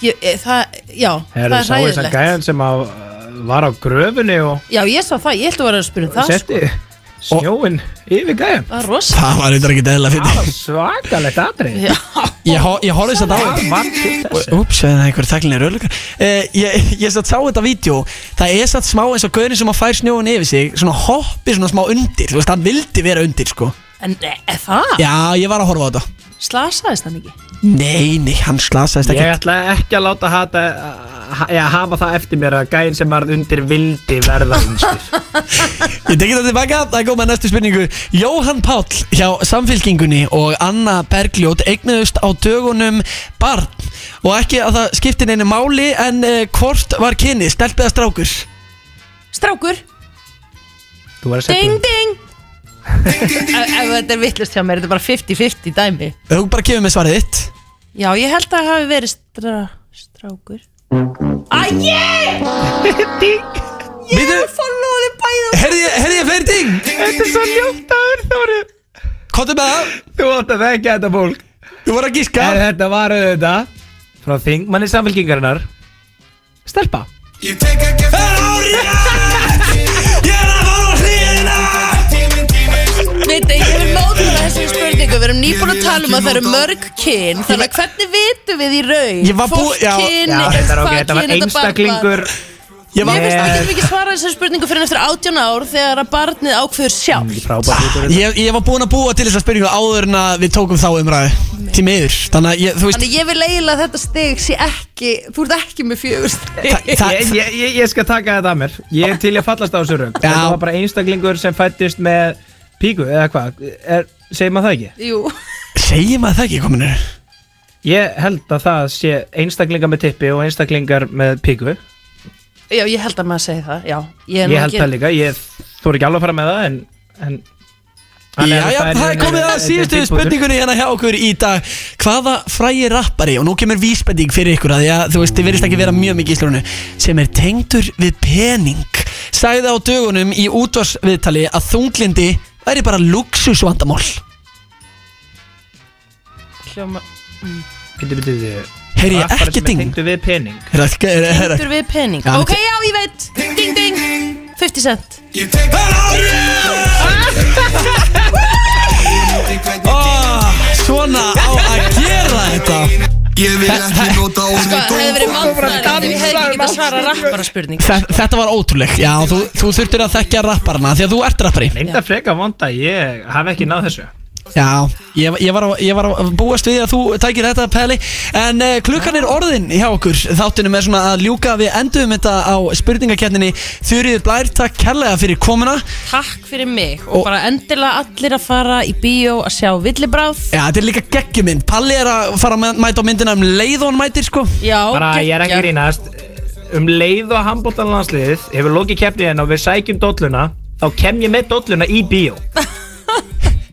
Speaker 10: ég, ég, Það, já, það
Speaker 1: Herðu,
Speaker 10: er
Speaker 1: sá þessan
Speaker 10: ræðilegt
Speaker 1: gæðan sem að, uh, var á gröfunni Og
Speaker 10: Já, ég sá það, ég held að vera að spyrja um það sko.
Speaker 1: setti snjóin yfir gæðan
Speaker 10: Það er rosa
Speaker 2: Það var eitthvað ekki eðla
Speaker 1: Það
Speaker 2: fyrir
Speaker 1: var svakalegt atrið
Speaker 10: Já,
Speaker 2: Ég, ho- ég horfði þess að dáið
Speaker 1: Það var til þess
Speaker 2: Úps, það er einhver þæklinni röðlökar uh, Ég, ég satt sá þetta vídeo Það er satt smá eins og gaurin sem að fær snjóin yfir sig Svona hoppi svona smá undir Þú veist, hann vildi vera undir, sko
Speaker 10: en eh, er það?
Speaker 2: Já, ég var að horfa á þetta
Speaker 10: Slasaðist hann ekki?
Speaker 2: Nei, nei, hann slasaðist
Speaker 1: Ég
Speaker 2: ekki
Speaker 1: ætla ekki að láta hata, ha, ja, hafa það eftir mér að gæðin sem varð undir vildi verða undir
Speaker 2: Ég tekið þetta tilbaka, það er komið að næstu spurningu Jóhann Páll hjá Samfylkingunni og Anna Bergljót eignuðust á dögunum barn Og ekki að það skipti neinu máli En uh, hvort var kynni, stelpiða strákur?
Speaker 10: Strákur,
Speaker 1: Þú var að
Speaker 10: ding
Speaker 1: setja
Speaker 10: ding Ef ef þetta er vittlust hjá mér, þetta er bara 50-50 dæmi
Speaker 2: Þú bara kemur með svarið þitt
Speaker 10: Já, ég held að það hafi verið stra strákur
Speaker 2: Býtu,
Speaker 10: Followði bæða
Speaker 2: heyrði ég- heyrði ég fleiri ting?
Speaker 1: Þetta er svo ljótaður Þóri
Speaker 2: Kottu með það
Speaker 1: Þú átt að þekka þetta fólk
Speaker 2: Þú voru að gíska
Speaker 1: En þetta var auðvitað Frá þingmanni samfélkingarinnar Stelpa
Speaker 3: Ég tek ekki Það er hárið Ég er að fara á hliðina Tíminn, tíminn
Speaker 10: Veit, ég vil mótfæra þessari spurningu Við erum nýbúin að tala um að það eru mörg kyn Þannig að hvernig vitum við í raun
Speaker 2: Ég var bú- já,
Speaker 1: Já,
Speaker 10: Fólkkyn, hvað
Speaker 1: þetta er ok, þetta
Speaker 10: kyn,
Speaker 1: var einstaklingur
Speaker 2: Ég
Speaker 10: barn var. Ég finnst að við
Speaker 1: Með-
Speaker 10: getum ekki svarað þessari spurningu fyrir eftir 18 ár Þegar að barnið ákveður sjálf
Speaker 1: Frábært út úr þetta.
Speaker 2: Ég, ég var búinn að búa til þessa spurningu áður en að við tókum þá umræðu Til miður Þannig að ég, þú veist
Speaker 10: Þannig að ég vil eiginlega að þetta steg sé ekki, þú ert ekki með fjögur steg
Speaker 2: þa-
Speaker 1: Ég, ég, ég, ég skal taka þetta að mér Ég er til að fallast á þessu rauk
Speaker 2: Já.
Speaker 1: Þetta var bara einstaklingur sem fættist með píku Eða hvað, Er- segir maður það ekki?
Speaker 10: Jú,
Speaker 2: Segir maður það ekki kominur?
Speaker 1: Ég held að það sé einstaklingar með tippi og einstaklingar með píku
Speaker 10: já, ég held að maður segi það, já Ég, er nú
Speaker 1: Ég held
Speaker 10: ekki-
Speaker 1: það líka, ég þú er ekki alveg að fara með það en, en Þannig
Speaker 2: Já,
Speaker 1: að
Speaker 2: já,
Speaker 1: þetta
Speaker 2: það er komið að
Speaker 1: þetta er
Speaker 2: síðustu
Speaker 1: fínn punktur.
Speaker 2: spurningunni hérna hjá okkur í dag Hvaða frægi rappari, og nú kemur vísbending fyrir ykkur að ég, þú veist, þið verðist ekki vera mjög mikið í slurinu sem er tengdur við pening sagði á dögunum í útvarsviðtali að þunglindi væri bara luxusvandamál
Speaker 10: Hljóma-
Speaker 1: Bíddu, bíddu, bíddu.
Speaker 2: Heyri ég
Speaker 1: Rappari sem
Speaker 2: ekki
Speaker 1: er
Speaker 2: ding?
Speaker 1: tengdur við pening
Speaker 2: Er það- er- er-
Speaker 10: Tengdur við pening
Speaker 2: Já,
Speaker 10: Ok, já, ég veit Ding, ding 50-50 50 cent
Speaker 2: oh, Svona á að gera þetta Ég vil ekki nota
Speaker 10: Sko, það hefði verið mannfræðilegt ef ég hefði ekki getað svarað rappara spurning
Speaker 2: Þetta var ótrúleg, já, þú, þú þurftir að þekkja rapparna því að þú ert rappari
Speaker 1: Reynda freka vonda, ég haf ekki náð þessu
Speaker 2: Já, ég, ég, var á, ég var að búast við að þú tækir þetta Peli En uh, klukkan er orðin hjá okkur Þáttunum er svona að ljúka Við enduðum þetta á spurningakenninni Þurriður Blær, takk kærlega fyrir komuna
Speaker 10: Takk fyrir mig og, bara endilega allir að fara í bíó að sjá villibráð
Speaker 2: Já, þetta er líka geggjuminn Palli er að fara að mæta á myndina um leið og hann mætir sko
Speaker 10: Já,
Speaker 1: Bara ég er ekki að grínast Um leið og handbóltan landsliðið Hefur lokið keppniðin og við sækjum dolluna Þá kem ég með dolluna í bíó